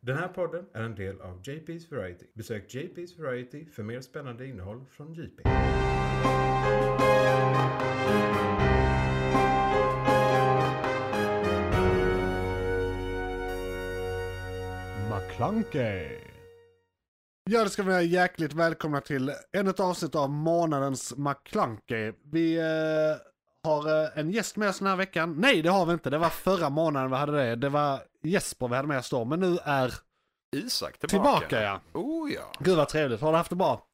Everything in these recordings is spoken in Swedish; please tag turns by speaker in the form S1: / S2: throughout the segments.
S1: Den här podden är en del av JP's Variety. Besök JP's Variety för mer spännande innehåll från JP.
S2: McClunkey. Ja, det ska vi vara jäkligt välkomna till ännu ett avsnitt av månadens McClunkey. Vi eh, har eh, en gäst med oss den här veckan. Nej, det har vi inte. Det var förra månaden vi hade det. Det var Jesper vi hade med oss då, men nu är
S3: Isak tillbaka.
S2: tillbaka. ja.
S3: Oh ja.
S2: Gud vad trevligt. Har du haft det bra?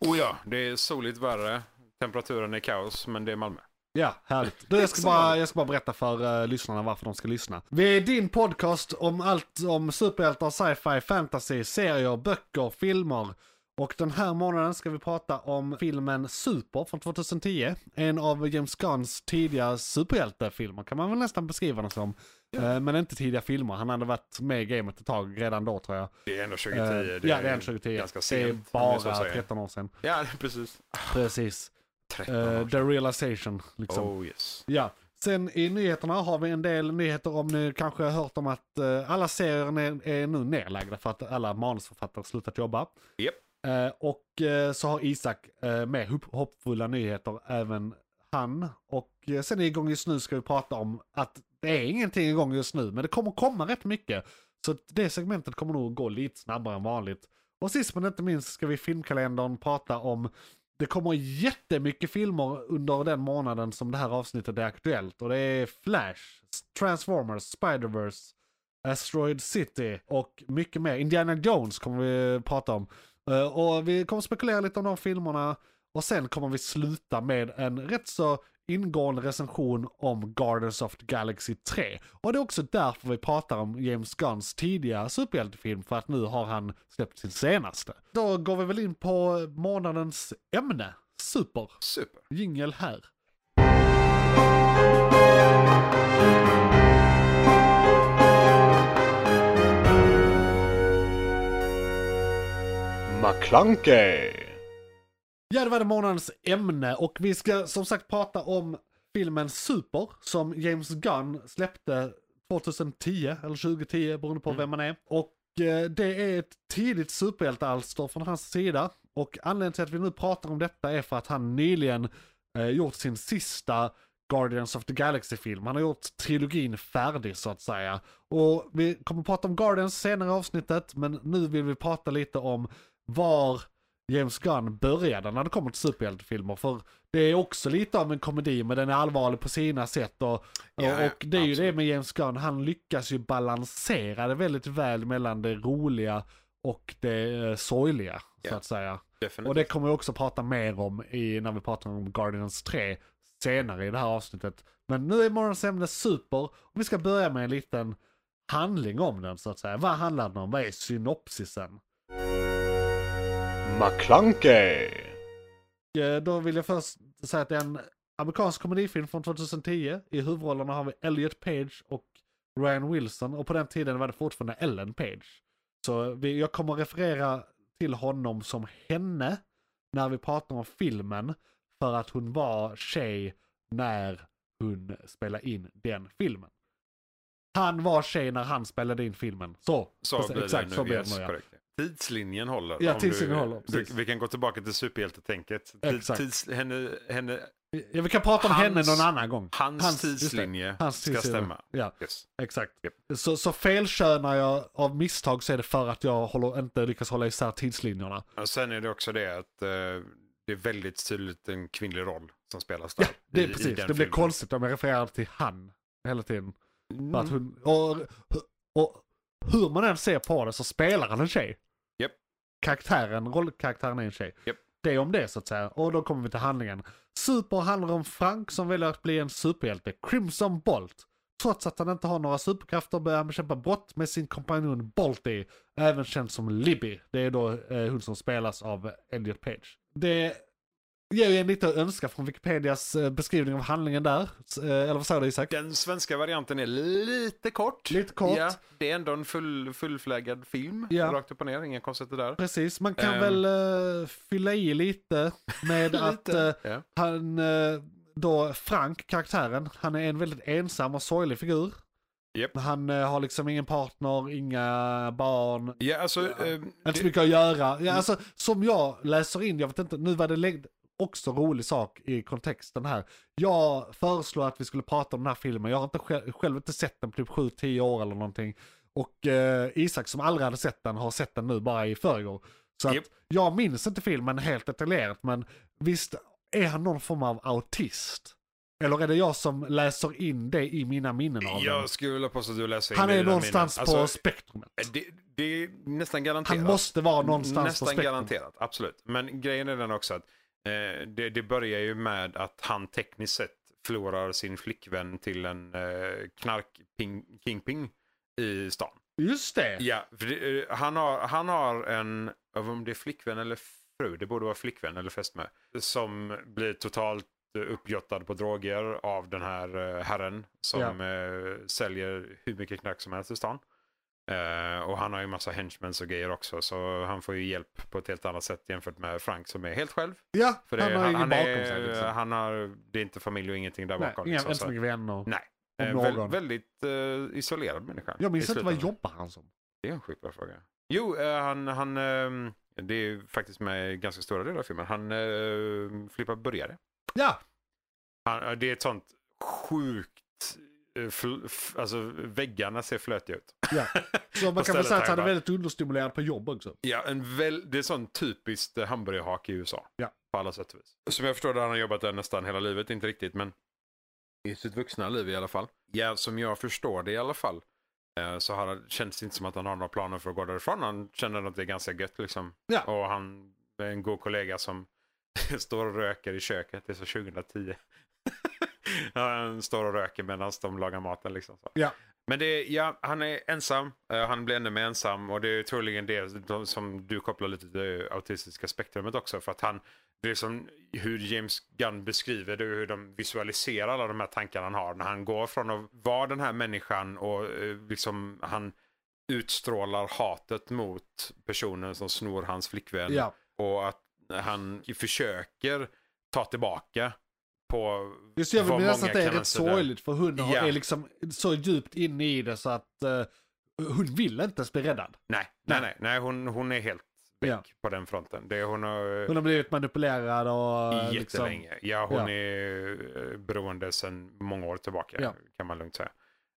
S3: Oh ja, det är soligt värre. Temperaturen är kaos, men det är Malmö.
S2: Ja, härligt. Du, jag, ska
S3: Som
S2: bara,
S3: vanligt.
S2: jag ska bara berätta för eh, lyssnarna varför de ska lyssna. Vi är din podcast om allt om superhjältar, sci-fi, fantasy, serier, böcker, filmer. Och den här månaden ska vi prata om filmen Super från 2010. En av James Gunns tidiga superhjältefilmer kan man väl nästan beskriva den som. Eh, Men inte tidiga filmer, han hade varit med i gamet ett tag redan då tror jag.
S3: Det är ändå 2010.
S2: Eh,
S3: det
S2: ja,
S3: är
S2: det är 2010.
S3: Ganska
S2: det
S3: sent.
S2: är
S3: om så
S2: bara
S3: säger.
S2: 13 år sedan.
S3: Ja, det är precis.
S2: Precis.
S3: 13
S2: Eh,
S3: år
S2: the realization liksom.
S3: Oh yes.
S2: Ja, sen i nyheterna har vi en del nyheter om ni kanske har hört om att eh, alla serier är, är nu nedlagda för att alla manusförfattare slutat jobba.
S3: Japp.
S2: Eh, och eh, så har Isak eh, med hopp- hoppfulla nyheter även han. Och eh, sen är igång just nu ska vi prata om att det är ingenting igång just nu men det kommer komma rätt mycket. Så att det segmentet kommer nog gå lite snabbare än vanligt. Och sist men inte minst ska vi i filmkalendern prata om det kommer jättemycket filmer under den månaden som det här avsnittet är aktuellt. Och det är Flash, Transformers, Spider-Verse, Asteroid City och mycket mer. Indiana Jones kommer vi prata om. Eh, Och vi kommer spekulera lite om de filmerna. Och sen kommer vi sluta med en rätt så ingående recension om Guardians of the Galaxy 3. Och det är också därför vi pratar om James Gunns tidiga superhjältefilm, för att nu har han släppt sin senaste. Då går vi väl in på månadens ämne, super.
S3: Super.
S2: Jingel här. McClunkey. Ja, det var det månadens ämne och vi ska som sagt prata om filmen Super som James Gunn släppte 2010 eller 2010 beroende på vem man är. Och eh, det är ett tidigt superhjältealster från hans sida. Och anledningen till att vi nu pratar om detta är för att han nyligen eh, gjort sin sista Guardians of the Galaxy-film. Han har gjort trilogin färdig så att säga. Och vi kommer prata om Guardians senare i avsnittet, men nu vill vi prata lite om var James Gunn började när det kommer till superhjältefilmer. För det är också lite av en komedi, men den är allvarlig på sina sätt. Och, och,
S3: Ja, ja,
S2: och det är ju det
S3: absolut.
S2: med James Gunn, han lyckas ju balansera det väldigt väl mellan det roliga och det eh, sorgliga, så
S3: Ja.
S2: att säga.
S3: Definitivt.
S2: Och det kommer vi också prata mer om i, när vi pratar om Guardians 3 senare i det här avsnittet. Men nu är morgons ämne super och vi ska börja med en liten handling om den så att säga. Vad handlar den om? Vad är synopsisen?
S4: McClunkey.
S2: Eh, Då vill jag först säga att det är en amerikansk komedifilm från 2010. I huvudrollerna har vi Elliot Page och Ryan Wilson och på den tiden var det fortfarande Ellen Page. Så vi, jag kommer referera till honom som henne när vi pratar om filmen för att hon var tjej när hon spelade in den filmen. Han var tjej när han spelade in filmen. Så,
S3: Så
S2: precis,
S3: blir
S2: exakt
S3: det nu.
S2: så blir
S3: yes,
S2: det nu. Ja.
S3: korrekt. Tidslinjen håller.
S2: Ja,
S3: om
S2: tidslinjen
S3: du,
S2: håller,
S3: Du,
S2: precis.
S3: vi kan gå tillbaka till superhjältetänket. Tid-
S2: Exakt.
S3: Tids, henne, henne,
S2: Ja, vi kan prata om henne
S3: Hans-
S2: någon annan gång.
S3: hans,
S2: just det.
S3: tidslinje
S2: Hans
S3: ska
S2: tidslinje.
S3: stämma.
S2: Ja.
S3: Yes.
S2: Exakt.
S3: Japp.
S2: Så, så felkönar jag av misstag så är det för att jag håller, inte lyckas hålla isär tidslinjerna.
S3: Och sen är det också det att eh, det är väldigt tydligt en kvinnlig roll som spelas där.
S2: Det
S3: i-
S2: är
S3: i
S2: precis,
S3: den
S2: det blir
S3: filmen.
S2: konstigt om jag refererar till han hela tiden. För att
S3: Mm.
S2: hon, och, och hur man än ser på det så spelar han en tjej.
S3: Japp.
S2: Karaktären, rollkaraktären är en tjej.
S3: Japp.
S2: Det är om det så att säga. Och då kommer vi till handlingen. Super handlar om Frank som väljer att bli en superhjälte, Crimson Bolt. Trots att han inte har några superkrafter börjar han bekämpa brott med sin kompanjon Bolty, även känd som Libby. Det är då eh, hon som spelas av Elliot Page. Det ger ju en lite att önska från Wikipedias eh, beskrivning av handlingen där. S- eh, Eller vad säger du Isak?
S3: Den svenska varianten är lite kort.
S2: Lite kort.
S3: Ja, det är ändå en full, fullflaggad film.
S2: Ja.
S3: Rakt upp och ner, inga konstigheter där.
S2: Precis, man kan
S3: Ehm.
S2: väl eh, fylla i lite med att eh,
S3: Ja.
S2: han, eh, då Frank, karaktären, han är en väldigt ensam och sorglig figur.
S3: Japp.
S2: Han eh, har liksom ingen partner, inga barn,
S3: Ja, alltså...
S2: Ja.
S3: eh,
S2: inte så
S3: det-
S2: mycket att göra. Ja, alltså, som jag läser in, jag vet inte, nu var det lägg- också rolig sak i kontexten här. Jag föreslår att vi skulle prata om den här filmen, jag har inte själv, själv inte sett den på typ 7-10 år eller någonting. Och eh, Isak som aldrig hade sett den har sett den nu bara i förrgår. Så att
S3: Japp.
S2: jag minns inte filmen helt detaljerat men visst är han någon form av autist? Eller är det jag som läser in det i mina minnen av den?
S3: jag skulle vilja påstå att du läser in
S2: Han
S3: det i
S2: är
S3: dina
S2: någonstans
S3: minnen.
S2: på
S3: Alltså,
S2: spektrumet.
S3: det, det är nästan garanterat.
S2: Han måste vara någonstans
S3: Nästan
S2: på spektrumet.
S3: garanterat, absolut. Men grejen är den också att eh, det, det börjar ju med att han tekniskt sett förlorar sin flickvän till en eh, knark-kingping i stan.
S2: Just det.
S3: Ja, för det, eh, han, har, han har en, jag vet om det är flickvän eller fru, det borde vara flickvän eller fästmö, som blir totalt eh, uppjottad på droger av den här eh, herren som eh, säljer hur mycket knark som helst i stan. Eh, och han har ju massa henchmens och grejer också så han får ju hjälp på ett helt annat sätt jämfört med Frank som är helt själv.
S2: Ja,
S3: För det,
S2: han har ingen bakom
S3: är,
S2: sig. Liksom.
S3: han har, det är inte familj och ingenting där
S2: Nej,
S3: bakom.
S2: inga,
S3: liksom,
S2: inte så
S3: så,
S2: mycket vänner.
S3: Nej. eh,
S2: om
S3: väl-
S2: någon.
S3: väldigt eh, isolerad människa.
S2: Jag
S3: i
S2: minns inte vad
S3: slutändan.
S2: jobbar han som.
S3: Det är en sjukt bra fråga. Jo, eh, han, han ehm, det är ju faktiskt med i ganska stora delar av filmen. Han eh, flippar burgare.
S2: Ja,
S3: Han, eh, det är ett sånt sjukt, eh, fl, f, alltså väggarna ser flötiga ut.
S2: ja. Så man
S3: På
S2: kan väl
S3: stället
S2: säga att
S3: här
S2: han är
S3: bara.
S2: väldigt understimulerad på jobb också.
S3: Ja, en väl, det är sån typiskt eh, hamburgerhak i USA.
S2: Ja.
S3: På alla sätt och vis. Som jag förstår det har han jobbat där nästan hela livet, inte riktigt men i sitt vuxna liv i alla fall. Ja, som jag förstår det i alla fall eh, så har, han- känns det inte som att han har några planer för att gå därifrån. Han känner att det är ganska gött liksom.
S2: Ja.
S3: Och han är en god kollega som står och röker i köket, det är så 2010. han står och röker medan de lagar maten liksom. Så.
S2: Ja.
S3: Men det är, ja, han är ensam, eh, han blir ännu mer ensam och det är troligen det de- som du kopplar lite till det autistiska spektrumet också för att han, det är som hur James Gunn beskriver det, hur de visualiserar alla de här tankarna han har när han går från att vara den här människan och eh, liksom han utstrålar hatet mot personen som snor hans flickvän
S2: Ja,
S3: och att han försöker ta tillbaka på
S2: just det, jag vill
S3: vad
S2: minnas
S3: många
S2: att det är
S3: kan
S2: rätt
S3: anse det.
S2: sorgligt för hon har-
S3: Ja.
S2: är liksom så djupt inne i det så att eh, hon vill inte ens bli räddad.
S3: Nej, nej, nej, nej hon, hon är helt väck
S2: Ja.
S3: på den fronten. Det, hon har
S2: Hon har blivit manipulerad och... eh, Liksom,
S3: jättelänge. Ja, hon
S2: ja.
S3: är eh, beroende sedan många år tillbaka
S2: Ja.
S3: kan man lugnt säga.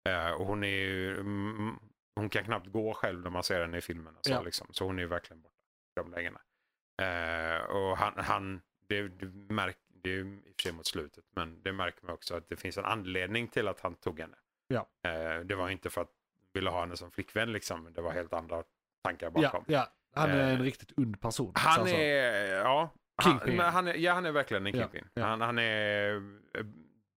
S3: Eh, och hon är ju, mm, hon kan knappt gå själv när man ser henne i filmen. Alltså,
S2: Ja.
S3: liksom. Så hon är ju verkligen borta i de lägena. Eh, och han, han det, det, märk, det är ju i och för sig mot slutet, men det märker man också att det finns en anledning till att han tog henne.
S2: Ja.
S3: Eh, det var inte för att ville ha henne som flickvän liksom, det var helt andra tankar bakom.
S2: ja, ja, han är en
S3: Eh,
S2: riktigt ond person.
S3: Han
S2: alltså.
S3: är, ja. Han,
S2: Kingpin.
S3: men han är, ja, han är verkligen en
S2: Ja,
S3: kingpin.
S2: ja.
S3: Han, han är eh,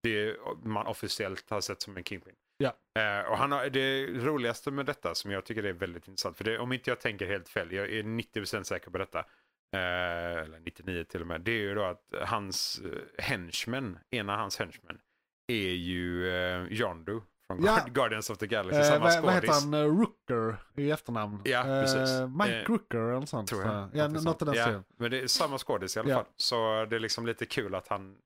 S3: det man officiellt har sett som en kingpin.
S2: Ja.
S3: Eh, och han har, det roligaste med detta som jag tycker är väldigt intressant, för det, om inte jag tänker helt fel, jag är 90% säker på detta, eh, eller 99 till och med, det är ju då att hans eh, henchmen, ena hans henchmen, är ju eh, Yondu från
S2: Ja.
S3: Guard- Guardians of the Galaxy,
S2: Eh,
S3: samma
S2: vad, vad
S3: skådis.
S2: heter han? Eh, Rooker i efternamn.
S3: Ja, precis.
S2: Eh, Mike
S3: Eh,
S2: Rooker eller något sånt.
S3: Tror jag.
S2: Ja,
S3: Någonting
S2: något
S3: sånt.
S2: i den
S3: Ja,
S2: stilen.
S3: Men det är samma skådis i alla
S2: Ja.
S3: fall. Så det är liksom lite kul att han...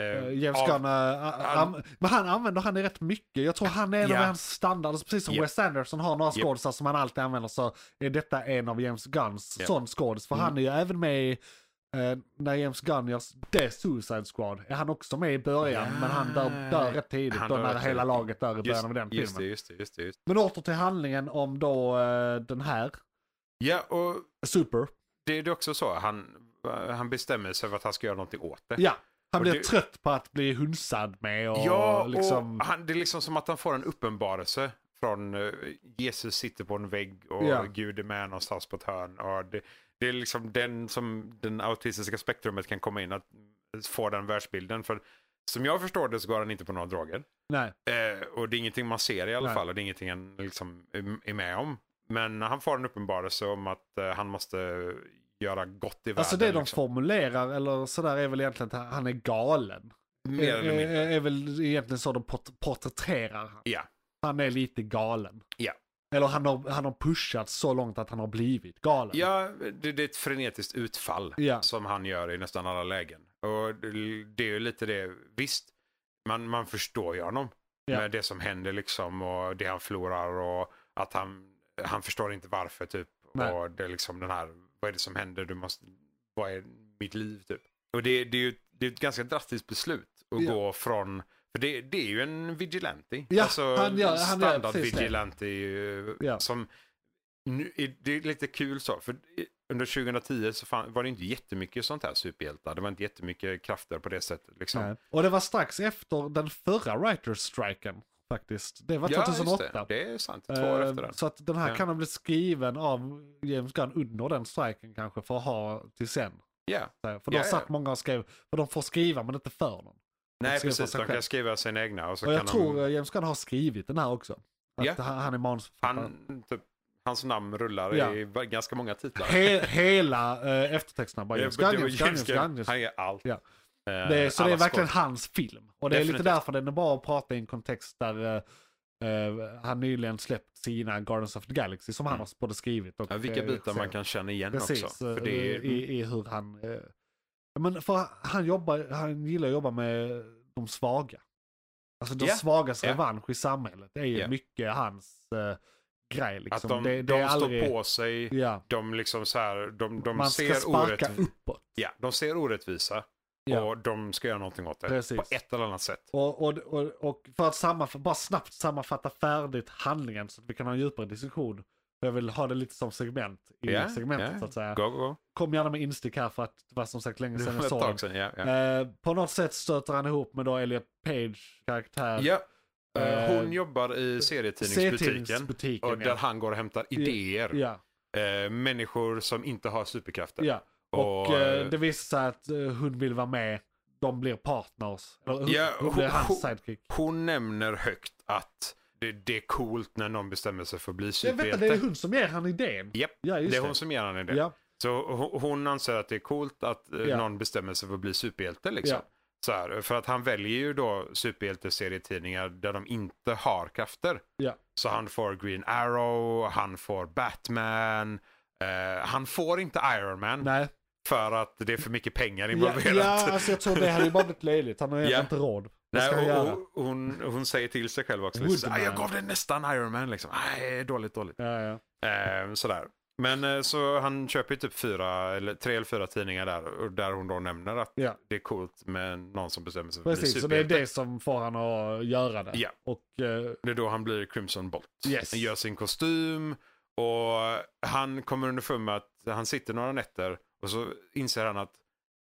S3: eh,
S2: Eh, James
S3: av-
S2: Gunn, eh, a-
S3: han-
S2: am- men han använder han är rätt mycket. Jag tror han är en
S3: Ja.
S2: av hans standards, precis som
S3: Ja.
S2: Wes Anderson har några
S3: Ja.
S2: skådisar som han alltid använder så är detta en av James Gunns
S3: Ja.
S2: sån skådis. För
S3: Mm.
S2: han är ju även med i, eh, när James Gunn gör s- The Suicide Squad, är han också med i början
S3: Ja.
S2: men han dör, dör rätt tidigt
S3: Han
S2: då
S3: dör
S2: när
S3: rätt
S2: hela
S3: tidigt.
S2: laget dör i början
S3: Just,
S2: av den
S3: just det,
S2: filmen.
S3: just det, just det. Just.
S2: Men åter till handlingen om då eh, den här,
S3: det. Ja, och
S2: Super.
S3: det är det också så. Han, han bestämmer sig för att han ska göra någonting åt det.
S2: Ja, han
S3: Och
S2: blir
S3: det-
S2: trött på att bli hunsad med och
S3: Ja,
S2: liksom...
S3: och han, det är liksom som att han får en uppenbarelse från eh, Jesus sitter på en vägg och
S2: Ja.
S3: Gud är med någonstans på ett hörn. Och det, det är liksom den som den autistiska spektrumet kan komma in, att få den världsbilden. För som jag förstår det så går han inte på några droger.
S2: Nej,
S3: Eh, och det är ingenting man ser i alla
S2: Nej.
S3: fall och det är ingenting han liksom är- är med om. Men han får en uppenbarelse om att eh, han måste göra gott i världen.
S2: alltså det de
S3: liksom.
S2: formulerar eller sådär är väl egentligen att han är galen.
S3: Mer eller
S2: är,
S3: mindre.
S2: är, är väl egentligen så de port- porträtterar han.
S3: Ja.
S2: Han är lite galen.
S3: Ja.
S2: Eller han har, han har pushat så långt att han har blivit galen.
S3: Ja, det, det är ett frenetiskt utfall
S2: Ja.
S3: som han gör i nästan alla lägen. Och det, det är ju lite det, visst, man, man förstår ju honom.
S2: Ja.
S3: Med det som händer liksom och det han förlorar och att han, han förstår inte varför typ.
S2: Nej.
S3: Och det är liksom den här, vad är det som händer? Du måste, vad är mitt liv typ? Och det, det är ju det är ett ganska drastiskt beslut att
S2: Ja.
S3: gå från, för det, det är ju en vigilante.
S2: Ja,
S3: alltså
S2: han gör- han gör
S3: standard
S2: precis det.
S3: vigilante eh,
S2: Ja.
S3: som nu, är- det är lite kul så, för under 2010 så fan, var det inte jättemycket sånt här superhjältar. Det var inte jättemycket krafter på det sättet. Liksom.
S2: Nej. Eh, Och det var strax efter den förra writer's-striken faktiskt. Det var
S3: Ja, just
S2: 2008.
S3: det. det är sant. Två år
S2: Eh,
S3: efter den.
S2: Så att den här
S3: Ja.
S2: kan ha blivit skriven av James Gunn under den striken kanske för att ha till sen.
S3: Ja.
S2: Så här, För
S3: Ja,
S2: då
S3: ja.
S2: satt många och skrev, för de får skriva men inte för någon.
S3: Nej,
S2: skriver
S3: precis.
S2: sig
S3: De
S2: själv.
S3: kan skriva sina egna. Och så
S2: Och jag
S3: kan
S2: tror
S3: de,
S2: eh, James Gunn har skrivit den här också. Att
S3: Ja.
S2: han, han är manusförfattare.
S3: han, typ, hans namn rullar
S2: Ja.
S3: i var- ganska många titlar.
S2: He, hela eh, eftertexterna bara James
S3: Det var
S2: Gunn, James Gunn, James Gunn. James Gunn.
S3: Han är allt.
S2: Ja.
S3: Eh,
S2: Det, är- så det
S3: alla
S2: är verkligen
S3: skådespelare.
S2: hans film. Och det är lite
S3: Definitivt.
S2: därför den är bra att prata i en kontext där eh, eh, han nyligen släppt sina Guardians of the Galaxy som han
S3: Mm.
S2: har både skrivit och
S3: Ja, vilka
S2: eh,
S3: bitar man
S2: regisserat.
S3: kan känna igen
S2: Precis,
S3: också. För
S2: eh,
S3: det är, mm.
S2: i, i hur han... eh, Men för han, jobbar, han gillar att jobba med de svaga. Alltså de
S3: Ja,
S2: svagas
S3: ja.
S2: revansch i samhället är ju
S3: Ja.
S2: mycket hans eh, grej. Liksom.
S3: att de,
S2: det, det
S3: de
S2: är aldrig,
S3: står på sig.
S2: Ja,
S3: De liksom så här, de, de
S2: man ska
S3: ser
S2: sparka
S3: orättvisa.
S2: uppåt.
S3: Ja, de ser orättvisa
S2: Ja.
S3: och de ska göra någonting åt det.
S2: Precis.
S3: På ett eller annat sätt.
S2: Och, och, och, och för att sammanf- bara snabbt sammanfatta färdigt handlingen så att vi kan ha en djupare diskussion. Jag vill ha det lite som segment i
S3: Ja,
S2: segmentet
S3: ja.
S2: så att säga.
S3: Go, go.
S2: Kom gärna med instick här för att det var som sagt länge
S3: Det
S2: sedan
S3: var
S2: jag
S3: ett
S2: såg den.
S3: tag sedan. Ja, ja.
S2: Eh, på något sätt stöter han ihop med då Elliot Page karaktär.
S3: Ja.
S2: Eh,
S3: Eh, hon jobbar i serietidningsbutiken.
S2: serietidningsbutiken,
S3: Och där
S2: ja.
S3: han går och hämtar idéer.
S2: Ja,
S3: Eh, människor som inte har superkrafter.
S2: ja. Och,
S3: Och,
S2: eh,
S3: eh,
S2: det visar sig att eh, hon vill vara med. De blir partners. Eller, hon,
S3: Ja,
S2: hon blir
S3: hon-
S2: hans
S3: hon-
S2: sidekick.
S3: Hon nämner högt att det, det är coolt när någon bestämmer sig för att bli
S2: Ja, vänta, det är
S3: superhjälte.
S2: hon som ger han idén.
S3: Japp,
S2: Ja, just
S3: det är
S2: det.
S3: hon som ger henne det. Mm.
S2: Ja,
S3: Så ho- hon anser att det är coolt att eh,
S2: Ja.
S3: någon bestämmer sig för att bli superhjälte. Liksom.
S2: Ja.
S3: Så här, för att han väljer ju då superhjälteserietidningar där de inte har krafter.
S2: Ja.
S3: Så han får Green Arrow, han får Batman, eh, han får inte Iron Man
S2: nej.
S3: för att det är för mycket pengar
S2: Ja,
S3: involverat.
S2: ja, alltså jag tror det hade ju bara blivit löjligt. Han har ju
S3: Ja.
S2: inte råd. Vad ska han
S3: Nej, och,
S2: göra?
S3: och, hon, hon säger till sig själv också. Liksom,
S2: Woodman.
S3: "Ah, jag gav dig nästan Iron Man liksom. Nej, dåligt, dåligt.
S2: Ja, ja.
S3: Eh, sådär. Men eh, så han köper ju typ fyra, eller tre eller fyra tidningar där. Och där hon då nämner att
S2: Ja.
S3: det är coolt med någon som bestämmer sig för att bli
S2: Precis, så det är
S3: superhjälte.
S2: det som får han att göra det.
S3: Ja.
S2: Och eh,
S3: Det är då han blir Crimson Bolt.
S2: Yes.
S3: Han gör sin kostym och han kommer underfund med att han sitter några nätter och så inser han att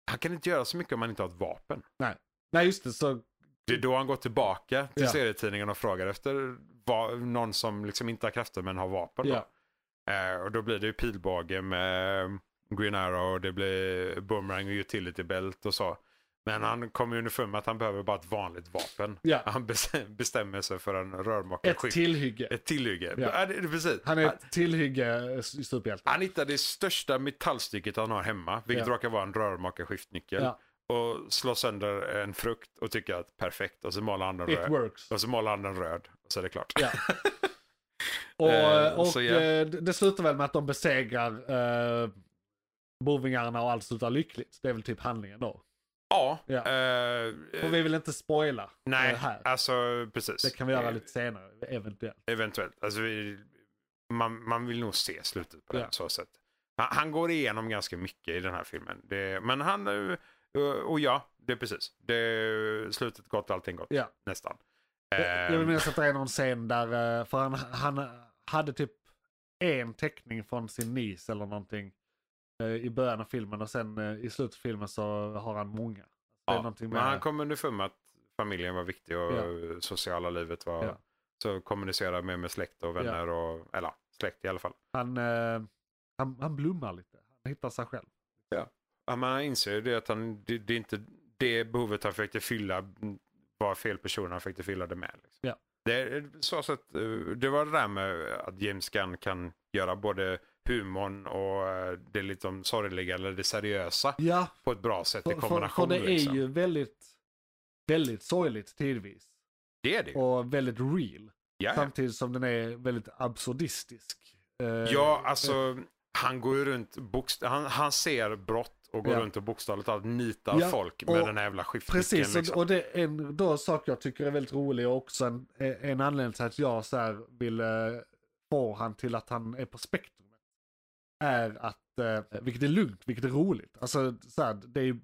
S3: han kan inte göra så mycket om han inte har ett vapen.
S2: nej just det, så
S3: Det är då han går tillbaka till
S2: Ja.
S3: serietidningen och frågar efter vad, någon som liksom inte har krafter men har vapen. då.
S2: ja.
S3: Eh, och då blir det ju pilbåge med Green Arrow och det blir boomerang och utility belt och så. Men han kommer ju underfund med att han behöver bara ett vanligt vapen.
S2: Ja.
S3: Han bes- bestämmer sig för en
S2: Ett
S3: rörmakarskydd.
S2: tillhygge.
S3: Ett tillhygge.
S2: Ja.
S3: Ja. det, det, precis.
S2: Han är
S3: han,
S2: ett tillhygge eh, s- superhjälte.
S3: han hittar det största metallstycket han har hemma, vilket
S2: Ja.
S3: råkar vara en rörmakarskiftnyckel.
S2: Ja.
S3: Och slår sönder en frukt och tycker att perfekt. Och så målar han den
S2: It
S3: röd.
S2: works.
S3: Och så målar han den röd. Och så är det klart.
S2: Ja. Och,
S3: Eh,
S2: och
S3: så ja.
S2: eh, det det slutar väl med att de besegrar eh, bovingarna och allt slutar lyckligt. Det är väl typ handlingen då.
S3: Ja.
S2: Ja.
S3: eh,
S2: Och vi vill inte spoila
S3: nej,
S2: eh, här.
S3: alltså precis.
S2: Det kan vi göra
S3: Eh,
S2: lite senare, eventuellt.
S3: Eventuellt. Alltså, vi, man, man vill nog se slutet på det
S2: Ja.
S3: så sätt. Han, han går igenom ganska mycket i den här filmen. Det, men han, eh, och ja, det är precis. Det, är slutet gott, allting gott.
S2: Ja.
S3: Nästan.
S2: Jag jag vill
S3: Ehm,
S2: minnas att det är någon scen där, eh, för han, han hade typ en teckning från sin niece eller någonting eh, i början av filmen och sen eh, i slutet av filmen så har han många. Det
S3: ja.
S2: är någonting
S3: Men
S2: med-
S3: han kom underfund med att familjen var viktig och
S2: Ja.
S3: sociala livet var...
S2: Ja.
S3: Så kommunicera mer med släkt och vänner och... Eller släkt i alla fall.
S2: Han, eh, han, han blommar lite, han hittar sig själv.
S3: Ja, men han inser ju det att han, det, det är inte det behovet han försökte fylla var fel person han försökte fylla det med. Liksom.
S2: Ja.
S3: Det, är så så att, eh, det var det där med att James Gunn kan göra både humorn och eh, det liksom sorgliga eller det seriösa
S2: Ja,
S3: på ett bra sätt i
S2: för, för, för
S3: kombination.
S2: det är
S3: liksom.
S2: ju väldigt, väldigt sorgligt tidvis.
S3: det är det ju.
S2: Och väldigt real.
S3: Ja, ja.
S2: Samtidigt som den är väldigt absurdistisk. Eh,
S3: alltså, ja, alltså han går ju runt, bokst- han, han ser brott och och går
S2: Ja.
S3: runt och bokstavligt talat nitar
S2: Ja,
S3: folk med
S2: och-
S3: den här jävla skiftnyckeln.
S2: Precis, och,
S3: liksom.
S2: och det är en då sak jag tycker är väldigt rolig och också en, en anledning till att jag så här vill eh, få han till att han är på spektrumet. Är att, eh, vilket är lugnt, vilket är roligt. Alltså så här, det är ju-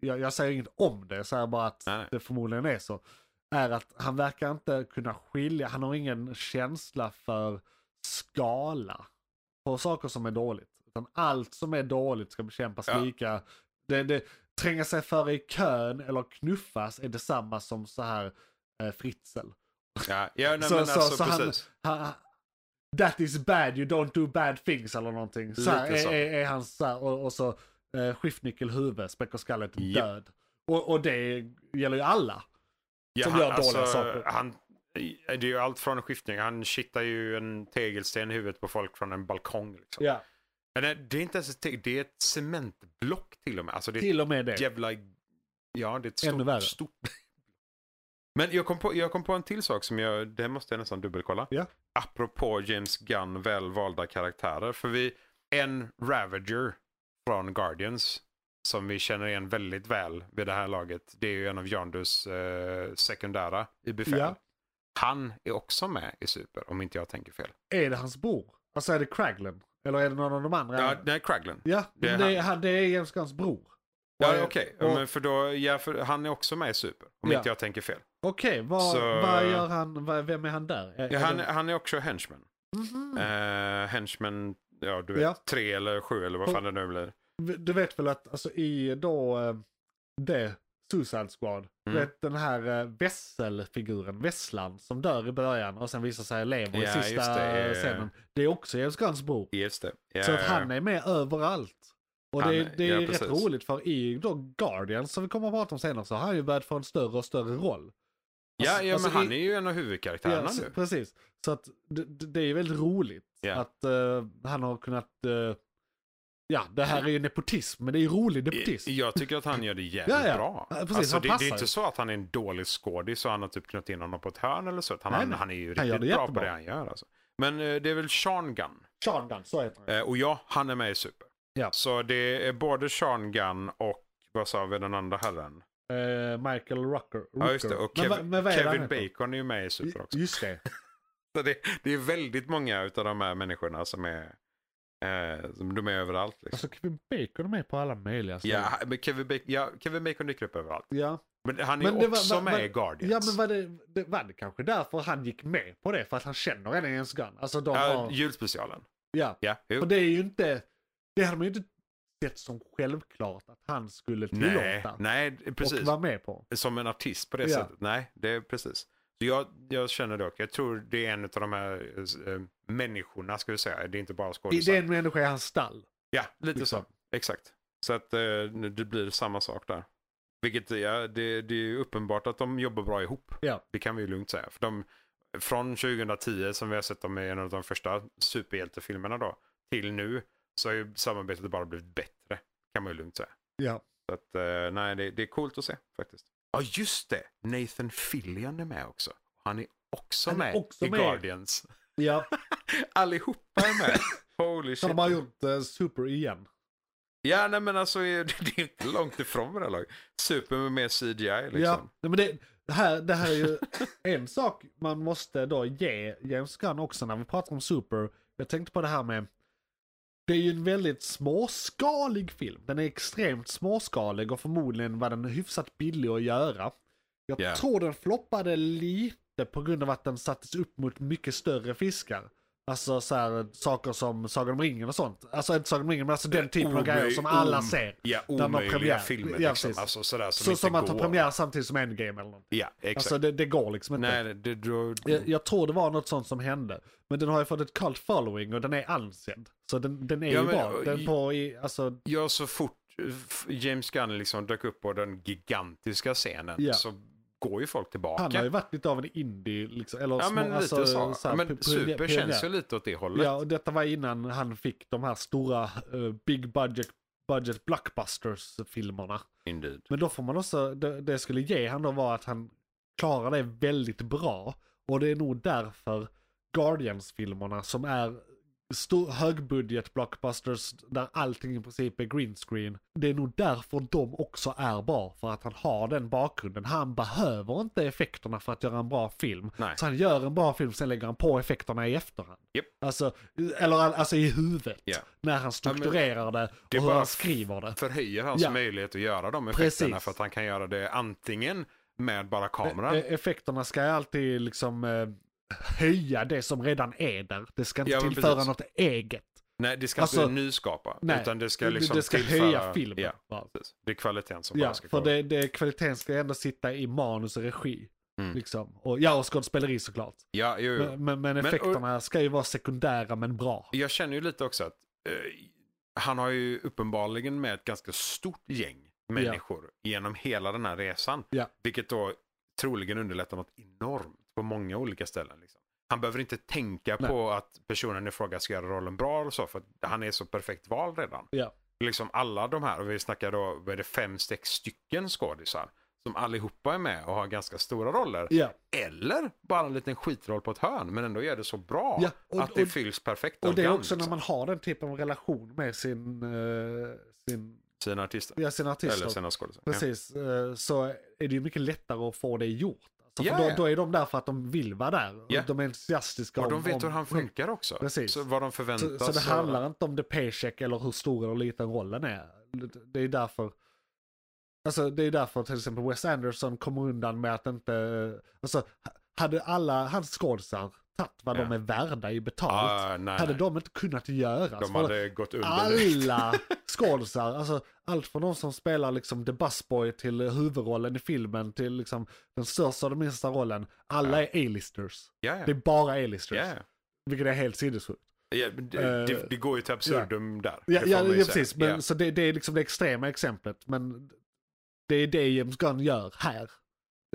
S2: jag, jag säger inget om det, så här bara att
S3: Nej.
S2: det förmodligen är så. Är att han verkar inte kunna skilja, han har ingen känsla för skala på saker som är dåligt. Utan allt som är dåligt ska bekämpas
S3: Ja.
S2: lika. Det, det, tränga sig före i kön eller knuffas är detsamma som så här eh, fritzel.
S3: Ja, ja nej,
S2: så,
S3: men
S2: så,
S3: alltså
S2: så han,
S3: precis.
S2: ha, that is bad, you don't do bad things eller någonting. Så här,
S3: Lite så.
S2: Är, är, är han så här, och, och så eh, skiftnyckel huvud, späck och skallet
S3: Japp.
S2: död. Och, och det gäller ju alla.
S3: Ja,
S2: som
S3: han- alltså,
S2: gör dåliga saker.
S3: Han, det är ju allt från en skiftning. Han kittar ju en tegelsten i huvudet på folk från en balkong. Liksom.
S2: Ja.
S3: Men det- det är inte ens ett tegel, det är ett cementblock till och med. Alltså, det är
S2: Till och med
S3: ett
S2: det.
S3: jävla... Ja, det är ett
S2: Ännu värre.
S3: stort... stort... Men jag kom, på, jag kom på en till sak som jag, det måste jag nästan dubbelkolla.
S2: Ja.
S3: Apropå James Gunn välvalda karaktärer. För vi, en Ravager från Guardians som vi känner igen väldigt väl vid det här laget. Det är ju en av Yondus eh, sekundära i befäl.
S2: Ja.
S3: Han är också med i Super, om inte jag tänker fel.
S2: Är det hans bror? Alltså är det Craglen? Eller är det någon av de andra?
S3: Ja, nej, Kraglin.
S2: Ja,
S3: det är
S2: men det, är han, det är James Gunns bror.
S3: Ja,
S2: Och-
S3: okej.
S2: och-
S3: Men för då, ja, för han är också med i Super, om
S2: Ja.
S3: inte jag tänker fel.
S2: Okej, vad,
S3: Så-
S2: vad gör han, vad, vem är han där? Är,
S3: Ja,
S2: är
S3: han,
S2: det-
S3: han är också henchman.
S2: Mhm.
S3: Eh, henchman, ja du vet,
S2: Ja.
S3: tre eller sju eller vad
S2: Och-
S3: fan det nu blir.
S2: Du vet väl att alltså, i då eh, det, Suicide Squad, du
S3: Mm.
S2: vet den här eh, vesselfiguren, vesslan som dör i början och sen visar sig lever
S3: Ja,
S2: i
S3: just
S2: sista
S3: det,
S2: eh,
S3: eh.
S2: scenen. Det är också James Gunns bror.
S3: Just det. Eh, Ja,
S2: Så att han är med överallt. Och
S3: Han
S2: det,
S3: är-
S2: det är
S3: ja,
S2: rätt
S3: precis.
S2: roligt för i då Guardians som vi kommer att prata om senare så har han ju börjat få en större och större roll.
S3: ja,
S2: Alltså-
S3: ja
S2: alltså
S3: men han
S2: i-
S3: är ju en av
S2: Ja,
S3: huvudkaraktärerna
S2: så-
S3: nu.
S2: precis. Så att det, det det är ju väldigt roligt
S3: Ja.
S2: att eh, han har kunnat... eh, ja, det här är ju nepotism, men det är ju rolig nepotism.
S3: Jag tycker att han gör det jävligt
S2: Ja, ja.
S3: bra.
S2: Ja, precis,
S3: alltså,
S2: han
S3: det, det är
S2: passar.
S3: inte så att han är en dålig skådis och han har typ knött in honom på ett hörn eller så. utan
S2: Nej,
S3: Han,
S2: nej.
S3: han är ju
S2: Han gör
S3: riktigt bra
S2: det
S3: på
S2: jättebra.
S3: det han gör. Alltså. Men eh, det är väl Sean Gunn?
S2: Sean Gunn, så heter han.
S3: Eh, och ja, han är med i Super.
S2: Ja.
S3: Så det är både Sean Gunn och vad sa vi den andra herren?
S2: Eh, Michael Rucker.
S3: Ja, just det. Och
S2: Men
S3: Kevin,
S2: vad- men vad är det
S3: Kevin
S2: han heter?
S3: Bacon är ju med i Super också.
S2: Just det.
S3: Så det, det är väldigt många av de här människorna som är, eh, som, de är överallt. Liksom.
S2: Alltså Kevin Bacon är med på alla möjliga ställen.
S3: Ja, men Kevin, Bacon, ja, Kevin Bacon dyker upp överallt.
S2: ja.
S3: Men han är
S2: Men
S3: men
S2: det var-
S3: också
S2: var-
S3: med
S2: var-
S3: i Guardians.
S2: Ja men var det, det, var det kanske därför han gick med på det? För att han känner en James Gunn? Alltså de
S3: Ja,
S2: har...
S3: julspecialen.
S2: Ja.
S3: Ja, jo.
S2: För det är ju inte... Det hade man ju inte sett som självklart att han skulle
S3: nej,
S2: tillåta.
S3: nej, precis.
S2: Och vara med på.
S3: Som en artist på det
S2: Ja.
S3: sättet. Nej, det är precis. Så jag, jag känner dock, jag tror det är en av de här eh, människorna, ska vi säga. Det är inte bara
S2: I
S3: skådisar.
S2: den människa i hans stall.
S3: Ja, lite
S2: Liksom.
S3: så. Exakt. Så att eh, det blir samma sak där. Vilket ja, det, det är ju uppenbart att de jobbar bra ihop.
S2: Ja.
S3: Det kan vi ju lugnt säga. För de, från 2010 som vi har sett dem i en av de första superhjältefilmerna då, till nu så har ju samarbetet bara blivit bättre. Kan man ju lugnt säga.
S2: Ja.
S3: Så att, eh, nej, det, det är coolt att se faktiskt. Ja, just det! Nathan Fillion är med också. Han är också
S2: Han är
S3: med
S2: också
S3: i
S2: med.
S3: Guardians.
S2: Ja,
S3: Allihopa är med. Holy
S2: så
S3: shit.
S2: de har gjort eh, Super igen.
S3: Ja, nej men alltså det är inte långt ifrån med det här laget. Super med mer CGI liksom.
S2: Ja, nej, men det, det, här, det här är ju en sak man måste då ge James Gunn också när vi pratar om Super. Jag tänkte på det här med, det är ju en väldigt småskalig film. Den är extremt småskalig och förmodligen var den hyfsat billig att göra. Jag
S3: Ja.
S2: tror den floppade lite på grund av att den sattes upp mot mycket större fiskar. Alltså så här, saker som Sagan om ringen och sånt. Alltså inte Sagan om ringen men alltså den typen av
S3: Omöj-
S2: grejer som alla
S3: om-
S2: ser.
S3: Ja,
S2: När man har
S3: omöjliga
S2: premiär.
S3: filmer
S2: Ja,
S3: liksom.
S2: precis.
S3: Alltså sådär som
S2: Så
S3: inte
S2: som man
S3: går.
S2: tar premiär samtidigt som Endgame eller något.
S3: Ja, exakt.
S2: Alltså det, det går liksom inte.
S3: nej, det, då,
S2: Jag, jag tror det var något sånt som hände. Men den har ju fått ett cult following och den är ansedd. Så den, den är
S3: Ja,
S2: ju
S3: men,
S2: bra.
S3: och-
S2: Den på i, alltså,
S3: jag så fort eh, f- James Gunn liksom dök upp på den gigantiska scenen
S2: Ja.
S3: så går ju folk tillbaka.
S2: han har ju varit lite av en indie liksom. Eller
S3: ja,
S2: små,
S3: men lite
S2: alltså,
S3: så.
S2: här,
S3: men
S2: pi- pi-
S3: Super
S2: pionjär.
S3: känns ju lite åt det hållet.
S2: Ja, och detta var innan han fick de här stora eh, big budget, budget blockbusters-filmerna.
S3: Indeed.
S2: Men då får man också, det, det jag skulle ge han då var att han klarar det väldigt bra. Och det är nog därför Guardians-filmerna som är stor, högbudget blockbusters där allting i princip är green screen. Det är nog därför de också är bra, för att han har den bakgrunden. Han behöver inte effekterna för att göra en bra film.
S3: Nej.
S2: Så han gör en bra film, sen lägger han på effekterna i efterhand.
S3: Japp.
S2: Alltså, eller alltså i huvudet.
S3: Ja.
S2: När han
S3: men
S2: strukturerar det och
S3: det är
S2: hur
S3: bara
S2: han skriver det.
S3: Förhöjer hans
S2: Ja.
S3: möjlighet att göra de effekterna
S2: Precis.
S3: för att han kan göra det antingen med bara kameran.
S2: E- Effekterna ska alltid liksom eh, höja det som redan är där. Det ska inte
S3: Ja, men
S2: tillföra
S3: precis.
S2: något eget.
S3: nej, det ska
S2: alltså-
S3: inte nyskapa.
S2: nej,
S3: utan det ska
S2: Det-
S3: liksom
S2: det ska
S3: tillföra,
S2: höja filmen.
S3: Ja,
S2: va?
S3: precis. Det är kvaliteten som
S2: Ja,
S3: bara ska
S2: för
S3: komma.
S2: det, det, kvaliteten ska ändå sitta i manus och regi.
S3: Mm.
S2: Liksom. Och, ja, och skådespeleri såklart.
S3: Ja, jo, jo.
S2: Men, men, men
S3: och-
S2: effekterna ska ju vara sekundära men bra.
S3: Jag känner ju lite också att eh, han har ju uppenbarligen med ett ganska stort gäng människor genom hela den här resan.
S2: Ja.
S3: Vilket då troligen underlättar något enormt på många olika ställen. Liksom. Han behöver inte tänka
S2: Nej.
S3: på att personen i fråga ska göra rollen bra eller så, för att han är så perfekt val redan.
S2: Ja.
S3: Liksom alla de här, och vi snackar då, vad är det, fem, sex stycken skådisar som allihopa är med och har ganska stora roller.
S2: Ja,
S3: Eller bara en liten skitroll på ett hörn, men ändå gör det så bra
S2: Ja, och-
S3: att det
S2: och-
S3: fylls perfekt
S2: och det är
S3: organ,
S2: också när
S3: liksom.
S2: man har den typen av relation med sin, eh, sin,
S3: sina artister.
S2: ja, sin artist.
S3: Eller sina skådisar.
S2: Precis, eh, så är det ju mycket lättare att få det gjort. Alltså,
S3: Ja,
S2: för då,
S3: ja.
S2: då är de där för att de vill vara där.
S3: Ja.
S2: Och de är entusiastiska.
S3: Ja. Och de
S2: om-
S3: vet
S2: om-
S3: hur han funkar också.
S2: Precis.
S3: Så vad de förväntas.
S2: Så, så det
S3: och-
S2: handlar inte om the paycheck eller hur stor eller liten rollen är. Det- Det är därför Alltså det är därför till exempel Wes Anderson kommer undan med att inte, alltså hade alla hans skådisar tagit vad
S3: Ja.
S2: de är värda i betalt,
S3: Ah, nej,
S2: hade
S3: nej.
S2: de inte kunnat göra. Alltså,
S3: De hade gått under nu.
S2: alla skådisar, alltså allt från de som spelar liksom The Busboy till huvudrollen i filmen till liksom den största och den minsta rollen, alla är A-listers.
S3: Ja,
S2: Det
S3: ja.
S2: är bara A-listers,
S3: Ja, ja.
S2: vilket är helt sinnessjukt.
S3: Ja, men det,
S2: Eh,
S3: det, det går ju till absurdum där.
S2: Ja,
S3: Det
S2: ja,
S3: får man ju
S2: ja
S3: säga.
S2: precis. Men,
S3: Ja.
S2: Så det, det är liksom det extrema exemplet. Men det är det James Gunn gör här.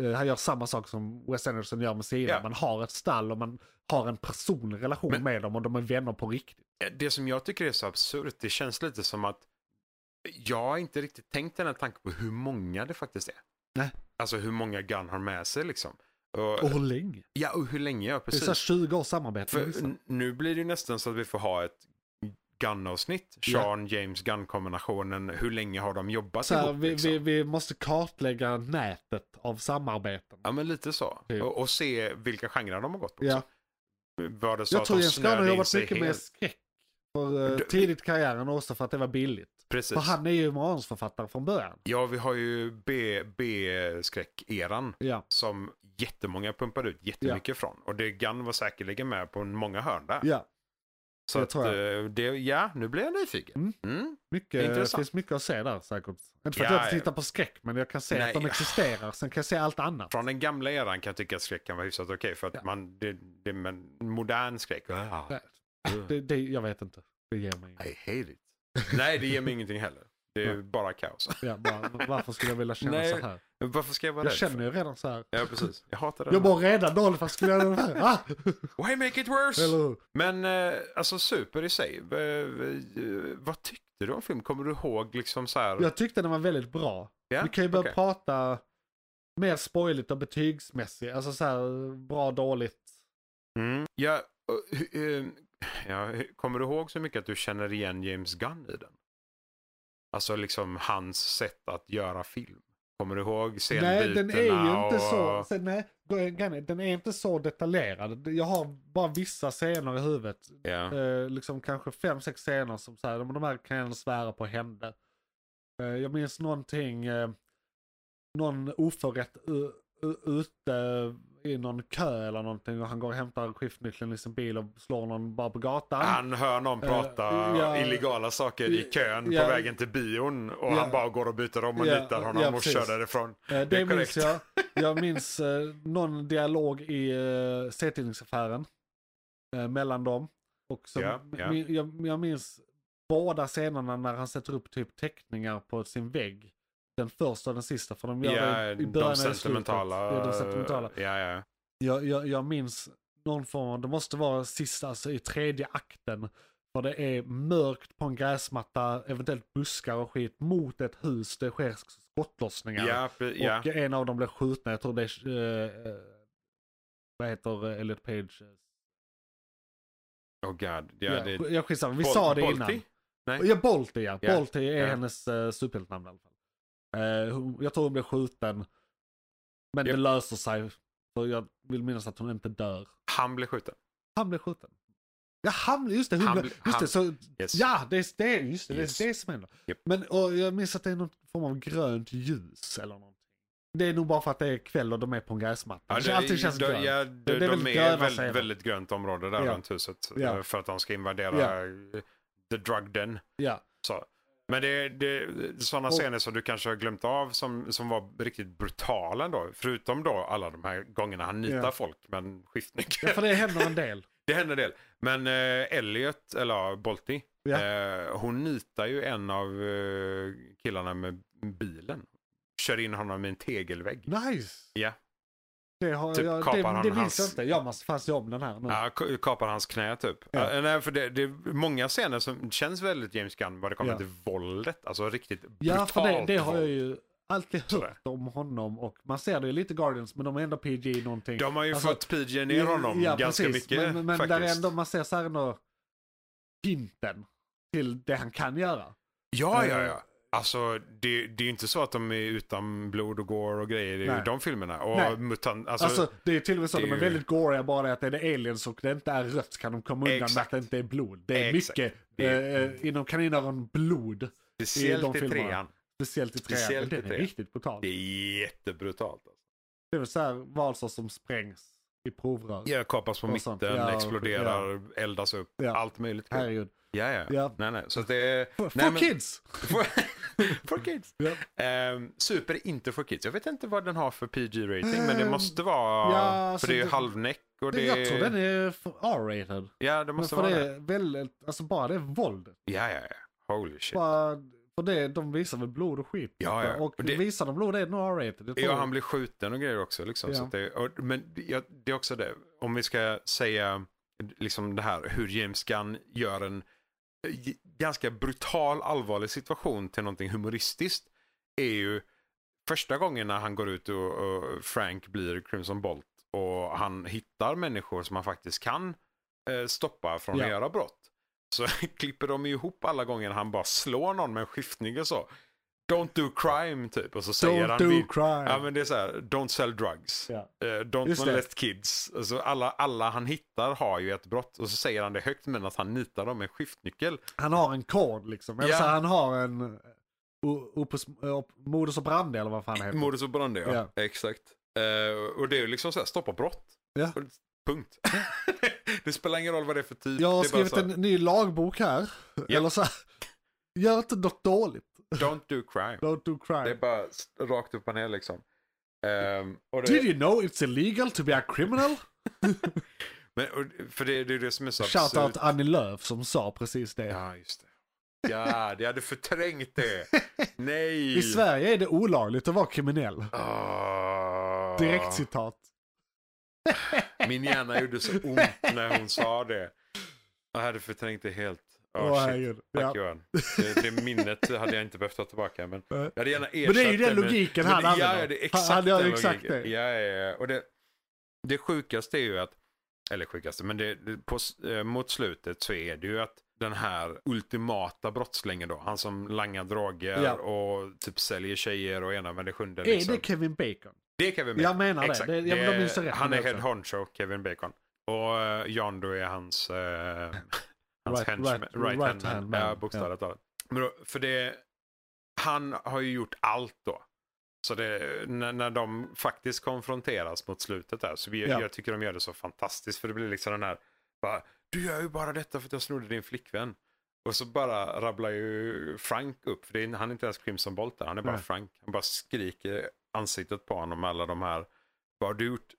S2: Eh, han gör samma sak som Wes Anderson gör med sina.
S3: Ja.
S2: Man har ett stall och man har en personlig relation
S3: Men-
S2: med dem och de är vänner på riktigt.
S3: Det som jag tycker är så absurt, det känns lite som att jag har inte riktigt tänkt den här tanken på hur många det faktiskt är.
S2: Nej.
S3: Alltså hur många Gun har med sig liksom. Och,
S2: Och hur länge?
S3: Ja, och hur länge, ja
S2: Det är
S3: precis.
S2: så här 20 års samarbete.
S3: För
S2: liksom.
S3: n- nu blir det ju nästan så att vi får ha ett Gunn-avsnitt.
S2: Ja.
S3: Sean, James, Gunn-kombinationen. Hur länge har de jobbat
S2: så här,
S3: ihop?
S2: vi,
S3: liksom?
S2: vi, vi måste kartlägga nätet av samarbeten.
S3: Ja, men lite så.
S2: Typ.
S3: Och, och se vilka genrer de har gått på.
S2: Ja.
S3: också. Vad det så
S2: Jag
S3: att
S2: tror
S3: de
S2: James Gunn har
S3: snöade in
S2: jobbat
S3: sig
S2: mycket med
S3: helt.
S2: skräck. För, eh,
S3: Du-
S2: tidigt i karriären och också för att det var billigt.
S3: Precis.
S2: För han är ju manusförfattare från början.
S3: Ja, vi har ju B- B-skräck-eran
S2: Ja,
S3: som jättemånga pumpade ut jättemycket från. Och det Gunn var säkerligen med på många hörn där.
S2: ja.
S3: så
S2: det
S3: att,
S2: tror
S3: eh, det, ja, nu blir jag nyfiken.
S2: Mm.
S3: Mm.
S2: Mycket, det
S3: Intressant.
S2: finns mycket att se där säkert. Inte för att
S3: Ja,
S2: jag inte
S3: ja.
S2: tittar på skräck, men jag kan se att
S3: Nej.
S2: de existerar. Sen kan jag se allt annat.
S3: Från den gamla eran kan jag tycka att skräck kan vara hyfsat okej. för att
S2: Ja.
S3: man, det, det, men modern skräck. Ah,
S2: Nej,
S3: ugh.
S2: Det, det, jag vet inte. Det ger mig inget.
S3: I hate it. Nej, det ger mig ingenting heller. Det är
S2: Nej.
S3: bara kaos.
S2: ja, bara, Varför skulle jag vilja känna
S3: Nej,
S2: så här?
S3: Men Varför ska jag vara
S2: Jag
S3: rädd för?
S2: känner ju redan så här.
S3: Ja, precis. Jag hatar det.
S2: Jag mår redan dåligt, varför skulle jag göra det här? Ah!
S3: Why make it worse?
S2: Eller hur?
S3: Men eh, alltså super i sig. Eh, eh, vad tyckte du om filmen? Kommer du ihåg liksom så här?
S2: Jag tyckte den var väldigt bra.
S3: Ja,
S2: Vi kan ju börja
S3: okej.
S2: prata mer spoiligt och betygsmässigt. Alltså så här, bra, dåligt.
S3: Mm. Ja, eh, hu- eh, ja, hu- kommer du ihåg så mycket att du känner igen James Gunn i den? Alltså liksom hans sätt att göra film. Kommer du ihåg scenbytena?
S2: Nej, den är ju inte
S3: och...
S2: så. Sen, nej, grejen är, den är inte så detaljerad. Jag har bara vissa scener i huvudet.
S3: Ja.
S2: Eh, liksom kanske fem, sex scener som så här, de, de här kan jag ändå svära på hände. Eh, jag minns någonting, eh, någon oförrätt u- u- ute i någon kö eller någonting och han går och hämtar skiftnyckeln i sin bil och slår någon bara på gatan.
S3: Han hör någon
S2: Eh,
S3: prata
S2: ja.
S3: illegala saker i kön
S2: Ja.
S3: på vägen till bion och
S2: Ja.
S3: han bara går och byter om och
S2: Ja,
S3: nitar honom
S2: ja,
S3: och
S2: precis.
S3: kör därifrån.
S2: Eh, det
S3: det är
S2: minns
S3: korrekt.
S2: jag. Jag minns eh, någon dialog i eh, C-tidningsaffären eh, mellan dem. Och som,
S3: Ja, ja.
S2: min- Jag, jag minns båda scenerna när han sätter upp typ teckningar på sin vägg. Den första och den sista, för de gör
S3: Ja,
S2: det i början
S3: de
S2: och i slutet.
S3: sentimentala. eh,
S2: Ja, de sentimentala.
S3: Ja, ja.
S2: Jag, jag, jag minns någon form av, det måste vara sista, alltså i tredje akten. För det är mörkt på en gräsmatta, eventuellt buskar och skit, mot ett hus, det sker skottlossningar.
S3: Ja, pre- ja.
S2: Och en av dem blev skjuten, jag tror det är... eh, eh, vad heter eh, Elliot Page?
S3: Oh god. Ja,
S2: eh, Ja,
S3: det,
S2: sk- ja, skitsamma, vi
S3: Bol-
S2: sa det
S3: Bolti?
S2: innan.
S3: Nej.
S2: Ja, Bolti ja.
S3: Ja,
S2: Bolti är
S3: ja.
S2: hennes uh, superhjältenamn i alla fall. Eh, hon- jag tror hon blev skjuten. Men
S3: Japp.
S2: det löser sig. För jag vill minnas att hon inte dör.
S3: Han blev skjuten.
S2: Han blev skjuten. Ja, han, just det. Hon
S3: Han
S2: blev,
S3: blev-
S2: just
S3: han-
S2: det så,
S3: Yes.
S2: ja, det är det, just det,
S3: Yes.
S2: det, är det som händer.
S3: Japp.
S2: Men och jag minns att det är någon form av grönt ljus eller någonting. Det är nog bara för att det är kväll och de är på en gräsmatta.
S3: Ja,
S2: det, allting känns
S3: de,
S2: grönt.
S3: ja, de,
S2: det är väl
S3: de är
S2: gröna
S3: väldigt,
S2: scener.
S3: väldigt grönt område där
S2: Ja.
S3: runt huset.
S2: Ja.
S3: eh, För att de ska invadera eh, the drug den.
S2: ja.
S3: Så. Men det, det sådana
S2: Och-
S3: scener som du kanske har glömt av som, som var riktigt brutala då. Förutom då alla de här gångerna han nitar
S2: Ja.
S3: folk med en skiftnyckel.
S2: ja, för det händer en del.
S3: Det händer en del. Men eh, Elliot, eller ja, Bolti,
S2: Ja.
S3: eh, hon nitar ju en av eh, killarna med bilen. Kör in honom i en tegelvägg.
S2: Nice!
S3: Ja.
S2: Det, har,
S3: Typ
S2: jag,
S3: kapar han
S2: det, det minns
S3: hans-
S2: jag inte. Jag måste fan se om den här nu.
S3: Ja, k- kapar hans knä typ.
S2: Mm. Ja.
S3: Eh, nej, för det, det är många scener som känns väldigt James Gunn vad det kommer
S2: Ja.
S3: till våldet. Alltså riktigt
S2: Ja,
S3: brutalt
S2: för det, det har jag
S3: våld.
S2: ju alltid
S3: Sådär.
S2: hört om honom och man ser det ju lite Guardians men de är ändå PG någonting.
S3: De har ju
S2: Alltså,
S3: fått PG ner honom
S2: Ja,
S3: ganska
S2: precis.
S3: mycket
S2: Men, men
S3: faktiskt.
S2: där är ändå, man ser så här ändå hinten till det han kan göra.
S3: Ja, ja,
S2: Eh,
S3: ja. Alltså det, det är ju inte så att de är utan blod och gore och grejer i
S2: Nej.
S3: de filmerna. Och
S2: Nej.
S3: mutant, alltså,
S2: Alltså, det är ju till och med så,
S3: det är
S2: de är
S3: ju-
S2: väldigt goriga bara det att det är det aliens och det inte är rött så kan de komma undan med
S3: Exakt.
S2: att det inte är blod. Det är
S3: Exakt.
S2: mycket,
S3: Det är-
S2: eh, inom kaninöron, blod.
S3: speciellt
S2: de
S3: i
S2: filmerna.
S3: trean.
S2: Speciellt i trean.
S3: Speciellt i
S2: den är
S3: trean.
S2: riktigt brutal.
S3: Det är jättebrutalt. Alltså.
S2: Det är väl så här valsar som sprängs i provrör.
S3: Ja, kapas på
S2: Och
S3: mitten,
S2: sånt. Ja, och-
S3: exploderar, eldas upp,
S2: Ja.
S3: allt möjligt. Ja,
S2: Herregud.
S3: ja.
S2: Ja.
S3: Nej, nej. Så att det är...
S2: For,
S3: nej,
S2: for
S3: men-
S2: kids!
S3: For, for kids.
S2: Ja.
S3: Ehm, super är inte for kids. Jag vet inte vad den har för PG-rating, men det
S2: Ehm,
S3: måste vara...
S2: ja,
S3: för
S2: alltså
S3: det är ju
S2: det-
S3: halvnäck och det
S2: Jag tror den är för R-rated.
S3: Ja, det
S2: Men
S3: måste
S2: för
S3: vara
S2: det
S3: det.
S2: är väldigt, alltså bara det är våld.
S3: Ja, ja, ja. Holy shit.
S2: Bara, för det, de visar väl blod och skit.
S3: Ja, ja.
S2: Och
S3: Och det-
S2: visar de blod är det nog R-rated. Jag tror
S3: Ja, han blir skjuten och grejer också. Liksom.
S2: Ja.
S3: Så att det, och, men det- ja, det är också det, om vi ska säga liksom det här hur James Gunn gör en eh, g- ganska brutal allvarlig situation till någonting humoristiskt är ju första gången när han går ut och, och Frank blir Crimson Bolt och han hittar människor som han faktiskt kan eh, stoppa från
S2: Ja.
S3: att göra brott. Så klipper de ju ihop alla gånger han bara slår någon med en skiftning och så. Don't do crime typ. Och så säger
S2: Don't
S3: han
S2: do
S3: vid-
S2: crime.
S3: Ja men det är så här, don't sell drugs.
S2: Ja.
S3: Eh, don't
S2: Just det.
S3: molest kids. Alltså alla, alla han hittar har ju ett brott och så säger han det högt men att han nitar dem med skiftnyckel.
S2: Han har en kod liksom. Eller
S3: Ja.
S2: så han har en... eh, o- Opus, op, modus och brand eller vad fan heter.
S3: Modus operandi ja. Exakt. Eh, och det är ju liksom så här, stoppa brott.
S2: Ja.
S3: Och- Punkt. det spelar ingen roll vad det är för typ.
S2: Jag har
S3: det är bara
S2: skrivit
S3: så här,
S2: en ny lagbok här. Eller så här, gör inte något dåligt.
S3: Don't do crime.
S2: Don't do crime.
S3: Det är bara s- rakt upp och ner liksom. Ehm, och det,
S2: Did you know it's illegal to be a criminal?
S3: men, och, för det, det är det som är så
S2: Shout
S3: absurt.
S2: out Annie Lööf som sa precis det.
S3: Ja, just det. Ja, jag hade förträngt det. Nej.
S2: I Sverige är det olagligt att vara kriminell.
S3: Ah.
S2: Direkt citat.
S3: Min hjärna gjorde så ont när hon sa det. Jag hade förträngt det helt.
S2: Åh,
S3: Oh, shit.
S2: herregud.
S3: Tack
S2: Ja.
S3: Johan. Det, det minnet hade jag inte behövt ta tillbaka. Men
S2: Nej.
S3: jag hade gärna ersatt
S2: Men det är ju den
S3: med-
S2: logiken
S3: men
S2: han
S3: det-
S2: använder.
S3: Ja, ja, det är
S2: Han-
S3: exakt
S2: han gör
S3: den
S2: exakt
S3: logiken.
S2: det.
S3: Ja, ja, ja. Och det, det sjukaste är ju att, eller sjukaste, men det, det- på, s- eh, mot slutet så är det ju att den här ultimata brottslingen då, han som langar droger
S2: Ja.
S3: och typ säljer tjejer och ena med det sjunde.
S2: Är
S3: Liksom.
S2: det Kevin Bacon?
S3: Det kan vi med.
S2: Jag menar det.
S3: Exakt.
S2: det. Jag, de minns rätt.
S3: han
S2: med
S3: är
S2: det
S3: head
S2: också.
S3: honcho, Kevin Bacon. Och eh, John då är hans, eh, hans
S2: Right-
S3: henchman-
S2: right-
S3: right, hand,
S2: right hand man.
S3: Ja, bokstavligt talat. Men då, för det, han har ju gjort allt då. Så det, när, när de faktiskt konfronteras mot slutet där, så vi,
S2: Ja.
S3: jag tycker de gör det så fantastiskt. För det blir liksom den här, bara, du gör ju bara detta för att jag snodde din flickvän. Och så bara rabblar ju Frank upp, för det är, han är inte ens Crimson Bolt där, han är bara
S2: Nej.
S3: Frank. Han bara skriker i ansiktet på honom, alla de här, vad har du gjort?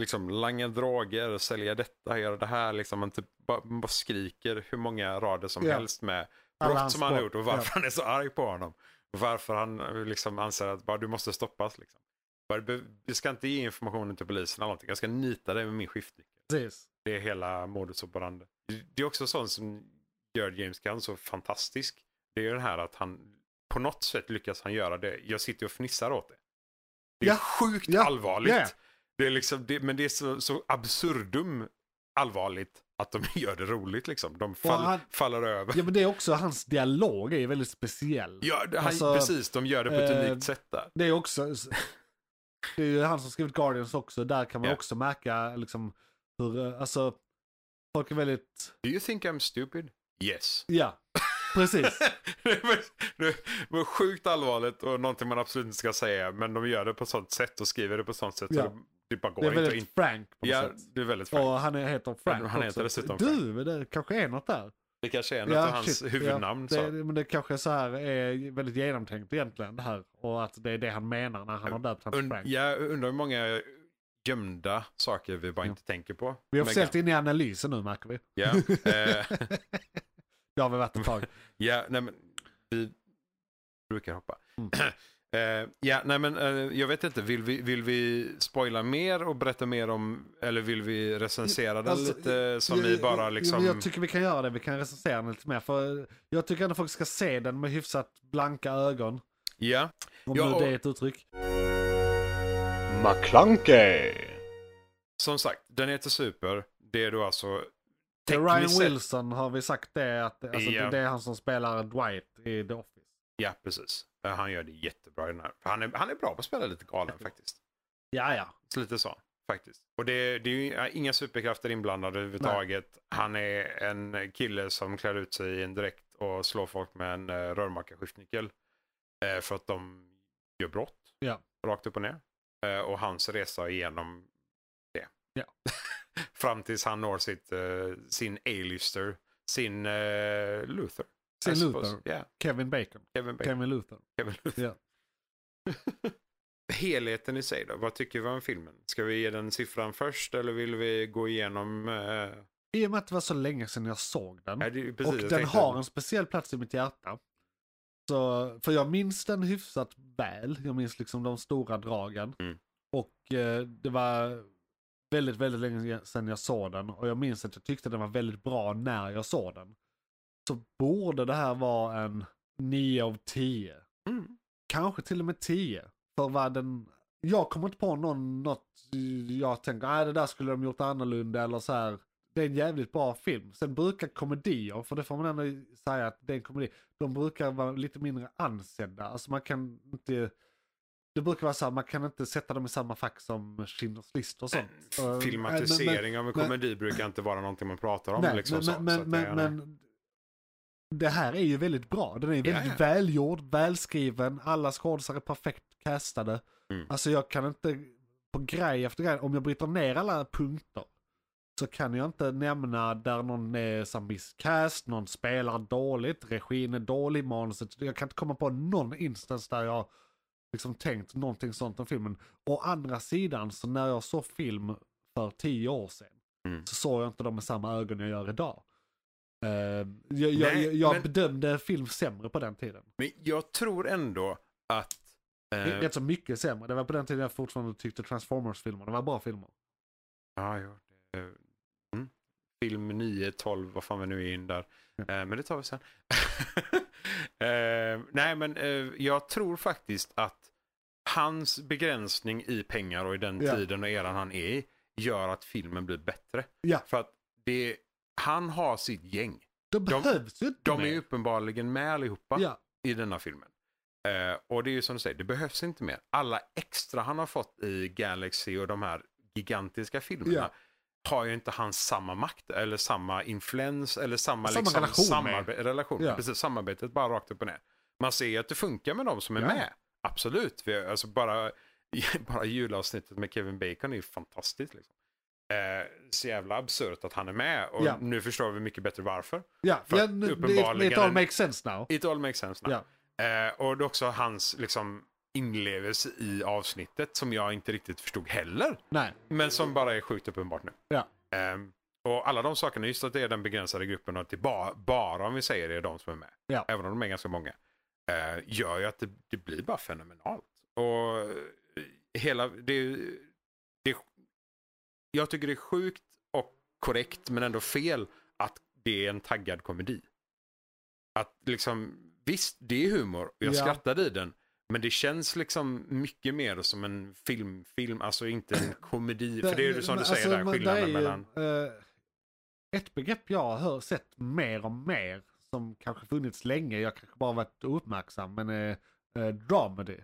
S3: Liksom langa droger, sälja detta, göra det här, liksom. Han typ bara, bara skriker hur många rader som
S2: Ja.
S3: helst med
S2: Alla
S3: brott
S2: hans
S3: som han har
S2: brott,
S3: gjort och varför
S2: ja.
S3: han är så arg på honom. Och varför han eh, liksom anser att bara, du måste stoppas. Liksom. Bara, du be- du ska inte ge informationen till polisen eller någonting, jag ska nita dig med min skiftnyckel.
S2: Precis.
S3: Det är hela modus operandi. Det är också sånt som gör James Gunn så fantastisk. Det är ju den här att han på något sätt lyckas han göra det. Jag sitter ju och fnissar åt det. Det är
S2: Ja.
S3: sjukt
S2: Ja.
S3: allvarligt.
S2: Ja.
S3: Det är liksom, det, men det är så, så absurdum allvarligt att de gör det roligt liksom. De
S2: Och
S3: fall,
S2: han-
S3: faller över.
S2: Ja men det är också, hans dialog är ju väldigt speciell.
S3: Ja, det- han,
S2: Alltså,
S3: precis, de gör det på ett
S2: eh,
S3: unikt sätt där.
S2: Det är också, det är ju han som skrivit Guardians också, där kan man
S3: Ja.
S2: också märka liksom hur, eh, alltså, folk är väldigt,
S3: Do you think I'm stupid? Yes.
S2: ja, precis.
S3: det var- det var sjukt allvarligt och någonting man absolut inte ska säga. Men de gör det på sånt sätt och skriver det på sånt sätt.
S2: Ja.
S3: Så det, det typ bara går
S2: Det är
S3: inte. att
S2: väldigt
S3: In...
S2: frank på något
S3: Ja,
S2: sätt.
S3: det är väldigt frankt.
S2: Och han är- heter Frank
S3: Han heter
S2: också.
S3: dessutom
S2: Du, men det kanske är något där.
S3: Det kanske är en av hans
S2: shit,
S3: huvudnamn.
S2: Ja,
S3: så.
S2: det, men det kanske så här är väldigt genomtänkt egentligen det här. Och att det är det han menar när han har döpt honom till
S3: Und,
S2: Frank.
S3: jag undrar hur många gömda saker vi bara
S2: Ja.
S3: inte tänker på.
S2: Vi är
S3: Men-
S2: officiellt inne i analysen nu märker vi.
S3: Ja, eh,
S2: Det har vi varit ett tag.
S3: ja nej, men vi brukar hoppa.
S2: Mm.
S3: Eh, ja, nej, men, eh, jag vet inte, vill vi, vill vi spoila mer och berätta mer om, eller vill vi recensera den
S2: Alltså,
S3: lite som
S2: Ja,
S3: vi
S2: ja,
S3: bara
S2: ja,
S3: liksom...
S2: men jag tycker vi kan göra det, vi kan recensera den lite mer. För jag tycker ändå folk ska se den med hyfsat blanka ögon.
S3: ja.
S2: Om
S3: Ja,
S2: nu
S3: och-
S2: det är ett uttryck.
S1: McClunkey!
S3: Som sagt, den heter Super. Det är då alltså... tekniskt
S2: Ryan
S3: sett-
S2: Wilson har vi sagt det, att alltså,
S3: Ja.
S2: det är han som spelar Dwight i The Office.
S3: Ja, precis. Eh, Han gör det jättebra i den här. Han är, han är bra på att spela lite galen faktiskt.
S2: Ja, ja.
S3: Så lite så, faktiskt. Och det, det är ju eh, inga superkrafter inblandade överhuvudtaget. Han är en kille som klär ut sig i en dräkt och slår folk med en eh, rörmakarskiftnyckel. Eh, för att de gör brott.
S2: Ja.
S3: Rakt upp och ner. Eh, och hans resa igenom det.
S2: Ja.
S3: Fram tills han når sitt, eh, sin A-lister, sin eh, Luther.
S2: Sin
S3: I
S2: Luther.
S3: suppose. Ja,
S2: Kevin Bacon.
S3: Kevin Bacon.
S2: Kevin Luther.
S3: Kevin Luther.
S2: Ja.
S3: Helheten i sig då, vad tycker vi om filmen? Ska vi ge den siffran först eller vill vi gå igenom? Eh,
S2: Mm. I och med att det var så länge sedan jag såg den.
S3: är det, ju precis,
S2: och
S3: jag
S2: den
S3: tänkte-
S2: har en speciell plats i mitt hjärta. Så, för jag minns den hyfsat väl. Jag minns liksom de stora dragen.
S3: Mm.
S2: Och eh, det var väldigt, väldigt länge sedan jag såg den. Och jag minns att jag tyckte den var väldigt bra när jag såg den. Så borde det här vara en 9 av 10.
S3: Mm.
S2: Kanske till och med 10. För vad den... Jag kommer inte på någon, något jag tänker, nej det där skulle de gjort annorlunda eller så här. Det är en jävligt bra film. Sen brukar komedier, för det får man ändå säga att det är en komedi, de brukar vara lite mindre ansedda. Alltså man kan inte... Det brukar vara så här, man kan inte sätta dem i samma fack som Schindler's list och sånt.
S3: Äh,
S2: Eh,
S3: Filmatisering
S2: men- men-
S3: av en
S2: men-
S3: komedi brukar inte vara någonting man pratar om.
S2: Nej,
S3: liksom,
S2: men,
S3: så,
S2: men, men,
S3: så att det är-
S2: men, men det här är ju väldigt bra. Den är väldigt
S3: ja.
S2: välgjord, välskriven, alla skådisar är perfekt castade.
S3: Mm.
S2: Alltså jag kan inte, på grej efter grej, om jag bryter ner alla punkter så kan jag inte nämna där någon är så här miscast, någon spelar dåligt, regin är dålig, manuset. Jag kan inte komma på någon instans där jag liksom tänkt någonting sånt om filmen. Å andra sidan, så när jag såg film för tio år sedan
S3: Mm.
S2: så såg jag inte dem med samma ögon jag gör idag. Eh, jag jag,
S3: Nej,
S2: jag- jag
S3: men-
S2: bedömde film sämre på den tiden.
S3: men jag tror ändå att... eh,
S2: Rätt så mycket sämre. Det var på den tiden jag fortfarande tyckte Transformers-filmerna var bra filmer.
S3: Ja, ja. det- Mm. Film 9, 12, vad fan vi nu är in där. Eh, men det tar vi sen. eh, nej, men eh, jag tror faktiskt att hans begränsning i pengar och i den
S2: Ja.
S3: tiden och eran han är i gör att filmen blir bättre.
S2: Ja.
S3: För att det, han har sitt gäng.
S2: De behövs ju inte
S3: De är
S2: mer.
S3: ju uppenbarligen med allihopa
S2: Ja,
S3: i denna filmen. Eh, och det är ju som du säger, det behövs inte mer. Alla extra han har fått i Galaxy och de här gigantiska filmerna
S2: Ja.
S3: har ju inte han samma makt eller samma influens eller samma,
S2: Samma
S3: liksom,
S2: relation
S3: samarbe- relation.
S2: Ja.
S3: Precis, samarbetet bara rakt upp och ner. Man ser ju att det funkar med de som är
S2: Ja.
S3: med. Absolut. Vi, alltså bara, bara julavsnittet med Kevin Bacon är ju fantastiskt. Liksom. Eh, så jävla absurt att han är med och
S2: Ja.
S3: nu förstår vi mycket bättre varför.
S2: ja.
S3: För
S2: ja
S3: att
S2: nu,
S3: uppenbarligen-
S2: det, it all makes sense now.
S3: It all makes sense now.
S2: Ja.
S3: Eh, och det är också hans liksom, inlevelse i avsnittet som jag inte riktigt förstod heller.
S2: Nej,
S3: Men som bara är sjukt uppenbart nu.
S2: ja.
S3: Ehm, och alla de sakerna, just att det är den begränsade gruppen och att det bara, bara om vi säger det är de som är med.
S2: Ja.
S3: Även om de är ganska många. eh, gör ju att det, det blir bara fenomenalt. Och eh, hela, det, är ju- det är- Jag tycker det är sjukt och korrekt men ändå fel att det är en taggad komedi. Att liksom, visst det är humor och jag
S2: Ja.
S3: skrattade i den. Men det känns liksom mycket mer som en filmfilm, alltså inte en komedi. För det är ju som
S2: Men-
S3: du säger
S2: alltså,
S3: där,
S2: men
S3: skillnaden
S2: där är ju,
S3: mellan...
S2: eh, ett begrepp jag har hört- sett mer och mer som kanske funnits länge, jag kanske bara varit ouppmärksam, men eh, eh, dramedy.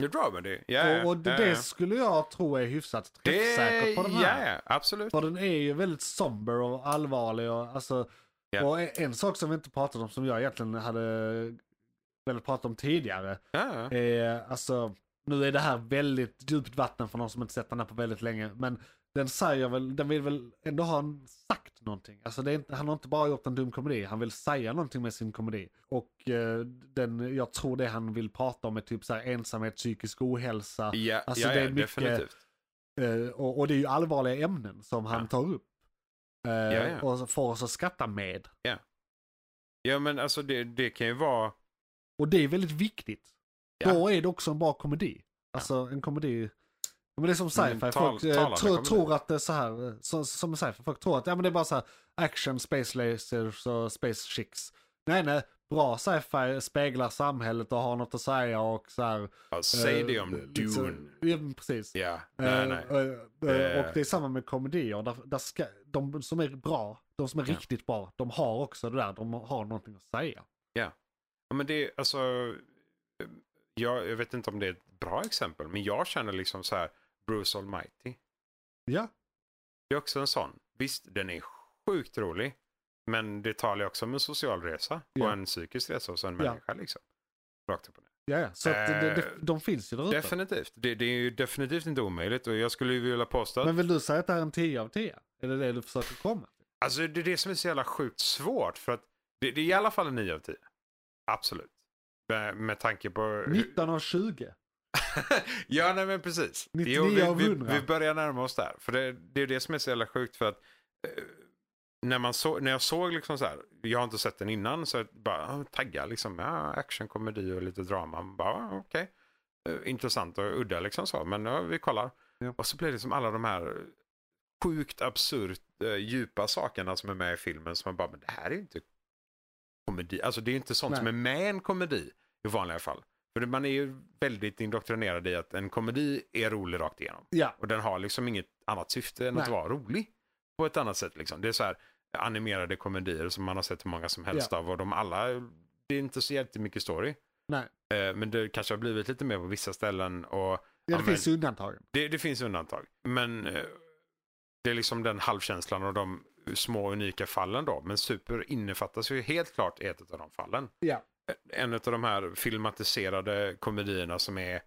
S3: Nu drar man det. Ja, ja,
S2: och och det,
S3: ja,
S2: det
S3: ja.
S2: skulle jag tro är hyfsat
S3: Det-
S2: träffsäkert på den här.
S3: Ja, ja, absolut.
S2: För den är ju väldigt somber och allvarlig. Och, alltså,
S3: Ja.
S2: och en, en sak som vi inte pratade om som jag egentligen hade velat prata om tidigare.
S3: Ja, ja.
S2: Är, alltså, nu är det här väldigt djupt vatten för någon som inte sett den här på väldigt länge. Men den säger väl, den vill väl ändå ha en, sagt någonting. Alltså det är inte, han har inte bara gjort en dum komedi, han vill säga någonting med sin komedi. Och eh, den, jag tror det han vill prata om är typ så här ensamhet, psykisk ohälsa.
S3: Ja,
S2: Alltså,
S3: ja,
S2: det
S3: ja,
S2: är mycket-
S3: definitivt.
S2: Eh, och, och det är ju allvarliga ämnen som han
S3: Ja.
S2: tar upp. Eh,
S3: ja.
S2: Och får oss att skratta med.
S3: Ja, men alltså det, det kan ju vara...
S2: Och det är väldigt viktigt.
S3: Ja.
S2: Då är det också en bra komedi. Alltså en komedi. Men det är som
S3: Mm,
S2: sci-fi.
S3: tal-
S2: Folk eh,
S3: talande
S2: tror,
S3: komedi.
S2: tror att det är så här. eh, Så, som sci-fi. Folk tror att ja, men det är bara så här action, space lasers och space chicks. Nej, nej. Bra sci-fi speglar samhället och har något att säga och så här.
S3: Ja, säg
S2: eh,
S3: det om
S2: liksom-
S3: Dune.
S2: Ja, men precis.
S3: Ja, nej,
S2: Eh,
S3: nej.
S2: eh, eh,
S3: Eh.
S2: Och det är samma med komedier. Där, där ska, de som är bra, de som är
S3: Ja.
S2: riktigt bra, de har också det där. De har någonting att säga.
S3: Ja, men det är alltså... eh, Jag, jag vet inte om det är ett bra exempel, men jag känner liksom så här Bruce Almighty.
S2: Ja,
S3: Det är också en sån. Visst, den är sjukt rolig. Men det talar ju också om en social resa och
S2: Ja.
S3: en psykisk resa hos en
S2: Ja.
S3: människa liksom. Rakt upp och ner.
S2: ja, ja. Så att det, det,
S3: Eh,
S2: de finns ju där ute.
S3: Definitivt. Det, det är ju definitivt inte omöjligt och jag skulle ju vilja påstå att
S2: Men vill du säga att det här är en 10 av 10? Är det det du försöker komma till?
S3: alltså, det är det som är så jävla sjukt svårt för att det, det är i alla fall en 9 av 10. Absolut. Med, med tanke på... hur-
S2: 19 av 20?
S3: ja, nej men precis.
S2: 99 av
S3: vi, vi,
S2: 100.
S3: vi börjar närma oss där. För det, det är det som är så jävla sjukt för att eh, när, man så, när jag såg liksom så här, jag har inte sett den innan, så jag bara ah, tagga liksom, ja, action, komedi och lite drama. Man Bara, ah, okej. Eh, Intressant och udda liksom så, men ja, vi kollar.
S2: Ja.
S3: Och så blir det som alla de här sjukt absurt eh, djupa sakerna som är med i filmen som man bara, men det här är ju inte komedi, alltså det är ju inte sånt
S2: Nej.
S3: som är med i en komedi i vanliga fall. För det- man är ju väldigt indoktrinerad i att en komedi är rolig rakt igenom.
S2: Ja,
S3: Och den har liksom inget annat syfte än att
S2: Nej.
S3: vara rolig. På ett annat sätt liksom. Det är så här animerade komedier som man har sett hur många som helst av och de alla, det är inte så jättemycket story.
S2: nej.
S3: Eh, Men det kanske har blivit lite mer på vissa ställen och
S2: Ja, det
S3: men-
S2: finns ju undantag.
S3: det, det finns undantag. Men eh, det är liksom den halvkänslan och de små unika fallen då. Men super innefattas ju helt klart i ett av de fallen.
S2: Ja.
S3: En av de här filmatiserade komedierna som är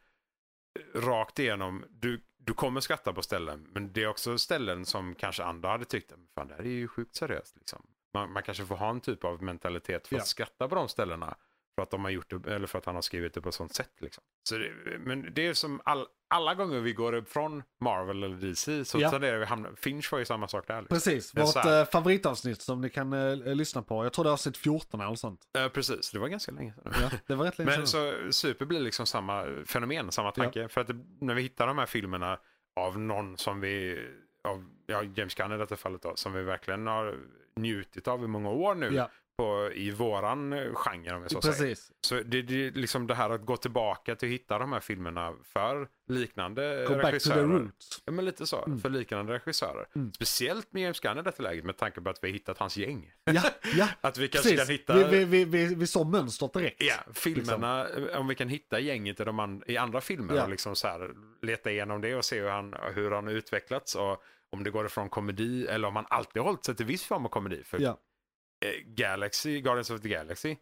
S3: rakt igenom. Du, du kommer skratta på ställen men det är också ställen som kanske andra hade tyckt "Men fan det här är ju sjukt seriöst. Liksom. Man, man kanske får ha en typ av mentalitet för att
S2: Ja.
S3: skratta på de ställena. För att, de har gjort det, eller för att han har skrivit det på ett sånt sätt. Liksom. Så det, men det är som all, alla gånger vi går upp från Marvel eller DC så
S2: Ja.
S3: tenderar vi hamna, Finch var ju samma sak där. Liksom.
S2: Precis,
S3: Men så
S2: vårt
S3: här-
S2: eh, favoritavsnitt som ni kan eh, lyssna på. Jag tror det är avsnitt 14 eller något sånt.
S3: Eh, precis, det var ganska länge sedan.
S2: Ja, det var rätt länge
S3: Men
S2: sedan.
S3: så super blir liksom samma fenomen, samma tanke. För att det, när vi hittar de här filmerna av någon som vi, av ja, James Gunn i detta fallet då, som vi verkligen har njutit av i många år nu
S2: Ja,
S3: på, i våran eh, genre om jag så säger.
S2: precis.
S3: Så det, det är liksom det här att gå tillbaka till att hitta de här filmerna för liknande
S2: Go back to the
S3: regissörer.
S2: roots.
S3: Ja men lite så, för liknande regissörer.
S2: Mm.
S3: Speciellt med James Gunn i detta läget med tanke på att vi har hittat hans gäng.
S2: Ja, ja.
S3: Att vi kanske
S2: Precis,
S3: kan hitta...
S2: vi, vi, vi, vi, vi såg mönstret direkt.
S3: Ja, filmerna, eh, om vi kan hitta gänget i, de an- i andra filmer
S2: Ja.
S3: och liksom så här, leta igenom det och se hur han, hur han har utvecklats och om det går ifrån komedi eller om han alltid har hållit sig till viss form av komedi. För
S2: Ja.
S3: eh, Galaxy, Guardians of the Galaxy,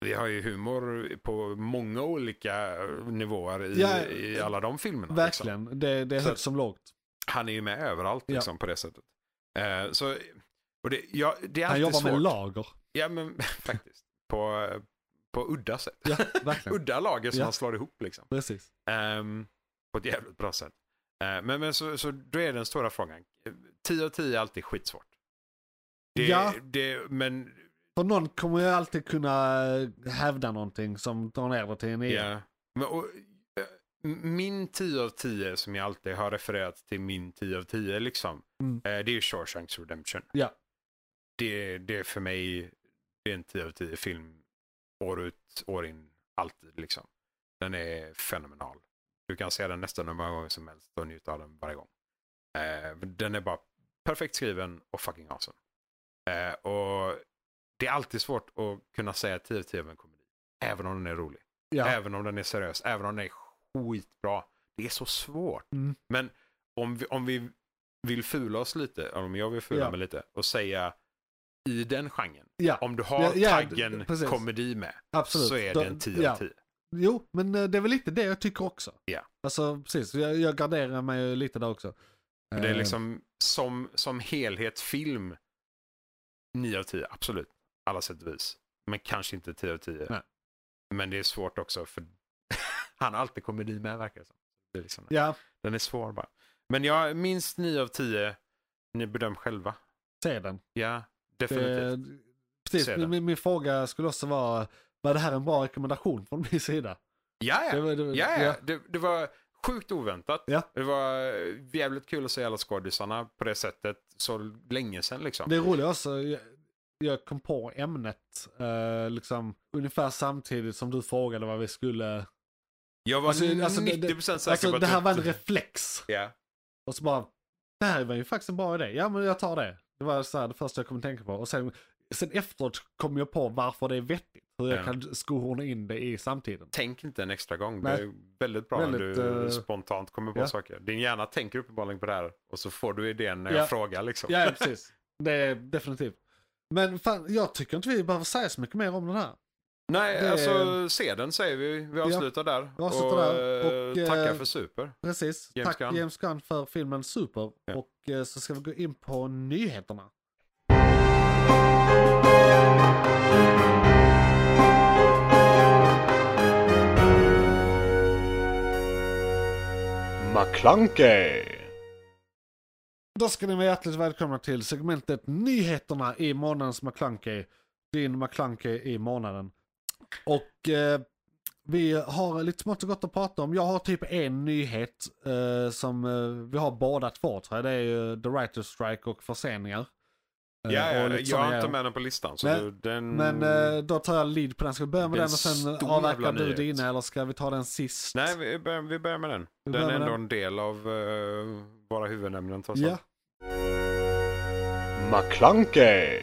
S3: vi har ju humor på många olika eh, nivåer i,
S2: Ja, eh,
S3: i alla de filmerna. Liksom.
S2: Verkligen, det, det är
S3: Så-
S2: högt som lågt.
S3: Han är ju med överallt
S2: Ja.
S3: liksom, på det sättet. Eh, så, och det, ja, det är
S2: Han
S3: alltid
S2: jobbar
S3: svårt.
S2: med lager.
S3: Ja, men faktiskt. På, eh, på udda sätt.
S2: Ja, verkligen.
S3: Udda lager som
S2: Ja.
S3: han slår ihop liksom.
S2: Precis.
S3: Ehm, på ett jävligt bra sätt. Eh, men men så, så då är den stora frågan. Eh, 10 av 10 är alltid skitsvårt. Det,
S2: Ja.
S3: det, men
S2: För någon kommer ju alltid kunna eh, hävda någonting som drar ner det till en egen.
S3: ja. Men, och, eh, min 10 av 10 som jag alltid har refererat till min 10 av 10 liksom.
S2: Mm.
S3: eh, det är ju Shawshanks Redemption.
S2: Ja.
S3: Det, det är för mig det är en 10 av 10 film. År ut, år in, alltid liksom. Den är fenomenal. Du kan se den nästan hur många gånger som helst och njuta av den varje gång. Eh, den är bara perfekt skriven och fucking awesome. Eh, och det är alltid svårt att kunna säga 10 av 10 av en komedi. Även om den är rolig.
S2: Ja.
S3: Även om den är seriös. Även om den är skitbra. Det är så svårt.
S2: Mm.
S3: Men om vi, om vi vill fula oss lite, om jag vill fula
S2: Ja.
S3: mig lite och säga i den genren.
S2: ja,
S3: Om du har
S2: Ja, ja,
S3: taggen
S2: d- precis.
S3: komedi med
S2: absolut.
S3: så är
S2: Då-
S3: det en 10
S2: ja.
S3: av 10.
S2: Jo, men eh, det är väl lite det jag tycker också.
S3: Ja.
S2: Alltså precis, jag, jag garderar mig ju lite där också.
S3: För Det är
S2: Eh,
S3: liksom som, som helhet film 9 av 10, absolut. Alla sätt och vis. Men kanske inte 10 av 10.
S2: Nej.
S3: Men det är svårt också för han har alltid komedi med verkar det som. Det är liksom,
S2: Ja,
S3: Den är svår bara. Men jag minst 9 av 10. Ni bedöm själva.
S2: se den.
S3: Ja, definitivt.
S2: Det, precis,
S3: Se den.
S2: min, min fråga skulle också vara, var det här en bra rekommendation från min sida?
S3: Ja, ja.
S2: Det var- det var-
S3: ja, ja.
S2: ja.
S3: Det, det var sjukt oväntat.
S2: Ja.
S3: Det var eh, jävligt kul att se alla skådisarna på det sättet så länge sedan liksom.
S2: Det roliga också, jag, jag kom på ämnet eh, liksom, ungefär samtidigt som du frågade vad vi skulle...
S3: Jag var
S2: Alltså, alltså, det-
S3: 90%
S2: det-
S3: säker
S2: Alltså
S3: på att
S2: det här
S3: du- typ-
S2: var en reflex.
S3: Ja.
S2: Och så bara, det här var ju faktiskt en bra idé. Ja men jag tar det. Det var så här, det första jag kom att tänka på. Och sen, sen efteråt kom jag på varför det är vettigt. Hur jag
S3: Ja.
S2: kan skohorna in det i samtiden.
S3: Tänk inte en extra gång. Det
S2: Nej.
S3: är väldigt bra när
S2: Väldigt,
S3: du
S2: eh,
S3: spontant kommer på
S2: ja.
S3: saker. Din hjärna tänker uppenbarligen på det här och så får du idén när
S2: Ja.
S3: jag frågar liksom.
S2: Ja, ja, precis. Det är definitivt. Men fan, jag tycker inte vi behöver säga så mycket mer om den här.
S3: Nej,
S2: Det-
S3: alltså se den säger vi. Vi avslutar där.
S2: vi avslutar
S3: och,
S2: där.
S3: eh,
S2: Och, eh,
S3: tackar för super.
S2: Precis.
S3: James
S2: Tack
S3: Gunn.
S2: James Gunn för filmen Super.
S3: Ja.
S2: Och eh, så ska vi gå in på nyheterna.
S4: McClunkey.
S2: Då ska ni vara hjärtligt välkomna till segmentet Nyheterna i månadens McClunky. Din McClunky i månaden. Och eh, vi har lite smått och gott att prata om. Jag har typ en nyhet eh, som eh, vi har båda två tror jag. Det är ju The Writers Strike och förseningar. Eh,
S3: Ja, ja,
S2: och lite
S3: jag
S2: sådana
S3: har inte
S2: grejer.
S3: med den på listan. Så
S2: Men-
S3: du, den...
S2: Men eh, då tar jag lead på den. Ska vi börja med
S3: Det är
S2: den
S3: en
S2: och sen
S3: stor
S2: avverkar
S3: jävla
S2: du
S3: nyhet.
S2: dina eller ska vi ta den sist?
S3: Nej, vi börjar, vi börjar med den. Den
S2: Vi börjar
S3: är
S2: med
S3: ändå
S2: den.
S3: en del av eh, våra huvudämnen. trots
S2: Ja,
S3: allt.
S4: McClunkey.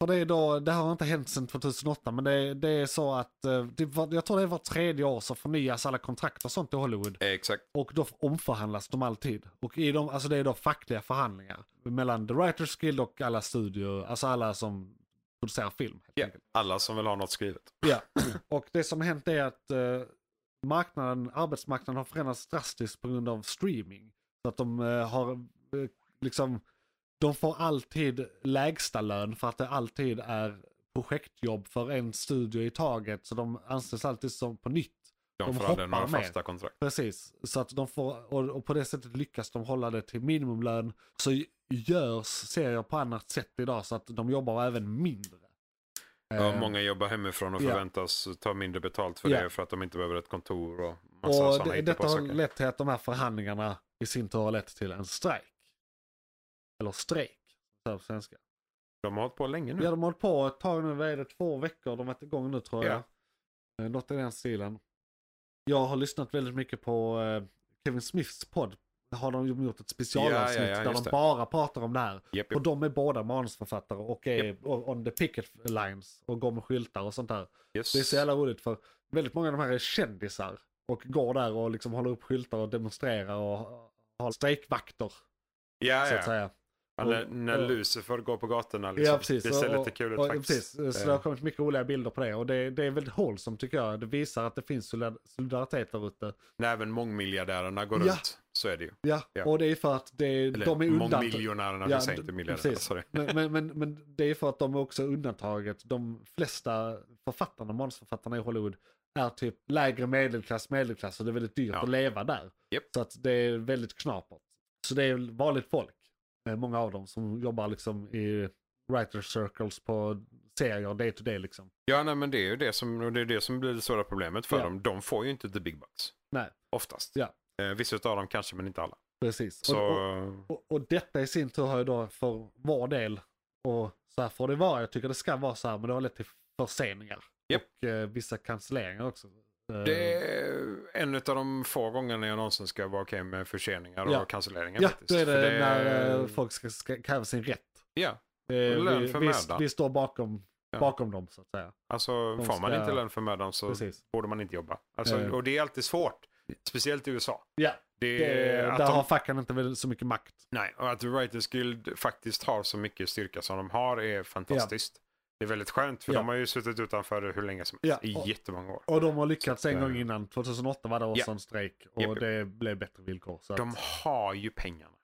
S2: för det är då, det här har inte hänt sedan 2008 men det, det är så att, eh, det, var- jag tror det är var tredje år så förnyas alla kontrakt och sånt i Hollywood.
S3: Eh, Exakt.
S2: Och då omförhandlas de alltid. Och i dem, alltså det är då fackliga förhandlingar. Mellan The Writers Guild och alla studior, alltså alla som producerar film. helt
S3: Ja,
S2: enkelt.
S3: Alla som vill ha något skrivet.
S2: Ja, och det som har hänt är att eh, marknaden, arbetsmarknaden har förändrats drastiskt på grund av streaming. Så att de eh, har eh, liksom, de får alltid lägsta lön för att det alltid är projektjobb för en studio i taget. Så de anställs alltid som på nytt.
S3: De,
S2: De
S3: får aldrig
S2: hoppar
S3: några
S2: med.
S3: fasta kontrakt.
S2: Precis, så att de får, och, och på det sättet lyckas de hålla det till minimumlön. Så görs serier på annat sätt idag så att de jobbar även mindre.
S3: Ja,
S2: Eh,
S3: många jobbar hemifrån och
S2: ja.
S3: förväntas ta mindre betalt för
S2: Ja.
S3: det för att de inte behöver ett kontor och massa
S2: Och
S3: sådana
S2: det, detta har
S3: hittepåsaker.
S2: lett till att de här förhandlingarna i sin tur har lett till en strejk. Eller strejk, så här på svenska.
S3: Mm. De har hållit på länge nu.
S2: Ja, de har hållit på ett tag nu, vad är det, två veckor? De har varit igång nu tror jag.
S3: Ja.
S2: Eh, Något i den stilen. Jag har lyssnat väldigt mycket på eh, Kevin Smiths podd. Har de ju gjort ett specialavsnitt
S3: Ja, ja, ja,
S2: där de
S3: just det.
S2: bara pratar om det här.
S3: Japp,
S2: Och
S3: japp.
S2: de är båda manusförfattare och är on the picket lines och går med skyltar och sånt där.
S3: Yes.
S2: Det är så jävla roligt för väldigt många av de här är kändisar och går där och liksom håller upp skyltar och demonstrerar och har strejkvakter
S3: Ja,
S2: så att
S3: ja.
S2: säga.
S3: Ja, När, när
S2: och- eh,
S3: Lucifer går på gatorna liksom.
S2: Ja, precis.
S3: Det ser
S2: Och-
S3: lite kul ut
S2: och,
S3: faktiskt.
S2: Precis. Så det har kommit mycket roliga bilder på det och det, det är väldigt hållsomt tycker jag. Det visar att det finns solidar- solidaritet där ute.
S3: När även mångmiljardärerna går
S2: Ja.
S3: runt så är det ju.
S2: Ja,
S3: Ja.
S2: och det är för att det,
S3: Eller
S2: de är undantagna.
S3: mångmiljonärerna,
S2: Ja,
S3: vi säger
S2: d-
S3: inte miljardärer.
S2: precis.
S3: Sorry.
S2: Men, men, men, men det är för att de är också undantaget. De flesta författarna, manusförfattarna i Hollywood är typ lägre medelklass, medelklass och det är väldigt dyrt
S3: Ja.
S2: att leva där.
S3: Japp.
S2: Så att det är väldigt knapert. Så det är vanligt folk, eh, många av dem som jobbar liksom i writer circles på serier day to day liksom.
S3: Ja, nej, men det är ju det som, och det är det som blir det stora problemet för
S2: Ja.
S3: dem. De får ju inte the big bucks.
S2: Nej.
S3: Oftast.
S2: Ja.
S3: Eh, vissa av dem kanske, men inte alla.
S2: Precis.
S3: Så,
S2: Och, och, och, och detta i sin tur har ju då för vår del, och så här får det vara, jag tycker det ska vara så här, men det har lett till förseningar.
S3: Japp.
S2: Och eh, vissa cancelleringar också. Eh,
S3: det är en av de få gångerna jag någonsin ska vara okej med förseningar och
S2: Ja.
S3: cancelleringar.
S2: Ja,
S3: faktiskt.
S2: då är det,
S3: För
S2: när eh, folk ska, ska kräva sin rätt.
S3: Ja,
S2: Det,
S3: Och lön
S2: vi,
S3: för
S2: vi,
S3: mödan.
S2: vi står bakom,
S3: Ja.
S2: bakom dem så att säga.
S3: Alltså
S2: De
S3: får man
S2: ska-
S3: inte lön för mödan så
S2: Precis.
S3: borde man inte jobba. Alltså,
S2: Eh.
S3: Och det är alltid svårt. Speciellt i USA.
S2: Ja,
S3: Det,
S2: det,
S3: att
S2: där
S3: de,
S2: har facken inte väl så mycket makt.
S3: Nej, och att Writers Guild faktiskt har så mycket styrka som de har är fantastiskt. Det är väldigt skönt för
S2: Ja.
S3: de har ju suttit utanför hur länge som
S2: Ja,
S3: helst.
S2: och-
S3: I jättemånga år.
S2: Och de har lyckats
S3: Så att,
S2: en gång
S3: eh,
S2: innan. 2008 var det också
S3: ja.
S2: en strejk och
S3: Japp, japp.
S2: det blev bättre villkor. Så att,
S3: De har ju pengarna.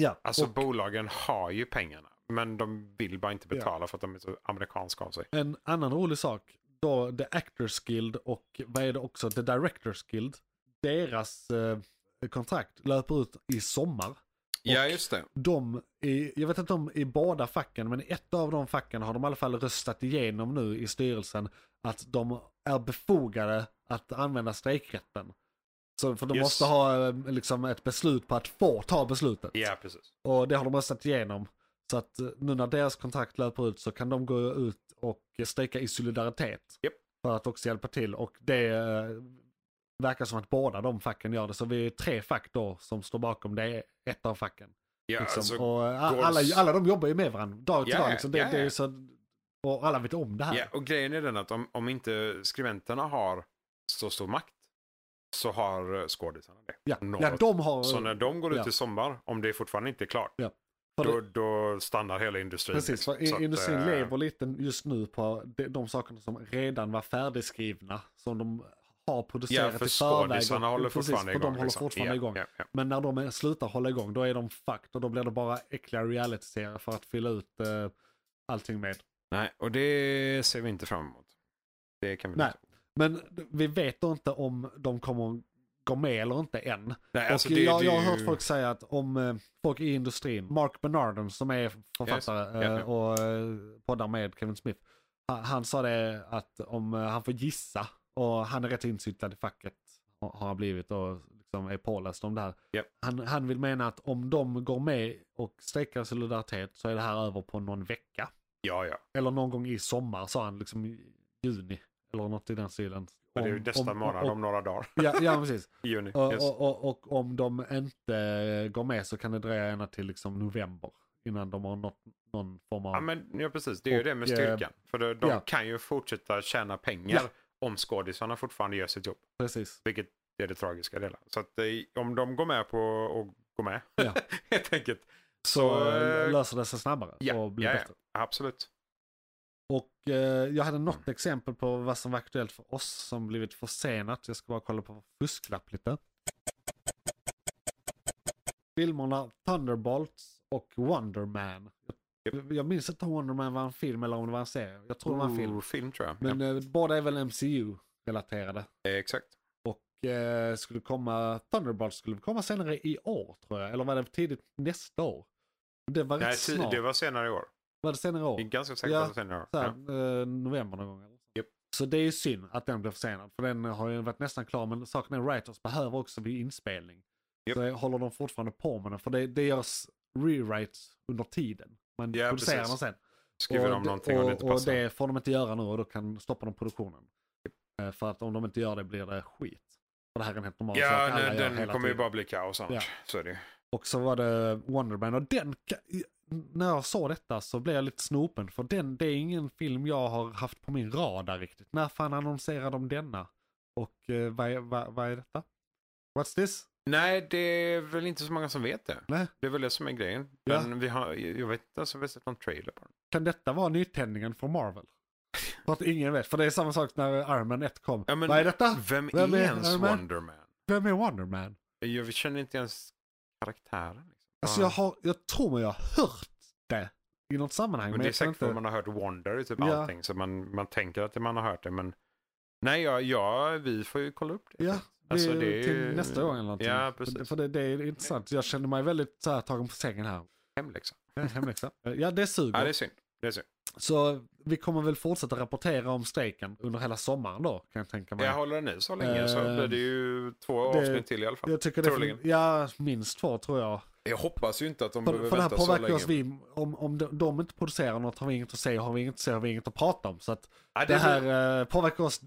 S2: ja,
S3: Alltså
S2: och
S3: bolagen har ju pengarna. Men de vill bara inte betala för att de är så amerikanska av sig.
S2: En annan rolig sak, då The Actors Guild och vad är det också, The Directors Guild, deras eh, kontrakt löper ut i sommar. Ja,
S3: just det.
S2: De, i, jag vet inte om i båda facken, men i ett av de facken har de i alla fall röstat igenom nu i styrelsen att de är befogade att använda strejkrätten. Så, för de
S3: Yes.
S2: måste ha eh, liksom, ett beslut på att få ta beslutet.
S3: Ja, precis.
S2: Och det har de röstat igenom. Så att eh, nu när deras kontrakt löper ut så kan de gå ut och strejka i solidaritet.
S3: Japp.
S2: För att också hjälpa till. Och det eh, verkar som att båda de facken gör det. Så vi är tre fack då som står bakom det, ett av facken.
S3: Ja,
S2: liksom.
S3: alltså,
S2: och eh,
S3: går-
S2: alla, alla de jobbar ju med varandra dag till
S3: Ja,
S2: dag. Liksom. Det,
S3: ja,
S2: det är
S3: ja.
S2: ju så, och alla vet om det här.
S3: Ja, och grejen är den att om, om inte skribenterna har så stor makt så har eh, skådisarna det.
S2: Ja.
S3: Något.
S2: ja, de har...
S3: Så när de går ut
S2: ja.
S3: i sommar, om det fortfarande inte är klart,
S2: Ja. För-
S3: då, då stannar hela industrin.
S2: Precis,
S3: liksom.
S2: för i-
S3: Så att,
S2: industrin
S3: eh,
S2: lever lite just nu på de, de sakerna som redan var färdigskrivna. Som de har producerat
S3: Ja, för
S2: i förväg.
S3: skådisarna
S2: och-
S3: håller
S2: precis,
S3: fortfarande
S2: för
S3: igång.
S2: De håller
S3: liksom.
S2: fortfarande
S3: Ja,
S2: igång.
S3: Ja, ja.
S2: Men när de är, slutar hålla igång, då är de fucked. Och då blir det bara äckliga reality-serier för att fylla ut eh, allting med.
S3: Nej, och det ser vi inte fram emot. Det kan vi
S2: Nej.
S3: inte.
S2: Men vi vet då inte om de kommer gå med eller inte än.
S3: Nej, alltså,
S2: och
S3: det-
S2: jag,
S3: det
S2: jag
S3: är
S2: har
S3: ju-
S2: hört folk säga att om eh, folk i industrin, Mark Bernardon som är författare
S3: Yes. Ja,
S2: eh, och eh, poddar med Kevin Smith, han, han sa det att om eh, han får gissa och han är rätt insyltad i facket ha- har han blivit och liksom är påläst om det här.
S3: Ja.
S2: Han, han vill mena att om de går med och strejkar i solidaritet så är det här över på någon vecka.
S3: Ja, ja.
S2: Eller någon gång i sommar sa han, liksom i juni eller något i den stilen.
S3: Och det är ju
S2: Om-
S3: nästa
S2: om-
S3: månad,
S2: om-
S3: om några dagar.
S2: Ja, ja precis.
S3: I juni.
S2: Och,
S3: Yes.
S2: och, och, och om de inte går med så kan det dröja ända till liksom november innan de har nått någon form av...
S3: Ja, men, ja, precis. Det är ju
S2: Och,
S3: det med
S2: eh,
S3: styrkan. För de, de
S2: ja.
S3: kan ju fortsätta tjäna pengar
S2: Ja.
S3: om skådisarna fortfarande gör sitt jobb.
S2: Precis.
S3: Vilket är det tragiska i det hela. Så att eh, om de går med på och går med,
S2: Ja.
S3: helt enkelt.
S2: Så,
S3: Så,
S2: eh,
S3: eh,
S2: löser det sig snabbare
S3: Ja,
S2: och blir
S3: ja,
S2: bättre.
S3: ja. absolut.
S2: Och eh, jag
S3: Mm.
S2: hade något exempel på vad som var aktuellt för oss som blivit försenat. Jag ska bara kolla på fusklapp lite. Filmerna Thunderbolts och Wonder Man. Jag minns inte om Wonder Man var en film eller om det var en serie. Jag tror det var en film.
S3: Ooh, Oh, film tror jag.
S2: Men eh, båda är väl MCU-relaterade.
S3: ja. eh, Exakt.
S2: Och eh, skulle komma, Thunderbolt skulle komma senare i år tror jag. Eller var det tidigt nästa år? Det var
S3: Nej,
S2: rätt
S3: ti-
S2: snart.
S3: det
S2: Det var...
S3: var senare i år.
S2: det senare i
S3: Jag är
S2: år?
S3: ganska säker på
S2: Ja,
S3: att det var senare i år.
S2: Så här,
S3: Ja.
S2: eh, november någon gång. Eller? så.
S3: Japp.
S2: Så det är ju synd att den blev försenad. För den har ju varit nästan klar. Men saken är writers behöver också vid inspelning.
S3: Japp.
S2: Så jag håller de fortfarande på med den. För det, det görs rewrites under tiden. Man
S3: Ja,
S2: producerar
S3: precis.
S2: den sen.
S3: Skriver de
S2: det-
S3: någonting och, det inte
S2: och
S3: passar.
S2: det får de inte göra nu och då kan stoppa de produktionen. Eh, För att om de inte gör det blir det skit. Och det här är en helt normal sak
S3: ja,
S2: alla
S3: nej,
S2: gör
S3: den
S2: hela
S3: kommer ju
S2: tiden.
S3: bara bli kaos annars.
S2: Ja.
S3: Så är det ju.
S2: Och så var det Wonderman och den, ka- i- när jag såg detta så blev jag lite snopen för den, det är ingen film jag har haft på min radar riktigt. När fan annonserade de denna? Och eh, vad, är- vad, vad är detta? What's this?
S3: Nej, det är väl inte så många som vet det.
S2: Nej.
S3: Det är väl det som är grejen.
S2: Ja.
S3: Men vi har, jag vet inte ens om vi har sett någon trailer på den.
S2: Kan detta vara nytändningen från Marvel? För att ingen vet, för det är samma sak när Iron Man 1 kom.
S3: Ja, men
S2: vad är detta?
S3: Vem,
S2: Vem
S3: är
S2: är-
S3: ens
S2: Iron Man?
S3: Wonderman?
S2: Vem är Wonderman?
S3: Jag känner inte ens karaktären. Liksom.
S2: Alltså jag, har, jag tror mig jag har hört det i något sammanhang.
S3: Men det är
S2: jag kan
S3: säkert för
S2: inte...
S3: att man har hört Wonder i typ
S2: Ja.
S3: allting. Så man, man tänker att man har hört det men nej, ja, ja, vi får ju kolla upp det.
S2: Ja,
S3: Alltså,
S2: det,
S3: det
S2: är
S3: är
S2: till
S3: ju-
S2: nästa gång eller någonting.
S3: Ja,
S2: För-
S3: precis.
S2: För det, det är intressant. Jag känner mig väldigt så här, tagen på sängen här.
S3: Hemläxa.
S2: Det är en Hemläxa. ja, det suger.
S3: liksom. Ja, det är synd. Det är synd.
S2: Så vi kommer väl fortsätta rapportera om strejken under hela sommaren då, kan jag tänka mig.
S3: Jag håller den i så länge så
S2: Eh,
S3: blir det ju två
S2: det-
S3: avsnitt till i alla fall.
S2: Jag tycker det är,
S3: Troligen.
S2: ja, minst två tror jag.
S3: Jag hoppas ju inte att de
S2: För, för det här påverkar oss, vi, om, om de, de inte producerar något har vi inget att säga, har vi inget att säga, har vi inget att prata om. Så att
S3: Ja, det,
S2: det
S3: här...
S2: här eh, påverkar oss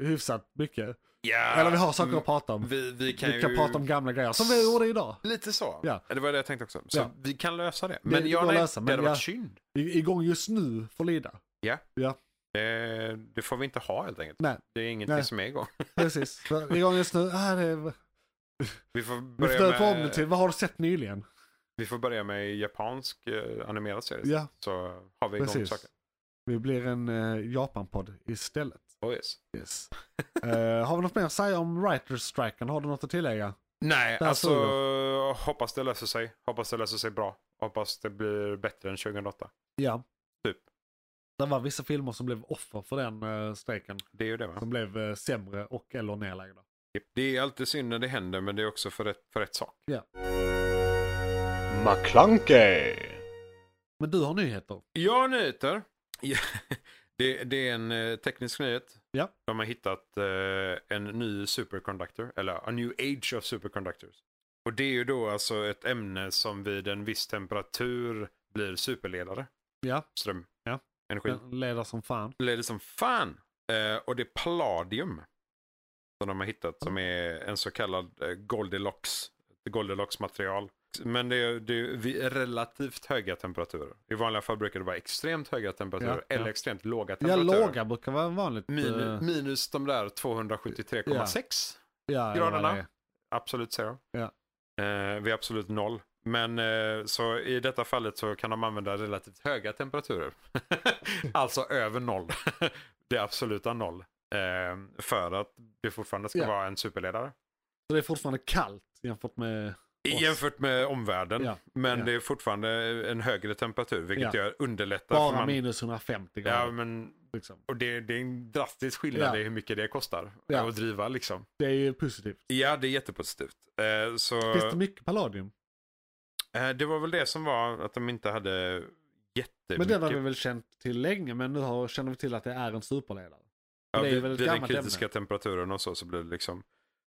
S2: hyfsat mycket.
S3: Ja, Mm.
S2: Eller vi har saker att prata om.
S3: Vi, vi kan
S2: mm. Vi kan
S3: ju...
S2: prata om gamla grejer, som vi gjorde idag.
S3: Lite så.
S2: Ja.
S3: Det var det jag tänkte också. Så
S2: Ja.
S3: vi kan lösa det.
S2: Det-
S3: Men
S2: det
S3: jag,
S2: går att
S3: nej,
S2: lösa,
S3: det
S2: men
S3: hade
S2: jag-
S3: varit synd.
S2: I, igång just nu får lida.
S3: Det, det får vi inte ha helt enkelt.
S2: Nej.
S3: Det är ingenting
S2: Nej.
S3: som är igång.
S2: Precis. För igång just nu. Ah, det är,
S3: Vi får
S2: vi får
S3: börja,
S2: döpa om det
S3: med,
S2: till, vad har du sett nyligen?
S3: vi får börja med japansk eh, animerad serie.
S2: Ja,
S3: Så har vi igång
S2: precis.
S3: saker.
S2: Vi blir en eh, Japan-podd istället.
S3: Oh, yes.
S2: Yes. Eh, har vi något mer att säga om writer-striken? Har du något att tillägga?
S3: Nej,
S2: Där
S3: alltså
S2: såg
S3: hoppas det löser sig. Hoppas det löser sig bra. Hoppas det blir bättre än 2008.
S2: Ja.
S3: Typ.
S2: Det var vissa filmer som blev offer för den uh, strejken.
S3: Det är ju det va?
S2: Som blev eh, sämre och eller nedlagda.
S3: Det är alltid synd när det händer men det är också för rätt, för rätt sak.
S4: McClunkey.
S2: Men du har nyheter.
S3: Ja, nyheter. Ja, Det, det är en eh, teknisk nyhet.
S2: Ja.
S3: De har hittat eh, en ny superconductor, eller a new age of superconductors. Och det är ju då alltså ett ämne som vid en viss temperatur blir superledare.
S2: Ja.
S3: Ström.
S2: Ja.
S3: Energi.
S2: Den leder som fan.
S3: leder som fan. Eh, och det är palladium. Som de har hittat som är en så kallad eh, Goldilocks. Goldilocks material. Men det är, det är vid relativt höga temperaturer. I vanliga fall brukar det vara extremt höga temperaturer.
S2: Ja,
S3: eller
S2: ja.
S3: extremt låga
S2: Ja,
S3: temperaturer.
S2: låga brukar vara vanligt. eh,
S3: Min, minus de där 273,6.
S2: ja,
S3: graderna.
S2: eller vad det är.
S3: Absolut zero.
S2: Ja.
S3: Eh, vid absolut noll. Men eh, så i detta fallet så kan de använda relativt höga temperaturer. alltså över noll. det absoluta noll. Eh, för att det fortfarande ska
S2: Ja.
S3: vara en superledare.
S2: Så det är fortfarande kallt jämfört med... Oss.
S3: Jämfört med omvärlden.
S2: Ja.
S3: Men
S2: Ja.
S3: det är fortfarande en högre temperatur. Vilket
S2: Ja.
S3: gör underlättar. för
S2: Bara
S3: man-
S2: minus 150 grader.
S3: Ja, men,
S2: liksom.
S3: och det, det är en drastisk skillnad
S2: Ja.
S3: i hur mycket det kostar
S2: Ja.
S3: att driva. Liksom.
S2: Det är ju positivt.
S3: Ja, det är jättepositivt. Eh, så...
S2: Finns det mycket palladium?
S3: Eh, Det var väl det som var att de inte hade jättemycket.
S2: Men den har vi väl känt till länge, men nu har, känner vi till att det är en superledare.
S3: ja,
S2: det är
S3: vid,
S2: väl ett
S3: vid den
S2: gammalt
S3: kritiska temperaturen och så, så blir det liksom.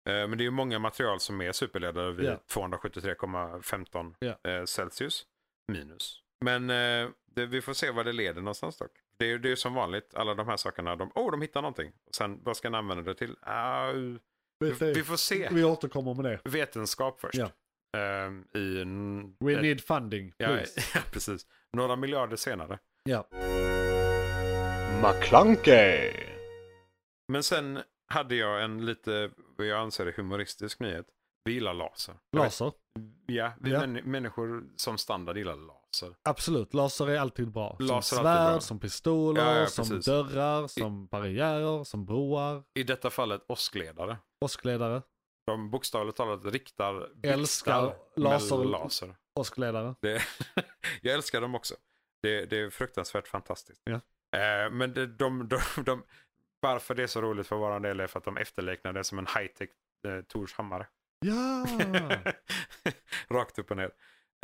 S3: Eh, Men det är ju många material som är superledare vid
S2: Ja.
S3: 273,15
S2: Ja.
S3: eh, Celsius minus. Men eh, det, vi får se vad det leder någonstans dock. Det är ju det är ju som vanligt, alla de här sakerna. De, oh, de hittar någonting. Sen, vad ska ni använda det till? Ah, vi, vi får se.
S2: Vi återkommer med det.
S3: Vetenskap först.
S2: Ja.
S3: Eh, I en,
S2: We
S3: ett-
S2: need funding.
S3: ja,
S2: please.
S3: ja, precis. Några miljarder senare.
S2: Ja.
S4: McClunkey.
S3: Men sen hade jag en lite, vad jag anser är humoristisk nyhet. Vi gillar laser.
S2: Laser.
S3: Ja, vi
S2: Ja.
S3: män- människor som standard gillar laser.
S2: Absolut, laser är alltid bra.
S3: Laser är
S2: som
S3: alltid
S2: svärd,
S3: bra.
S2: som pistoler,
S3: Ja, ja,
S2: som
S3: precis.
S2: dörrar, som barriärer, som broar,
S3: I detta fallet åskledare.
S2: åskledare.
S3: De bokstavligt talat riktar
S2: Älskar
S3: blixtar
S2: laser.
S3: med laser.
S2: Åskledare.
S3: Det, jag älskar dem också. Det, det är fruktansvärt fantastiskt.
S2: Ja.
S3: Eh, men det, de, de, de, varför det är så roligt för vår del är för att de efterliknar det som en high-tech eh, Tors hammare.
S2: Ja!
S3: Ah. Rakt upp och ner.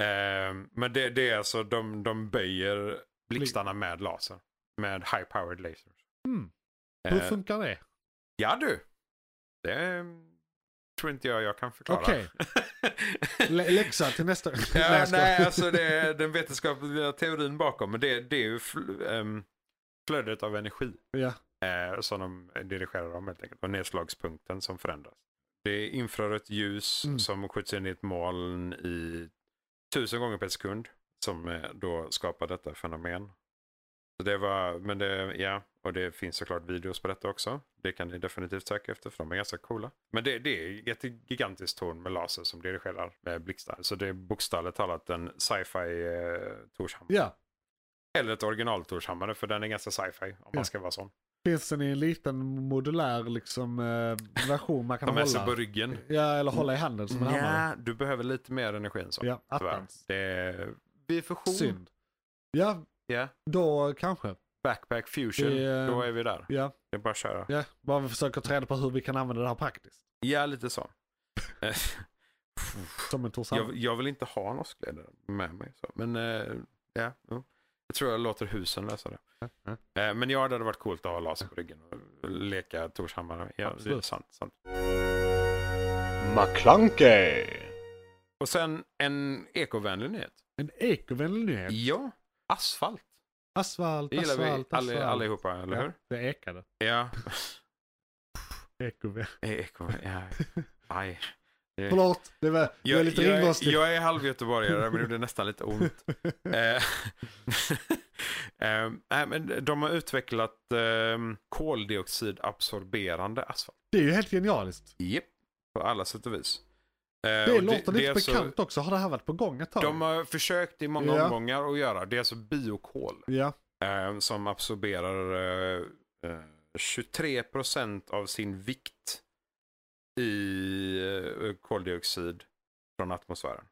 S3: Ehm, men det, det är alltså, de, de böjer blixtarna med laser. Med high-powered lasers.
S2: Mm. Hur
S3: Eh,
S2: funkar det?
S3: ja du! Det mm, tror inte jag jag kan förklara.
S2: Okej. Le- läxa till nästa... Nej,
S3: ja,
S2: jag skojar.
S3: nej, alltså det är den vetenskapliga teorin bakom. Men det, det är ju fl- ehm, flödet av energi.
S2: ja.
S3: eh, som de dirigerar om helt enkelt. Och nedslagspunkten som förändras. Det är infrarött ljus
S2: Mm.
S3: som skjuts in i ett moln i tusen gånger per sekund. Som eh, då skapar detta fenomen. Så det var, men det, ja, och det finns såklart videos på detta också. Det kan ni definitivt söka efter för de är ganska coola. Men det, det är ett gigantiskt torn med laser som dirigerar eh, blixtar. Så det är bokstavligt talat en sci-fi eh, Torshammare.
S2: ja.
S3: Eller ett original Torshammare för den är ganska sci-fi om
S2: Ja.
S3: man ska vara sån.
S2: Finns den i en liten modulär liksom, eh, version man kan
S3: Ta med sig på
S2: hålla?
S3: ryggen.
S2: Ja, eller hålla i handen som en hammare.
S3: Ja, du behöver lite mer energi än så.
S2: Ja,
S3: Mm. tyvärr.
S2: attans.
S3: det är vid fusion.
S2: Synd. Ja,
S3: Ja,
S2: då kanske.
S3: backpack fusion.
S2: Det är-
S3: Då är vi där.
S2: Ja,
S3: Det är bara att köra.
S2: ja. Bara vi försöker ta reda på hur vi kan använda det här praktiskt.
S3: Ja, lite så. Eh,
S2: Som en Torshamn.
S3: jag, jag vill inte ha en åskledare med mig. Så. Men eh, ja, jo. jag tror jag låter husen lösa det. Eh, Men ja, det hade varit coolt att ha laser på ryggen och leka Torshammare. Ja, det är
S2: Absolut.
S3: sant, sant.
S4: McClunkey.
S3: Och sen en ekovänlig nyhet.
S2: En ekovänlig nyhet.
S3: Ja, asfalt.
S2: Asfalt,
S3: Det gillar
S2: asfalt,
S3: vi
S2: asfalt.
S3: alli, allihopa, eller hur?
S2: Ja, det ekade.
S3: Ja.
S2: Ekove.
S3: Ekholm, Eh, ja. Aj. Det-
S2: Förlåt, det var, jag, var lite
S3: Eh, jag,
S2: ringrostig.
S3: jag är halvgöteborgare men det gjorde nästan lite ont. Eh, ehm, nej, men de har utvecklat ehm, koldioxidabsorberande asfalt.
S2: det är ju helt genialiskt.
S3: Japp. På alla sätt och vis. Eh,
S2: Det
S3: och
S2: låter lite
S3: är alltså-
S2: bekant också. Har det här varit på gång ett tag?
S3: de har försökt i många
S2: Ja.
S3: omgångar att göra. Det är alltså biokol
S2: Ja,
S3: eh, som absorberar eh, eh, 23% av sin vikt i eh, koldioxid från atmosfären.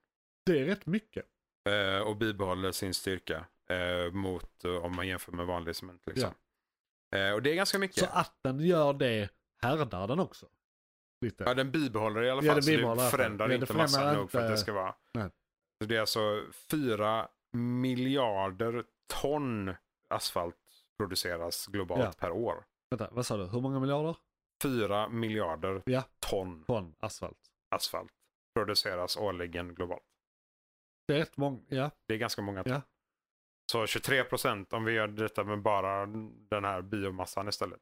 S2: det är rätt mycket.
S3: Eh, och bibehåller sin styrka eh, mot eh, om man jämför med vanlig cement. Liksom. Eh, och det är ganska mycket.
S2: Så att den gör det härdar den också. Lite.
S3: Ja, den bibehåller i alla fall.
S2: Ja, den
S3: så
S2: bibehåller i
S3: det
S2: alla fall.
S3: förändrar
S2: Ja, det
S3: inte
S2: förändrar
S3: massan nog för att det
S2: inte-
S3: ska vara.
S2: Nej.
S3: Så det är alltså fyra miljarder ton asfalt produceras globalt
S2: Ja.
S3: per år.
S2: Vänta, vad sa du? Hur många miljarder?
S3: Fyra miljarder
S2: Ja.
S3: ton
S2: Ton asfalt.
S3: asfalt produceras årligen globalt.
S2: Det är rätt många, ja.
S3: Det är ganska många ton.
S2: Ja.
S3: Så 23 procent om vi gör detta med bara den här biomassan istället.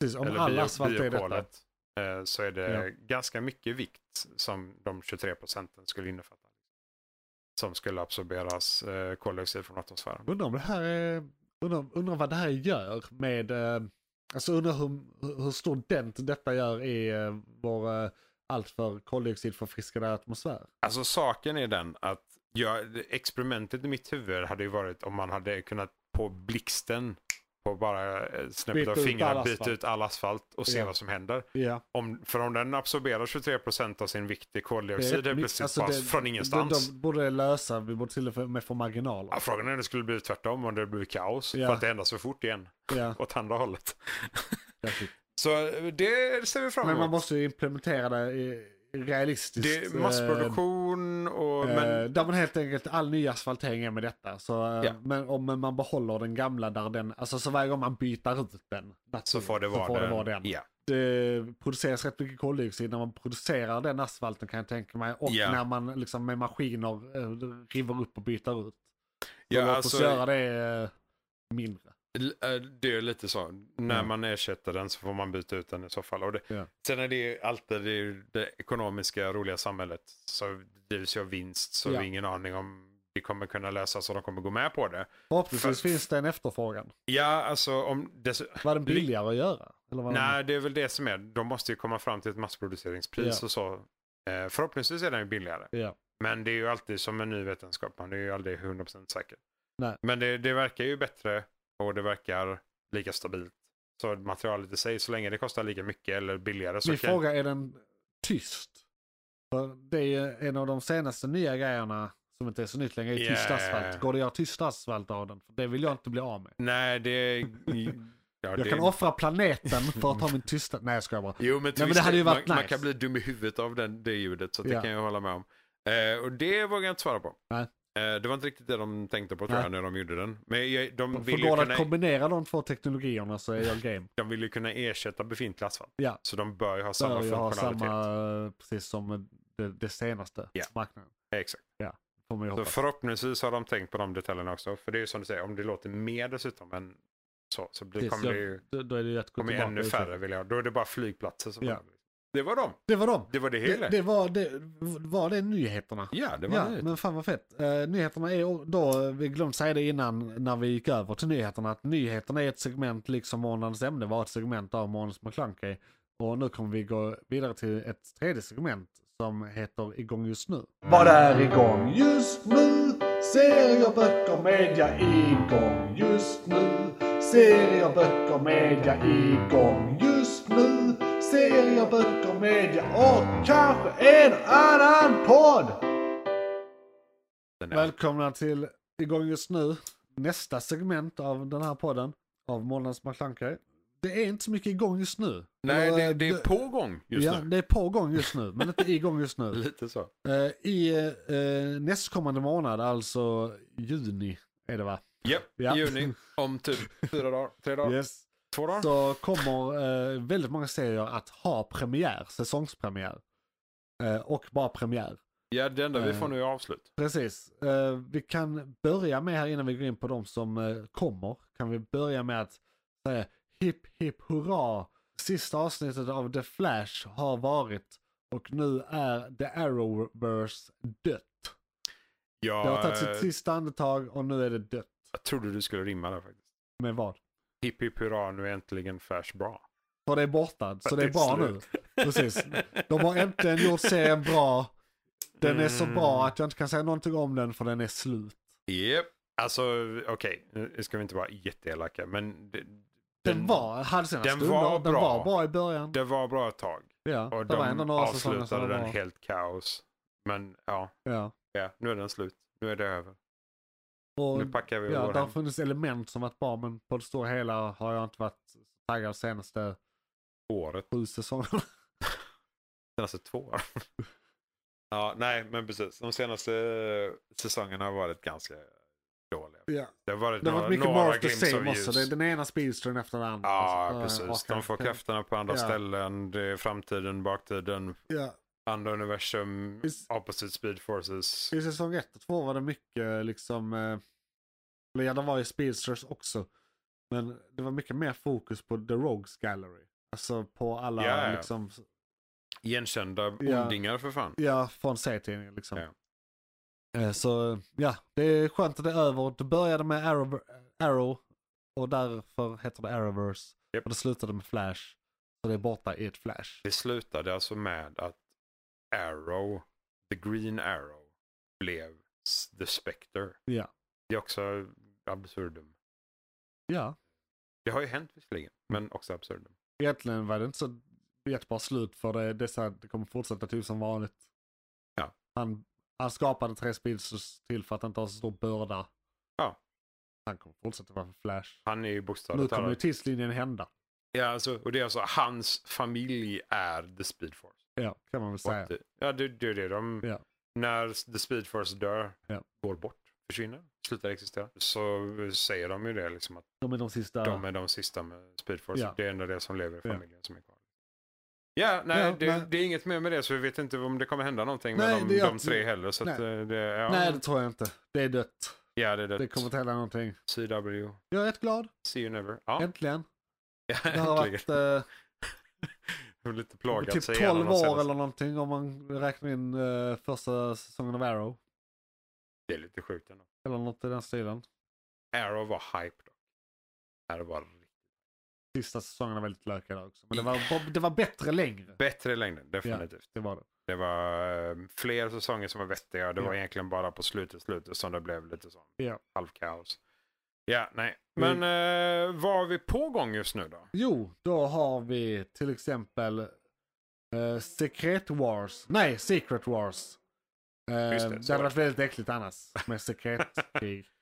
S2: Precis, om
S3: eller
S2: all
S3: bio-
S2: asfalt är detta.
S3: biokolet, eh, så är det
S2: Ja.
S3: ganska mycket vikt som de 23 procenten skulle innefatta. Som skulle absorberas eh, koldioxid från atmosfären.
S2: Undrar om det här är, undrar, undrar vad det här gör med, eh, alltså undrar hur, hur stor dent detta gör i eh, vår eh, alltför koldioxidförfriskade atmosfär.
S3: Alltså saken är den att jag, experimentet i mitt huvud hade ju varit om man hade kunnat på blixten på bara eh, snäppet
S2: Byta
S3: av
S2: ut all
S3: fingrarna
S2: asfalt.
S3: byta ut all asfalt och se
S2: Ja.
S3: vad som händer.
S2: Ja.
S3: Om, för om den absorberar 23 procent av sin vikt i
S2: Det är
S3: koldioxid
S2: rätt
S3: det är
S2: mycket.
S3: plötsligt
S2: Alltså,
S3: bara
S2: det-
S3: från ingenstans.
S2: De, de borde lösa, vi borde till och med få marginaler.
S3: Ja, frågan är om det skulle bli tvärtom om det blir kaos.
S2: Ja.
S3: För att det ändras för fort igen.
S2: Ja, typ-
S3: åt andra hållet.
S2: kanske.
S3: Så eh, det ser vi fram emot.
S2: men man måste ju implementera det i- realistiskt.
S3: det är
S2: eh,
S3: massproduktion och...
S2: eh,
S3: men,
S2: Där man helt enkelt, all ny asfaltering är med detta. Så, eh,
S3: Ja.
S2: Men om man behåller den gamla där den, alltså så varje gång man byter ut den.
S3: så
S2: natur,
S3: får det vara
S2: får
S3: den.
S2: Det, vara den.
S3: Ja.
S2: det produceras rätt mycket koldioxid när man producerar den asfalten kan jag tänka mig. Och
S3: Ja.
S2: när man liksom med maskiner eh, river upp och byter ut. Så
S3: Ja,
S2: låt oss
S3: alltså,
S2: göra det eh, mindre.
S3: l- eh, det är lite så. När
S2: Mm.
S3: man ersätter den så får man byta ut den i så fall. Och det,
S2: Ja.
S3: Sen är det ju alltid det, är ju det ekonomiska roliga samhället. Så drivs ju av vinst så
S2: Ja.
S3: vi har ingen aning om det kommer kunna lösas och de kommer gå med på det.
S2: Förhoppningsvis
S3: För-
S2: finns det en efterfrågan.
S3: Ja, alltså om... Dess,
S2: Var den billigare att göra? Eller var den-
S3: Nej, det är väl det som är. De måste ju komma fram till ett massproduceringspris
S2: Ja.
S3: och så. Eh, förhoppningsvis är den ju billigare.
S2: Ja.
S3: Men det är ju alltid som en ny vetenskap, man är ju aldrig 100% säker.
S2: Nej.
S3: Men det, det verkar ju bättre och det verkar lika stabilt. Så materialet i sig, så länge det kostar lika mycket eller billigare så
S2: Min
S3: kan...
S2: fråga är den tyst? För det är ju en av de senaste nya grejerna som inte är så nytt längre, är tyst
S3: Ja.
S2: asfalt. Går det att göra tyst asfalt av den? För det vill jag inte bli av med.
S3: Nej, det... Ja,
S2: Jag
S3: det...
S2: kan offra planeten för att ha min tysta... Nej jag skojar bara.
S3: Jo, men,
S2: men
S3: visst,
S2: det hade ju
S3: man,
S2: varit
S3: man
S2: nice.
S3: kan bli dum i huvudet av den, det ljudet, så det
S2: Ja.
S3: kan jag hålla med om. Eh, och det vågar jag inte svara på.
S2: Nej.
S3: Eh, det var inte riktigt det de tänkte på tror
S2: Nej.
S3: jag när de gjorde den. Men jag, de,
S2: För
S3: vill ju
S2: går det att
S3: kunna,
S2: kombinera de två teknologierna så är jag game.
S3: de vill ju kunna ersätta befintlig asfalt.
S2: Ja.
S3: Så de bör ju ha samma
S2: Samma jag har
S3: funktionalitet.
S2: samma, precis som det, det senaste
S3: Ja.
S2: marknaden.
S3: Exakt.
S2: Får man ju
S3: Så
S2: hoppas.
S3: förhoppningsvis har de tänkt på de detaljerna också. För det är ju som du säger, om det låter mer dessutom än så, så blir,
S2: Precis,
S3: kommer
S2: jag-
S3: det ju
S2: då- Då är det ju att gå
S3: kommer ju
S2: tillbaka.
S3: ännu
S2: och
S3: färre.
S2: utveckla.
S3: Vill jag. Då är det bara flygplatser som
S2: Ja.
S3: Det var dem.
S2: Det var dem.
S3: Det var det hela.
S2: Det, det, var, det var det nyheterna.
S3: Ja, det var
S2: Ja,
S3: det.
S2: men fan vad fett. Eh, nyheterna är då, eh, vi glömde säga det innan när vi gick över till nyheterna, att nyheterna är ett segment liksom månadens ämne var ett segment av Månadens McClunky. Och nu kommer vi gå vidare till ett tredje segment som heter Igång just nu. Vad är igång just nu? Serier, böcker, media igång just nu. Serier, böcker, media igång just nu. Serier, böcker, media och kanske en annan podd.
S3: Den är-
S2: Välkomna till igång just nu, nästa segment av den här podden av Månadens McClunkey. Det är inte så mycket igång just nu.
S3: Nej,
S2: Eller,
S3: det, det är
S2: eh,
S3: på gång just
S2: ja,
S3: nu.
S2: det är på gång just nu, men inte igång just nu.
S3: Lite så.
S2: Eh, I eh, nästkommande månad, alltså juni, är det va?
S3: Japp,
S2: Ja.
S3: i juni om typ fyra dagar, tre dagar,
S2: Yes.
S3: två dagar.
S2: Så kommer eh, väldigt många serier att ha premiär, säsongspremiär. Eh, och bara premiär.
S3: Ja, det enda vi
S2: Eh.
S3: får nu är avslut.
S2: Precis. Eh, vi kan börja med här innan vi går in på de som eh, kommer. Kan vi börja med att säga hipp hipp hurra sista avsnittet av The Flash har varit och nu är The Arrowverse dött. Det har
S3: Jag,
S2: tagit sitt
S3: eh,
S2: sista andetag och nu är det dött.
S3: jag trodde du skulle rimma där faktiskt.
S2: Med vad?
S3: Hipp hipp hurra, nu är äntligen Flash bra.
S2: För det är borta, så
S3: För
S2: det är
S3: det är
S2: bra nu.
S3: slut.
S2: Precis. De har äntligen gjort serien bra. Den är så
S3: Mm.
S2: bra att jag inte kan säga någonting om den för den är slut.
S3: Japp. Alltså okej, nu ska vi inte vara jätteelaka men det,
S2: Den, var, hade sina
S3: den
S2: stunder.
S3: var
S2: den
S3: bra.
S2: var bra i början.
S3: det var bra ett tag.
S2: ja,
S3: Och
S2: det var
S3: de
S2: ändå några säsonger som
S3: avslutade
S2: den
S3: den
S2: var.
S3: helt kaos. Men ja,
S2: Ja.
S3: ja, nu är den slut. Nu är det över.
S2: Och,
S3: Nu packar vi och
S2: ja,
S3: går
S2: det har
S3: hem.
S2: funnits element som varit bra men på det stora hela har jag inte varit taggad senaste
S3: året.
S2: sju säsongerna.
S3: Senaste två åren. ja, nej men precis. De senaste eh, säsongerna har varit ganska dåliga.
S2: ja.
S3: Det har varit
S2: Det har
S3: några,
S2: varit mycket
S3: några
S2: more of the
S3: glimpsar
S2: same
S3: av ljus.
S2: också. Det är den ena speedstern efter den andra.
S3: Ja,
S2: Alltså,
S3: precis.
S2: och-
S3: De får krafterna på andra
S2: Ja.
S3: ställen. Det är framtiden, baktiden,
S2: Ja.
S3: andra universum,
S2: Is-
S3: opposite speed forces.
S2: I säsong 1 och 2 var det mycket liksom, eh, eller ja det var ju Speedsters också. Men det var mycket mer fokus på The Rogues Gallery. Alltså på alla
S3: Ja, ja.
S2: liksom,
S3: Igenkända
S2: Ja.
S3: ondingar för fan.
S2: ja från serietidningen liksom.
S3: Ja.
S2: Eh, Så ja, det är skönt att det är över. Det började med Arrow, Arrow och därför heter det Arrowverse.
S3: Japp.
S2: Och det slutade med Flash. Så det är borta i ett Flash.
S3: Det slutade alltså med att Arrow, the green arrow, blev s- the specter.
S2: Ja.
S3: Det är också absurdum.
S2: Ja,
S3: Det har ju hänt visserligen,
S2: Mm.
S3: men också absurdum.
S2: egentligen var det inte så jättebra slut för det, det, är så här, det kommer fortsätta typ som vanligt.
S3: Ja.
S2: Han, han skapade tre speedsters till för att inte ha så stor börda.
S3: Ja.
S2: Han kommer fortsätta vara för Flash.
S3: Han är ju
S2: nu
S3: bokstavligt
S2: kommer ju
S3: talat.
S2: tidslinjen hända.
S3: Ja, alltså, och det är alltså hans familj är the speed force.
S2: Ja, kan man väl säga.
S3: What the- Ja, det, det är det. De,
S2: Ja.
S3: När The Speed Force dör,
S2: Ja.
S3: går bort, försvinner, slutar existera. Så säger de ju det liksom att
S2: De är de sista.
S3: de är de sista med Speed Force.
S2: Ja.
S3: Det är ändå det som lever i
S2: Ja.
S3: familjen som är kvar. Ja, nej,
S2: Ja,
S3: det,
S2: nej.
S3: det är inget mer med det så vi vet inte om det kommer hända någonting
S2: Nej,
S3: med
S2: det
S3: de,
S2: är
S3: de
S2: att-
S3: tre heller. Så att,
S2: nej.
S3: eh, det, ja,
S2: Nej, det tror jag inte. Det är dött.
S3: ja, det är
S2: Det
S3: det.
S2: kommer inte hända någonting.
S3: CW,
S2: Jag är rätt glad.
S3: see you never. Ja,
S2: Äntligen. Det har
S3: äntligen.
S2: varit eh,
S3: Hon har lite plagat
S2: typ
S3: sig igenom
S2: 12
S3: de
S2: år
S3: senaste-
S2: eller någonting om man räknar in eh, första säsongen av Arrow.
S3: Det är lite sjukt ändå.
S2: Eller något i den stilen.
S3: Arrow var hype då. Arrow var
S2: sista säsongen var väldigt lökiga där också. Men det var, det var bättre längre.
S3: bättre i längden, definitivt.
S2: Det var det.
S3: Mm. Det var eh, fler säsonger som var vettiga. Det var
S2: Ja.
S3: egentligen bara på slutet, slutet som det blev lite sån
S2: Ja.
S3: halvkaos. Ja, nej. Men eh, vad har vi på gång just nu då?
S2: Jo, då har vi till exempel eh, Secret Wars. Nej, Secret Wars. Eh,
S3: Just det,
S2: det,
S3: så
S2: hade
S3: var
S2: varit väldigt äckligt annars med sekretkrig.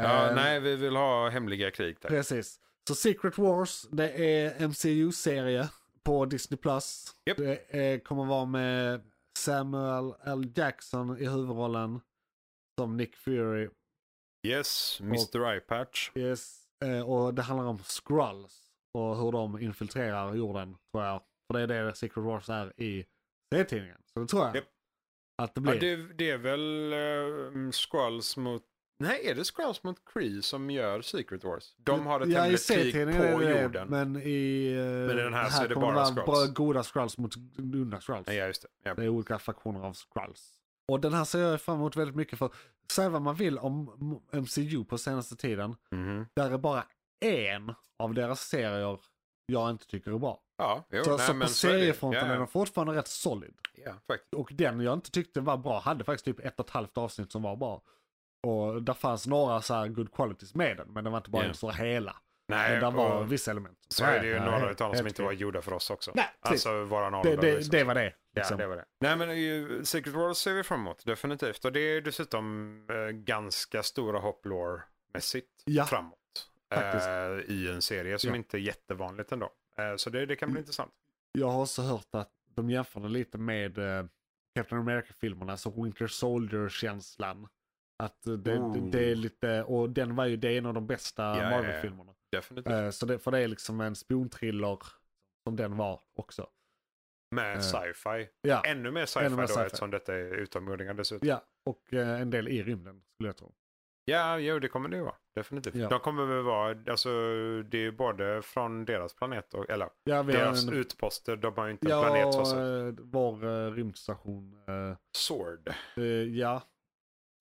S3: Ja,
S2: Eh,
S3: nej, vi vill ha hemliga krig där.
S2: Precis. Så Secret Wars, det är MCU-serie på Disney+. Plus.
S3: Japp.
S2: Det är, kommer vara med Samuel L. Jackson i huvudrollen som Nick Fury.
S3: Yes, Mr. Eye Patch.
S2: Yes. Eh, och det handlar om Skrulls och hur de infiltrerar jorden, tror jag. För det är det Secret Wars är i serietidningen. Så det tror jag
S3: Japp.
S2: att det
S3: Ja,
S2: blir.
S3: det, det är väl uh, Skrulls mot... Nej, är det Skrulls mot Kree som gör Secret Wars? De har ett
S2: Ja, i
S3: hemligt krig
S2: serietidningen är
S3: på
S2: det det,
S3: jorden.
S2: Men i eh,
S3: i den här så är det
S2: kommer
S3: bara
S2: vara
S3: Skrulls.
S2: bra- goda Skrulls mot onda Skrulls.
S3: Ja, just det. Ja.
S2: Det är olika fraktioner av Skrulls. Och den här ser jag fram emot väldigt mycket för säga vad man vill om MCU på senaste tiden.
S3: Mhm.
S2: Där är bara en av deras serier jag inte tycker är bra.
S3: ja jo,
S2: så
S3: nej,
S2: så på
S3: men så är det.
S2: seriefronten
S3: Ja,
S2: är den fortfarande rätt solid.
S3: Ja, faktiskt.
S2: Och den jag inte tyckte var bra hade faktiskt typ ett och ett halvt avsnitt som var bra. Och där fanns några så här good qualities med den, men den var inte bara
S3: Ja.
S2: en så hela.
S3: Nej,
S2: men där var
S3: och-
S2: vissa element.
S3: Så är det ju
S2: Ja,
S3: några
S2: helt-
S3: utav dem som
S2: helt
S3: inte
S2: okej.
S3: var gjorda för oss också.
S2: Nej, precis.
S3: Alltså våran ålder.
S2: det, det,
S3: liksom.
S2: det var det.
S3: Ja,
S2: liksom.
S3: det var det. Nej men ju, Secret Wars ser vi fram emot, definitivt. Och det är dessutom eh, ganska stora hopp lore-mässigt
S2: Ja.
S3: framåt.
S2: Faktiskt.
S3: Eh, I en serie som
S2: Ja. Mm.
S3: inte är jättevanligt ändå. Eh, så det, det kan bli intressant.
S2: Jag har också hört att de jämför det lite med eh, Captain America-filmerna, alltså Winter Soldier-känslan. Att eh, det,
S3: Ooh.
S2: det är lite, och den var ju, det är en av de bästa
S3: Ja, ja, ja.
S2: Marvel-filmerna.
S3: Definitivt.
S2: Eh, så det, för det är liksom en spionthriller som den var också.
S3: Med
S2: eh,
S3: sci-fi.
S2: Ja,
S3: Ännu mer sci-fi
S2: ännu mer
S3: då
S2: sci-fi.
S3: eftersom detta är utomjordingar dessutom.
S2: ja och eh, en del i rymden skulle jag tro.
S3: Ja, jo, det kommer det ju vara. Definitivt.
S2: Ja.
S3: De kommer väl vara, alltså det är ju både från deras planet och, eller
S2: Ja, vi har
S3: deras
S2: en,
S3: utposter. De har ju inte en planet så.
S2: ja
S3: så.
S2: eh, vår eh, rymdstation. eh,
S3: Sword.
S2: eh, ja.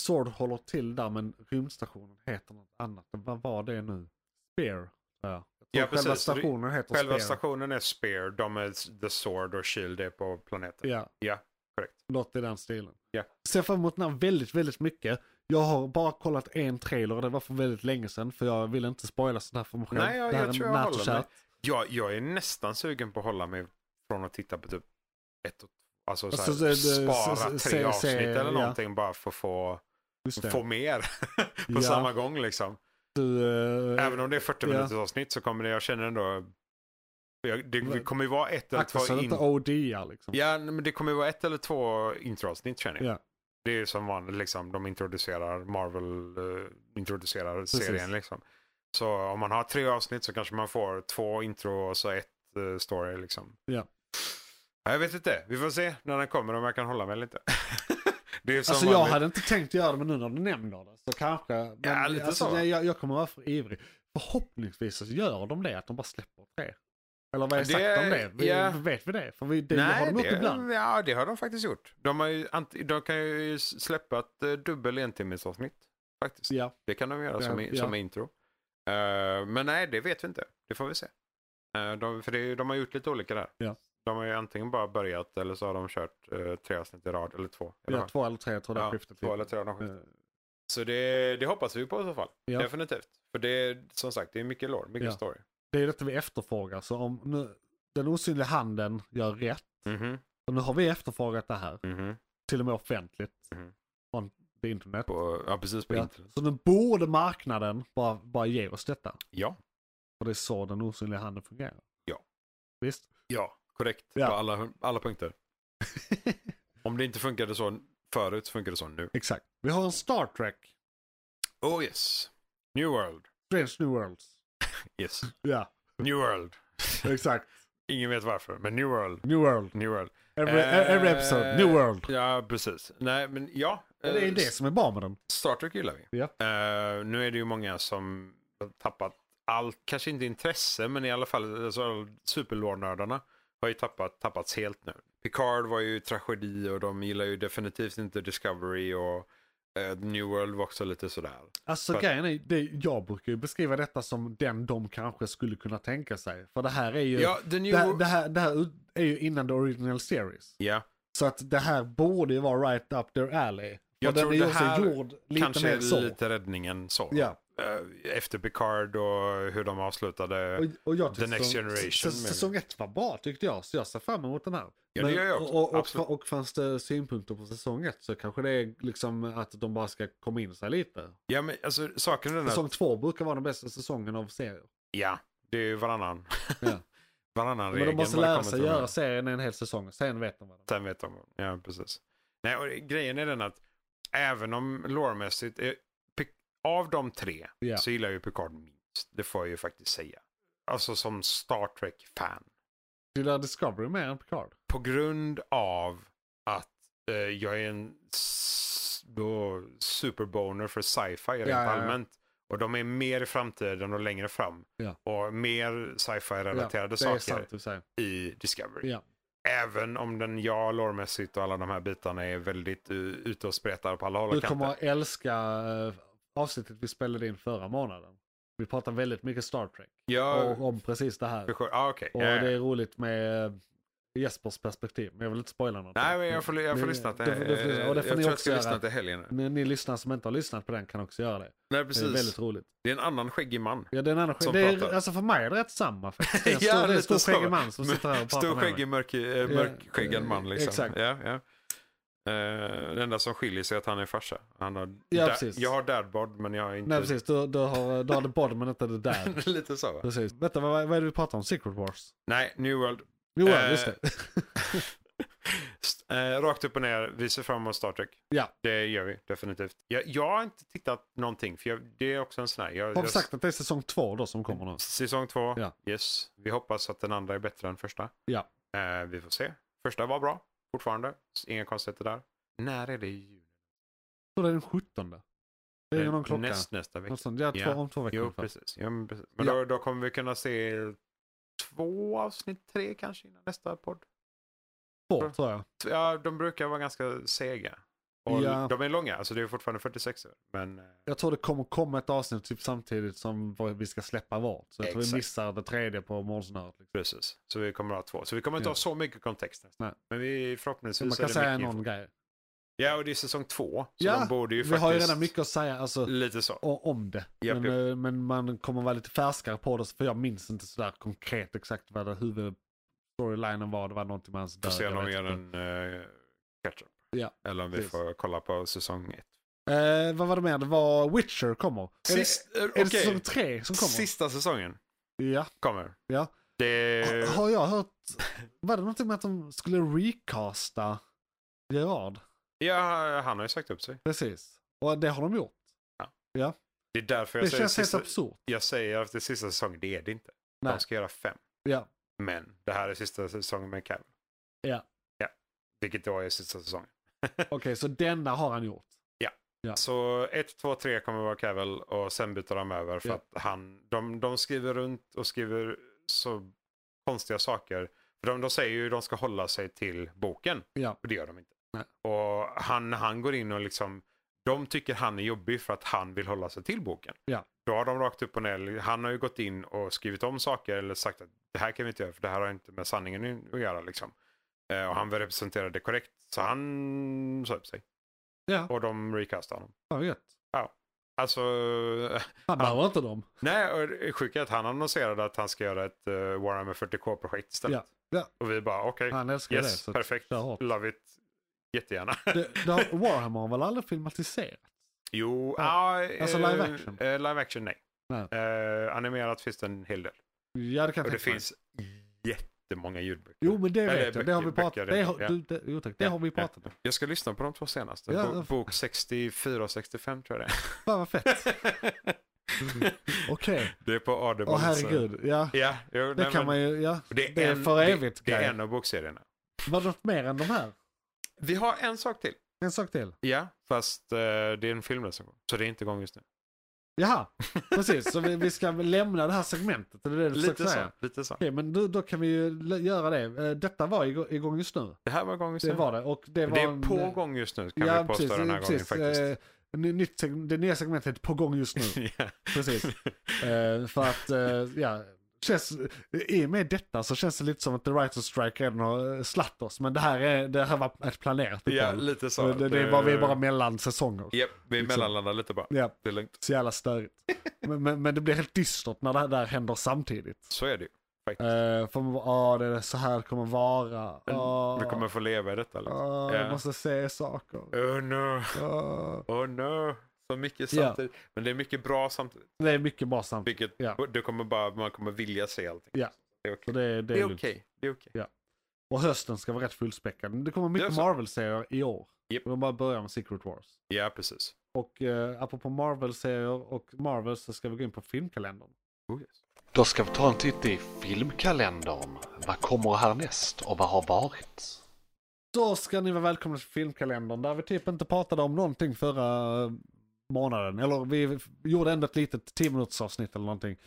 S2: Sword håller till där men rymdstationen heter något annat. Vad var det nu? Spear. Ja, Jag tror
S3: Ja,
S2: Själva
S3: precis. Så det-
S2: stationen heter
S3: Själva
S2: Spear.
S3: stationen är Spear, de är The Sword och Shield är på planeten.
S2: Ja.
S3: Ja, korrekt.
S2: Något i den stilen.
S3: Ja.
S2: Ser fram emot den här väldigt, väldigt mycket. Jag har bara kollat en trailer och det var för väldigt länge sedan för jag vill inte spoila sån här information.
S3: Nej, jag,
S2: det här
S3: jag
S2: är
S3: tror jag
S2: närt och
S3: håller
S2: kärt.
S3: mig. Jag, jag är nästan sugen på att hålla mig från att titta på typ ett och Alltså så här,
S2: Alltså, så är det-
S3: spara
S2: se-
S3: tre
S2: se- se-
S3: avsnitt eller
S2: ja.
S3: någonting bara för att få,
S2: Just det.
S3: få mer på
S2: Ja.
S3: samma gång liksom.
S2: Du, eh,
S3: Även om det är 40
S2: ja.
S3: minuters avsnitt så kommer det, jag känner ändå, jag, det, det kommer ju vara ett eller
S2: akta så
S3: två
S2: det
S3: in,
S2: inte OD'ar liksom.
S3: Ja, men det kommer ju vara ett eller två introavsnitt känner jag.
S2: Ja.
S3: Det är ju som vanligt, liksom, de introducerar Marvel, eh, introducerar serien liksom. Så om man har tre avsnitt så kanske man får två intro och så ett eh, story liksom.
S2: Ja.
S3: Ja, Jag vet inte, vi får se när den kommer om jag kan hålla mig lite. det är ju som
S2: Alltså jag
S3: vanligt.
S2: hade inte tänkt göra det men nu när du nämner det så kanske. Men,
S3: Ja, lite
S2: alltså,
S3: så.
S2: Jag, jag- jag kommer vara för ivrig. Förhoppningsvis så gör de det att de bara släpper tre. Eller vad är
S3: Det-
S2: sagt om det? Vi,
S3: ja.
S2: Vet vi det? För vi, det har
S3: Nej,
S2: de gjort
S3: det,
S2: ibland.
S3: ja, det har de faktiskt gjort. De, har ju, ant- de kan ju släppa ett eh, dubbel entimmesavsnitt. Faktiskt.
S2: Ja.
S3: Det kan de göra
S2: Det-
S3: som, i,
S2: ja.
S3: som intro. Eh, men nej, det vet vi inte. Det får vi se. Eh, de, för det, de har gjort lite olika där.
S2: Ja.
S3: De har ju antingen bara börjat eller så har de kört eh, tre avsnitt i rad eller två. Eller
S2: Ja,
S3: vad?
S2: två eller tre tror jag
S3: Ja,
S2: det skiftet. Eh.
S3: två eller tre av de skiftar. Så det, det hoppas vi på i så fall.
S2: Ja.
S3: Definitivt. För det är som sagt, det är mycket lore, mycket
S2: Ja.
S3: story.
S2: Det är detta vi efterfrågar. Så om nu, den osynliga handen gör rätt.
S3: Mhm,
S2: Och nu har vi efterfrågat det här.
S3: mhm.
S2: Till och med offentligt.
S3: Mhm.
S2: Från det internet.
S3: På, ja, precis på
S2: Ja.
S3: internet.
S2: Så nu borde marknaden bara, bara ge oss detta.
S3: Ja.
S2: För det är så den osynliga handen fungerar.
S3: Ja.
S2: Visst?
S3: Ja, korrekt.
S2: Ja.
S3: På alla, alla punkter. Om det inte funkade så förut så funkar det så nu.
S2: Exakt. Vi har en Star Trek,
S3: Oh yes. New World.
S2: Strange New Worlds.
S3: Yes.
S2: Ja,
S3: New World.
S2: exakt.
S3: Ingen vet varför, men New World.
S2: New World.
S3: New World.
S2: Every, e-
S3: Eh,
S2: every episode, New World.
S3: Ja, precis. Nej, men ja.
S2: Det är
S3: eh,
S2: det som är bra med den.
S3: Star Trek gillar vi.
S2: Ja.
S3: Eh, nu är det ju många som har tappat allt, kanske inte intresse, men i alla fall alltså, superlore-nördarna har ju tappat, tappats helt nu. Picard var ju tragedi och de gillar ju definitivt inte Discovery och eh, New World var också lite sådär.
S2: Alltså
S3: För-
S2: grejen är, det, jag brukar ju beskriva detta som den de kanske skulle kunna tänka sig. För det här är ju,
S3: Ja, The New
S2: det, här,
S3: World.
S2: det, här, det här är ju innan the original series.
S3: Ja,
S2: Så att det här borde ju vara right up their alley.
S3: Jag
S2: och den
S3: tror
S2: är ju
S3: det
S2: också
S3: här
S2: gjord lite
S3: kanske
S2: mer så.
S3: lite räddningen så.
S2: Ja.
S3: Eh, efter Picard och hur de avslutade.
S2: Och, och jag
S3: The
S2: tyckte
S3: Next
S2: säsong-
S3: Generation,
S2: säs-
S3: men-
S2: Säsong ett var bra tyckte jag, så jag ser fram emot den här.
S3: Ja, det gör jag också.
S2: och, och,
S3: Absolut.
S2: och, och fanns det synpunkter på säsong ett så kanske det är liksom att de bara ska komma in sig lite.
S3: Ja, men alltså saken är den att
S2: Säsong två brukar vara den bästa säsongen av serier.
S3: Ja, det är ju varannan.
S2: Ja.
S3: varannan
S2: Men
S3: regel.
S2: de måste
S3: när det
S2: lära
S3: kommer
S2: sig
S3: till de här.
S2: göra serien en hel säsong, sen vet de vad de
S3: Sen vet de. Ja, precis. Nej, och grejen är den att även om loremässigt, eh, Pic- av de tre
S2: Ja.
S3: så gillar jag ju Picard minst. Det får jag ju faktiskt säga. Alltså som Star Trek-fan.
S2: Gillar Discovery mer än Picard?
S3: På grund av att eh, jag är en s- då, superboner för sci-fi rent
S2: ja, ja.
S3: allmänt. Och de är mer i framtiden och längre fram.
S2: Ja.
S3: Och mer sci-fi-relaterade
S2: det är
S3: saker
S2: sant du säger.
S3: i Discovery.
S2: Ja.
S3: Även om den ja, loremässigt och alla de här bitarna är väldigt uh, ute och spretar på alla håll
S2: Du
S3: och kanter.
S2: kommer att älska eh, avsnittet vi spelade in förra månaden. Vi pratar väldigt mycket Star Trek.
S3: Ja,
S2: Och om precis det här.
S3: för sure. ah, okej.
S2: Och
S3: Ja, ja.
S2: det är roligt med eh, Jespers perspektiv, men jag vill inte spoila något.
S3: Nej, men jag får, jag får
S2: Ni-
S3: lyssna till
S2: det får- det får-
S3: eh,
S2: och det
S3: Jag
S2: får
S3: tror
S2: ni
S3: jag
S2: också
S3: ska lyssna
S2: göra.
S3: till helgen. nu.
S2: Ni, ni lyssnare som inte har lyssnat på den kan också göra det.
S3: Nej,
S2: Det är
S3: precis.
S2: väldigt roligt.
S3: Det är en annan skäggig man.
S2: Ja, det är en annan
S3: Som
S2: skillnad. det är,
S3: pratar.
S2: Alltså för mig är det rätt samma faktiskt. Det är en
S3: Ja,
S2: stor, det är en
S3: lite
S2: stor
S3: så.
S2: skäggig man som sitter här och pratar
S3: Stor
S2: med mig.
S3: skäggig, mörk, eh, mörkskäggad man liksom.
S2: exakt.
S3: Ja, ja. Eh, det enda som skiljer sig är att han är farsa. Han har
S2: Ja,
S3: da-
S2: precis.
S3: jag har dadbod men jag har inte...
S2: Nej precis, du, du, har, eh, du har the body men inte the dad.
S3: Lite så va?
S2: Precis. Vänta, vad, vad är det vi pratar om? Secret Wars?
S3: Nej, New World.
S2: Jo,
S3: Eh,
S2: just det.
S3: St- eh, rakt upp och ner, vi ser fram emot Star Trek.
S2: Ja.
S3: Det gör vi definitivt. Jag, jag har inte tittat någonting, för jag, det är också en sån här. Jag,
S2: Har vi
S3: jag-
S2: sagt att det är säsong två då som kommer
S3: Mm.
S2: nu?
S3: Säsong två,
S2: Ja.
S3: yes. Vi hoppas att den andra är bättre än första.
S2: Ja.
S3: Eh, vi får se. Första var bra, fortfarande. Inga konstigheter där. När är det i juni?
S2: Så det är den 17. ringer någon klocka.
S3: Näst, nästa vecka.
S2: Något sånt. Ja, två,
S3: Ja.
S2: om två veckor.
S3: Jo,
S2: ungefär.
S3: precis. Ja, men precis. Men
S2: Ja.
S3: Då, då kommer vi kunna se två avsnitt, tre kanske innan nästa podd.
S2: Två, tror jag.
S3: Ja, de brukar vara ganska sega. Och
S2: Ja.
S3: De är långa, alltså det är fortfarande 46 år. Men eh,
S2: Jag tror det kommer komma ett avsnitt typ samtidigt som vad vi ska släppa vart. Så jag tror vi
S3: Exakt.
S2: missar det tredje på Morgonsnöret. Liksom.
S3: precis, så vi kommer att ha två. Så vi kommer inte
S2: Ja.
S3: ha så mycket kontext nästa.
S2: Nej.
S3: Men vi
S2: Så
S3: förhoppningsvis
S2: man kan
S3: är det
S2: säga
S3: mycket
S2: någon
S3: info.
S2: grej.
S3: Ja, och det är säsong två. Så
S2: Ja,
S3: de borde ju
S2: Vi
S3: faktiskt...
S2: har ju redan mycket att säga alltså,
S3: Lite så.
S2: o- om det.
S3: Japp,
S2: men, eh, men man kommer vara lite färskare på det. För jag minns inte sådär konkret exakt vad det huvudstorylinen var. Det var någonting med hans
S3: Får
S2: död.
S3: se om
S2: jag
S3: de
S2: vet
S3: gör
S2: inte.
S3: en eh, catch-up.
S2: Ja,
S3: Eller om vi
S2: precis.
S3: får kolla på säsong ett.
S2: Eh, vad var det mer? Det var Witcher kommer.
S3: Sist, eh,
S2: är det, är det
S3: okej.
S2: säsong tre som kommer?
S3: Sista säsongen
S2: Ja.
S3: kommer.
S2: Ja.
S3: Det...
S2: Ha- Har jag hört, var det någonting med att de skulle recasta Gerard?
S3: Ja, han har ju sagt upp sig.
S2: Precis. Och det har de gjort.
S3: Det är därför jag
S2: Det
S3: säger,
S2: känns helt
S3: sista,
S2: absurt.
S3: jag säger att det är sista säsongen. Det är det inte.
S2: Nej.
S3: De ska göra fem.
S2: Ja.
S3: Men det här är sista säsongen med Cavill.
S2: Ja.
S3: ja. Vilket då är sista säsongen.
S2: Okej, så denna har han gjort. Ja.
S3: Så 1, 2, 3 kommer vara Cavill och sen byter de över för
S2: Ja.
S3: att han, de, de skriver runt och skriver så konstiga saker. För de, de säger ju att de ska hålla sig till boken.
S2: Ja.
S3: Och det gör de inte.
S2: Nej.
S3: Och han, han går in och liksom, de tycker han är jobbig för att han vill hålla sig till boken.
S2: Ja.
S3: Då har de rakt upp och ner, han har ju gått in och skrivit om saker eller sagt att det här kan vi inte göra för det här har inte med sanningen att göra liksom. Eh, Och han vill representera det korrekt. Så han sa upp sig.
S2: Ja.
S3: Och de recastade honom.
S2: Fan vad gött.
S3: Alltså,
S2: Han behöver inte dem.
S3: nej, och det sjuka är att han annonserade att han ska göra ett eh, Warhammer 40K-projekt istället.
S2: Ja. Ja.
S3: Och vi bara okej,
S2: Han älskar det.
S3: yes,
S2: Så
S3: perfekt,
S2: kör hårt.
S3: love it, jättegärna.
S2: det, det har, Warhammer har väl aldrig filmatiserat?
S3: Jo,
S2: Ja.
S3: ja.
S2: Alltså
S3: eh,
S2: live action.
S3: eh, live action, nej.
S2: Nej.
S3: Eh, animerat finns det en hel del.
S2: Ja, det kan
S3: Och
S2: jag
S3: det
S2: tänka mig.
S3: finns jättemånga ljudböcker.
S2: Jo, men det
S3: Eller
S2: vet jag. Det har vi
S3: böcker,
S2: pratat
S3: böcker,
S2: det har-
S3: ja.
S2: du- det- jo, tack. Det
S3: Ja,
S2: har vi
S3: ja.
S2: pratat om.
S3: Jag ska lyssna på de två senaste.
S2: Ja,
S3: Bo-
S2: ja.
S3: Bok 64 och 65 tror jag det är.
S2: Fan vad fett. Okej.
S3: det är på Audible.
S2: Åh
S3: så-
S2: herregud. Ja.
S3: Ja, jo,
S2: Det
S3: nej,
S2: kan
S3: men
S2: man ju, ja.
S3: det är,
S2: det är
S3: en,
S2: för
S3: det,
S2: evigt,
S3: det
S2: Kaj.
S3: är en av bokserierna.
S2: Var det något mer än de här?
S3: Vi har en sak till.
S2: En sak till.
S3: Ja, fast eh, det är en filmrecension. Så det är inte igång just nu.
S2: Jaha, precis. Så vi, vi ska väl lämna det här segmentet. Det är det du försöker
S3: Lite så,
S2: säga.
S3: lite så.
S2: Okej, men då, då kan vi ju l- göra det. Eh, Detta var igå- igång just nu.
S3: Det här var igång just
S2: Det
S3: nu.
S2: var det. Och det, var
S3: det
S2: en-
S3: är på gång just nu kan vi påstå den här gången faktiskt.
S2: Eh, ny- nytt seg- det nya segmentet heter på gång just nu.
S3: Ja.
S2: Precis. Eh, för att, eh, ja. Känns, I och med detta så känns det lite som att The Writers Strike redan har eh, slatt oss. Men det här, är, det här var ett planerat
S3: Ja,
S2: uppehåll.
S3: lite så.
S2: Så det, det är bara, vi är bara mellan säsonger.
S3: Japp, vi
S2: liksom.
S3: mellanlandar lite bara.
S2: Ja,
S3: Det är lugnt.
S2: så jävla störigt. Men, men, men det blir helt dystert när det här där händer samtidigt.
S3: Så är det ju. faktiskt.
S2: Uh, för man bara, ah, det är så här det kommer vara. Ah,
S3: Vi kommer få leva i detta. Liksom.
S2: ah,
S3: Ja.
S2: Jag måste se saker.
S3: Oh no,
S2: Ah.
S3: oh no. Så mycket
S2: Ja.
S3: samtidigt. Men det är mycket bra samtidigt.
S2: Det är mycket bra samtidigt.
S3: Vilket
S2: Ja.
S3: du kommer bara, man kommer vilja se allting.
S2: Ja.
S3: Det är
S2: Så
S3: okej.
S2: det, det
S3: Det är
S2: är
S3: okej.
S2: lugnt.
S3: Det är okej.
S2: Och hösten ska vara rätt fullspäckad. Men Det kommer mycket
S3: Det är så.
S2: Marvel-serier i år.
S3: Japp.
S2: Och De bara börjar med Secret Wars.
S3: Ja, precis.
S2: Och eh, apropå Marvel-serier och Marvel så ska vi gå in på filmkalendern.
S3: Oh, yes.
S5: Då ska vi ta en titt i filmkalendern. Vad kommer härnäst och vad har varit?
S2: Då ska ni vara välkomna till filmkalendern där vi typ inte pratade om någonting förra eh, månaden. Eller vi gjorde ändå ett litet 10 minuters avsnitt eller någonting.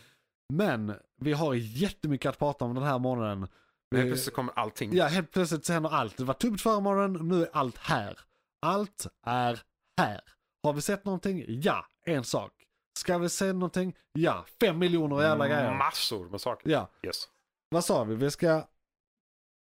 S2: Men vi har jättemycket att prata om den här månaden.
S3: Men helt
S2: Vi-
S3: plötsligt så kommer allting.
S2: Ja, helt plötsligt så händer allt. Det var tubbigt förra morgonen, nu är allt här. Allt är här. Har vi sett någonting? Ja, en sak. Ska vi se någonting? Ja, fem miljoner jävla grejer.
S3: Massor med saker.
S2: Ja,
S3: Yes.
S2: vad sa vi? Vi ska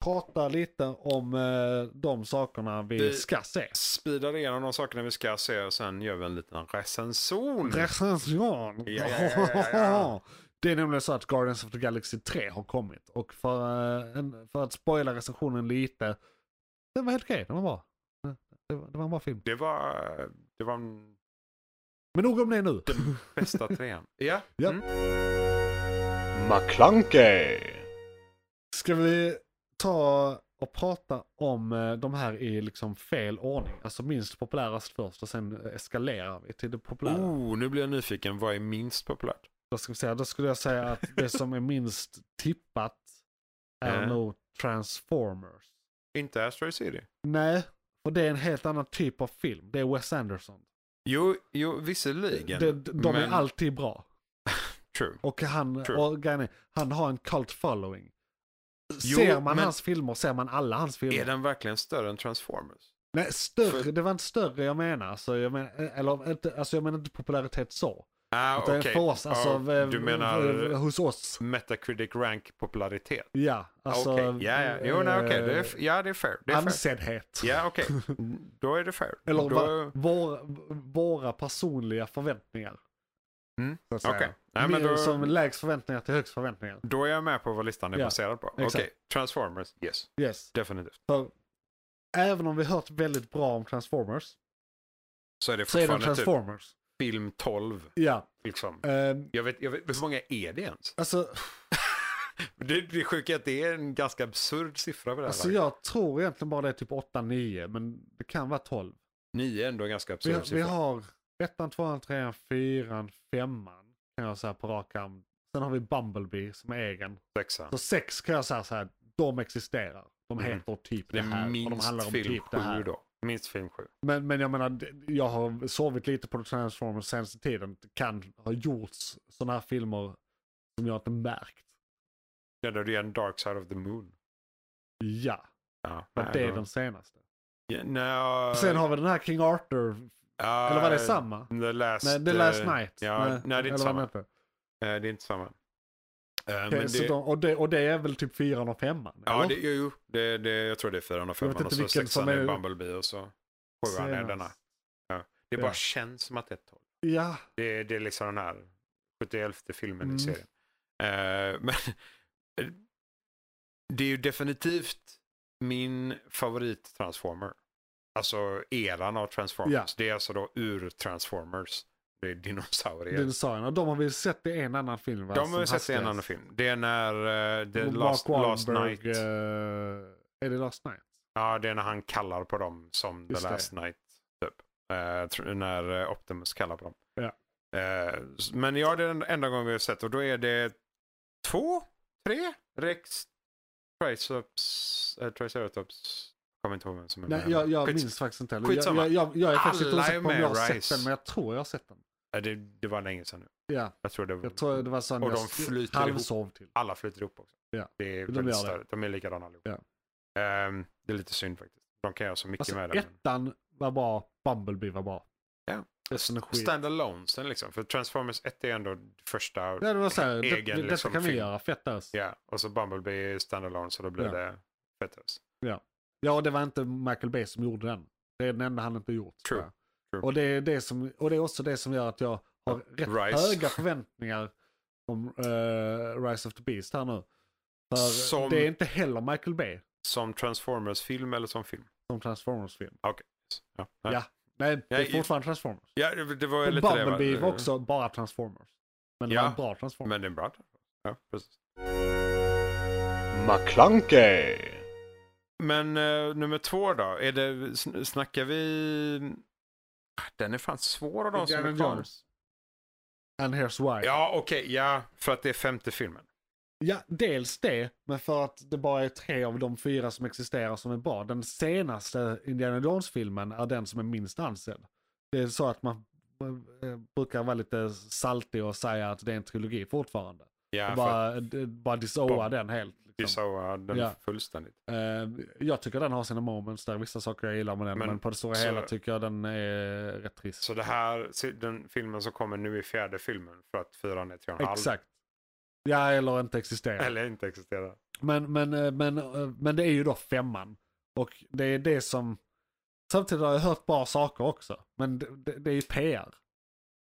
S2: prata lite om eh, de sakerna vi,
S3: Vi-
S2: ska se.
S3: Speedar igenom de sakerna vi ska se och sen gör vi en liten recension.
S2: Recension!
S3: Ja, ja, ja, ja, ja.
S2: Det är nämligen så att Guardians of the Galaxy 3 har kommit. Och för, eh, en, för att spoila recensionen lite. Den var helt okej, den var bra. Det var, det var en bra film.
S3: det var, det var den
S2: Men nog om det nu.
S3: bästa trean. Ja. Mm.
S2: Ja.
S4: McClunkey!
S2: Ska vi ta och prata om eh, de här i liksom fel ordning? Alltså minst populärast först och sen eskalerar vi till det populära.
S3: Oh, nu blir jag nyfiken. Vad är minst populärt?
S2: Då, ska vi säga, då skulle jag säga att det som är minst tippat är
S3: Mm.
S2: nog Transformers.
S3: Inte Asteroid City.
S2: Nej, och det är en helt annan typ av film. Det är Wes Anderson.
S3: Jo, jo visserligen.
S2: De, de, de är
S3: men-
S2: alltid bra.
S3: True.
S2: Och han,
S3: True.
S2: och grejen är, han har en cult following.
S3: Jo,
S2: ser man
S3: men-
S2: hans filmer ser man alla hans filmer.
S3: Är den verkligen större än Transformers?
S2: Nej, större,
S3: För-
S2: det var inte större jag menar. Alltså, jag menar, eller, inte, alltså, jag menar inte popularitet så.
S3: Ah,
S2: Utan
S3: okej.
S2: för oss, alltså,
S3: Ah,
S2: v-
S3: du menar
S2: v- hos oss.
S3: Metacritic rank popularitet? Ah,
S2: Ja, alltså.
S3: Okej, ja, ja. Jo, nej, okej. Det är f-
S2: eh,
S3: Ja, det är fair. Det är fair.
S2: ansedhet.
S3: Ja, okej. Då är det fair. Då...
S2: Eller va, vår, våra personliga förväntningar.
S3: Mm,
S2: så att säga.
S3: okej. Nej, men
S2: Mer
S3: då-
S2: Som lägst förväntningar till högst förväntningar.
S3: Då är jag med på vad listan är
S2: Ja,
S3: baserad på. Okej,
S2: exakt.
S3: Transformers. Yes,
S2: Yes.
S3: definitivt.
S2: För även om vi hört väldigt bra om Transformers.
S3: Så är det
S2: Så är det
S3: fortfarande typ
S2: Transformers.
S3: film 12.
S2: Ja.
S3: Liksom.
S2: ehm,
S3: Jag vet, jag vet, hur många är det ens?
S2: alltså,
S3: Det, det sjuka är att det är en ganska absurd siffra på det här.
S2: alltså jag tror egentligen bara det är typ 8-9. Men det kan vara 12.
S3: Nio är ändå en ganska absurd
S2: Vi, vi
S3: siffra.
S2: har ettan, tvåan, trean, fyran, femman. Kan jag säga på rak arm. Sen har vi Bumblebee som är egen.
S3: Sexan.
S2: Så sex kan jag säga så här, de existerar. De
S3: Mm.
S2: heter typ
S3: Det
S2: det,
S3: är
S2: här. och de
S3: minst
S2: handlar om
S3: film
S2: typ det
S3: sju
S2: här.
S3: då. Minst film sju.
S2: Men, men jag menar, d- jag har sovit lite på Transformers senaste tiden. Det kan ha gjorts sådana här filmer som jag inte märkt.
S3: Ja, då är det en Dark Side of the Moon.
S2: Ja,
S3: Ja,
S2: för
S3: nej,
S2: att det är
S3: då-
S2: den senaste.
S3: Ja, nej,
S2: Sen har vi den här King Arthur,
S3: ja,
S2: eller var det samma?
S3: The Last,
S2: Nej, The Last
S3: eh,
S2: Night.
S3: ja, nej, det är inte
S2: eller vad
S3: samma.
S2: den heter.
S3: eh, det är inte samma. Eh, men
S2: Okej, så
S3: det-
S2: de, och, det, och det är väl typ fyran och femman?
S3: Ja,
S2: eller?
S3: det, jo, jo. Det, det, jag tror det är fyran och
S2: Jag
S3: femman
S2: vet
S3: och
S2: inte
S3: så
S2: vilken
S3: sexan
S2: som
S3: är
S2: är-
S3: Bumblebee och så sjuan är
S2: Senast.
S3: denna. Det
S2: Ja.
S3: bara känns som att det är ett tolv.
S2: Ja,
S3: Det, det är liksom den här 71 filmen
S2: Mm.
S3: i serien. Eh, men eh, det är ju definitivt min favorit Transformer. Alltså eran av Transformers.
S2: Ja.
S3: Det är alltså då ur Transformers. Det är dinosaurier.
S2: dinosaurierna. De har vi sett i en annan film va?
S3: De har
S2: Som
S3: ju sett i en
S2: hastigast.
S3: annan film. Det är när eh, The
S2: Och
S3: Last,
S2: Mark
S3: Last
S2: Wahlberg,
S3: Night.
S2: eh, är det Last Night?
S3: Ja, det är när han kallar på dem som The
S2: Just det.
S3: Last Night. Typ. Eh, tr- när eh, Optimus kallar på dem.
S2: Ja.
S3: Eh, s- men ja, det är den enda gången vi har sett och då är det två, tre Rex Triceratops. Äh, Triceratops. Kommer inte ihåg vem som är
S2: Nej,
S3: med.
S2: jag, jag
S3: Skits-
S2: minns faktiskt inte heller. Jag,
S3: skitsamma.
S2: jag, jag, jag är faktiskt inte
S3: Alla
S2: osäker på
S3: är
S2: om jag
S3: med,
S2: har sett
S3: Rice.
S2: den, men jag tror jag har sett den.
S3: Eh, det, det var länge sedan nu.
S2: Ja,
S3: Jag tror det var...
S2: jag tror det var sån
S3: Och de
S2: jag
S3: flyter
S2: halvsov till.
S3: Alla flyter ihop också.
S2: Ja,
S3: Det är
S2: de
S3: väldigt
S2: gör det.
S3: störigt. De är likadana allihop.
S2: Ja.
S3: Ehm, det är lite synd faktiskt. De kan göra så mycket
S2: Alltså,
S3: med det. men-
S2: ettan var bra, Bumblebee var bra.
S3: Ja.
S2: Resten är skit.
S3: standalonesen liksom. För Transformers 1 är ändå första.
S2: Ja, det var så här, det,
S3: Egen,
S2: det, detta
S3: liksom,
S2: kan vi
S3: film.
S2: göra, fett ös.
S3: Ja, och så Bumblebee är standalone så då blir
S2: Ja.
S3: det fettest.
S2: Ja, och det var inte Michael Bay som gjorde den. Det är den enda han inte gjort. tror
S3: True.
S2: jag.
S3: True.
S2: Och, det är det som, och det är också det som gör att jag har rätt
S3: Rise.
S2: höga förväntningar om eh, Rise of the Beast här nu. För
S3: Som-
S2: det är inte heller Michael Bay
S3: Som Transformers-film eller som film?
S2: som Transformers-film.
S3: Ja, nej.
S2: Ja. Nej, det är
S3: Jag-
S2: fortfarande Transformers.
S3: ja det, det var ju
S2: Och
S3: lite det. va?
S2: Bumblebee var också bara Transformers. Men det
S3: Ja,
S2: var en bra Transformers.
S3: Men det är bra. Ja, precis.
S4: McClunkey.
S3: Men eh, nummer två då? Är det, sn- snackar vi... Ah, Den är fan svår av de som
S2: Indiana
S3: är kvar.
S2: Jones. And here's why.
S3: Ja, okej. ja, för att det är femte filmen.
S2: Ja, dels det, men för att det bara är tre av de fyra som existerar som är bra. Den senaste Indiana Jones-filmen är den som är minst ansedd. Det är så att man eh, brukar vara lite saltig och säga att det är en trilogi fortfarande.
S3: Ja,
S2: Och
S3: för att
S2: bara, d- bara dissoa
S3: Bara-
S2: den helt. Liksom.
S3: vi sa den
S2: Ja.
S3: fullständigt.
S2: Eh, jag tycker den har sina moments där, vissa saker jag gillar med den,
S3: Men-
S2: men, på det stora
S3: så-
S2: hela tycker jag den är rätt trist.
S3: Så det här, se- den filmen som kommer nu är fjärde filmen för att fyran är tre och en halv.
S2: Exakt. Ja, eller inte existerar.
S3: Eller inte existerar.
S2: Men, men, eh, men, eh, men det är ju då femman. Och det är det som... Samtidigt har jag hört bra saker också. Men det, det, det är ju PR.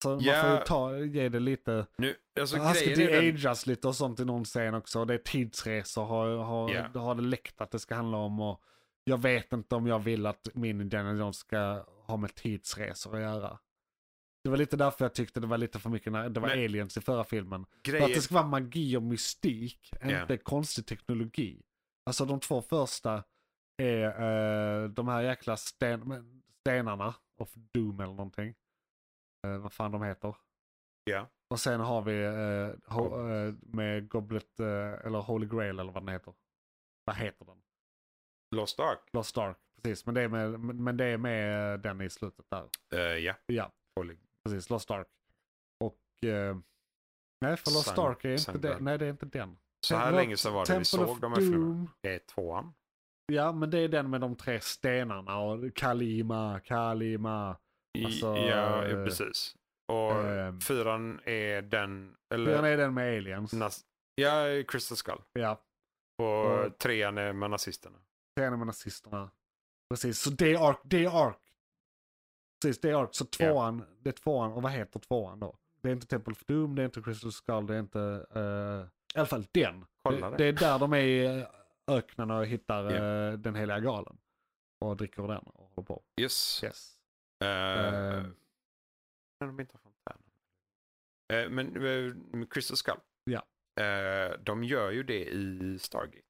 S2: Så
S3: Ja.
S2: man får ju ta, ge det lite...
S3: Nu, alltså,
S2: han ska
S3: grejen är den-
S2: de-ageas lite och sånt i någon scen också. Det är tidsresor har, har,
S3: Ja.
S2: det har det läckt att det ska handla om. Och jag vet inte om jag vill att min Indiana Jones ska ha med tidsresor att göra. Det var lite därför jag tyckte det var lite för mycket när det var
S3: Men-
S2: aliens i förra filmen. För att
S3: Grejen,
S2: det ska vara magi och mystik,
S3: Ja.
S2: inte konstig teknologi. Alltså de två första är eh, de här jäkla sten, men- stenarna of doom eller någonting. Eh, vad fan de heter.
S3: Ja.
S2: Och sen har vi eh, ho- eh, med Goblet, eh, eller Holy Grail eller vad den heter. Vad heter den?
S3: Lost Ark.
S2: Lost Ark, precis. Men det är med, men men det är med eh, den i slutet där.
S3: Eh, ja.
S2: Ja.
S3: Poly-
S2: Precis, Lost Ark. Och... Eh, nej, för Lost
S3: Sun-
S2: Ark är inte
S3: Sunbird.
S2: den. Nej, det är inte den.
S3: Så här
S2: Temple of-
S3: länge sedan var det vi
S2: Temple
S3: såg
S2: of
S3: de här filmerna.
S2: Doom.
S3: Det är tvåan.
S2: Ja, men det är den med de tre stenarna och Kalima, Kalima.
S3: I,
S2: Alltså,
S3: ja,
S2: eh,
S3: precis. Och
S2: ehm,
S3: fyran är den, eller
S2: Den är den med aliens.
S3: nas- ja, Crystal Skull.
S2: Ja,
S3: Och
S2: Mm.
S3: trean är med nazisterna.
S2: trean är med nazisterna. Precis, så det är Ark, det är Ark. Precis, det är Ark. Så
S3: Ja.
S2: tvåan, det är tvåan, och vad heter tvåan då? Det är inte Temple of Doom, det är inte Crystal Skull, det är inte... eh, I alla fall den.
S3: Kolla
S2: det,
S3: det.
S2: det är där de är i eh, öknen och hittar
S3: Ja.
S2: eh, den heliga galen. Och dricker den och håller på.
S3: Yes.
S2: Yes.
S3: Eh,
S2: Eh.
S3: men de inte har fontänen. Eh, men eh, med Crystal Skull.
S2: Ja.
S3: Eh, de gör ju det i Stargate.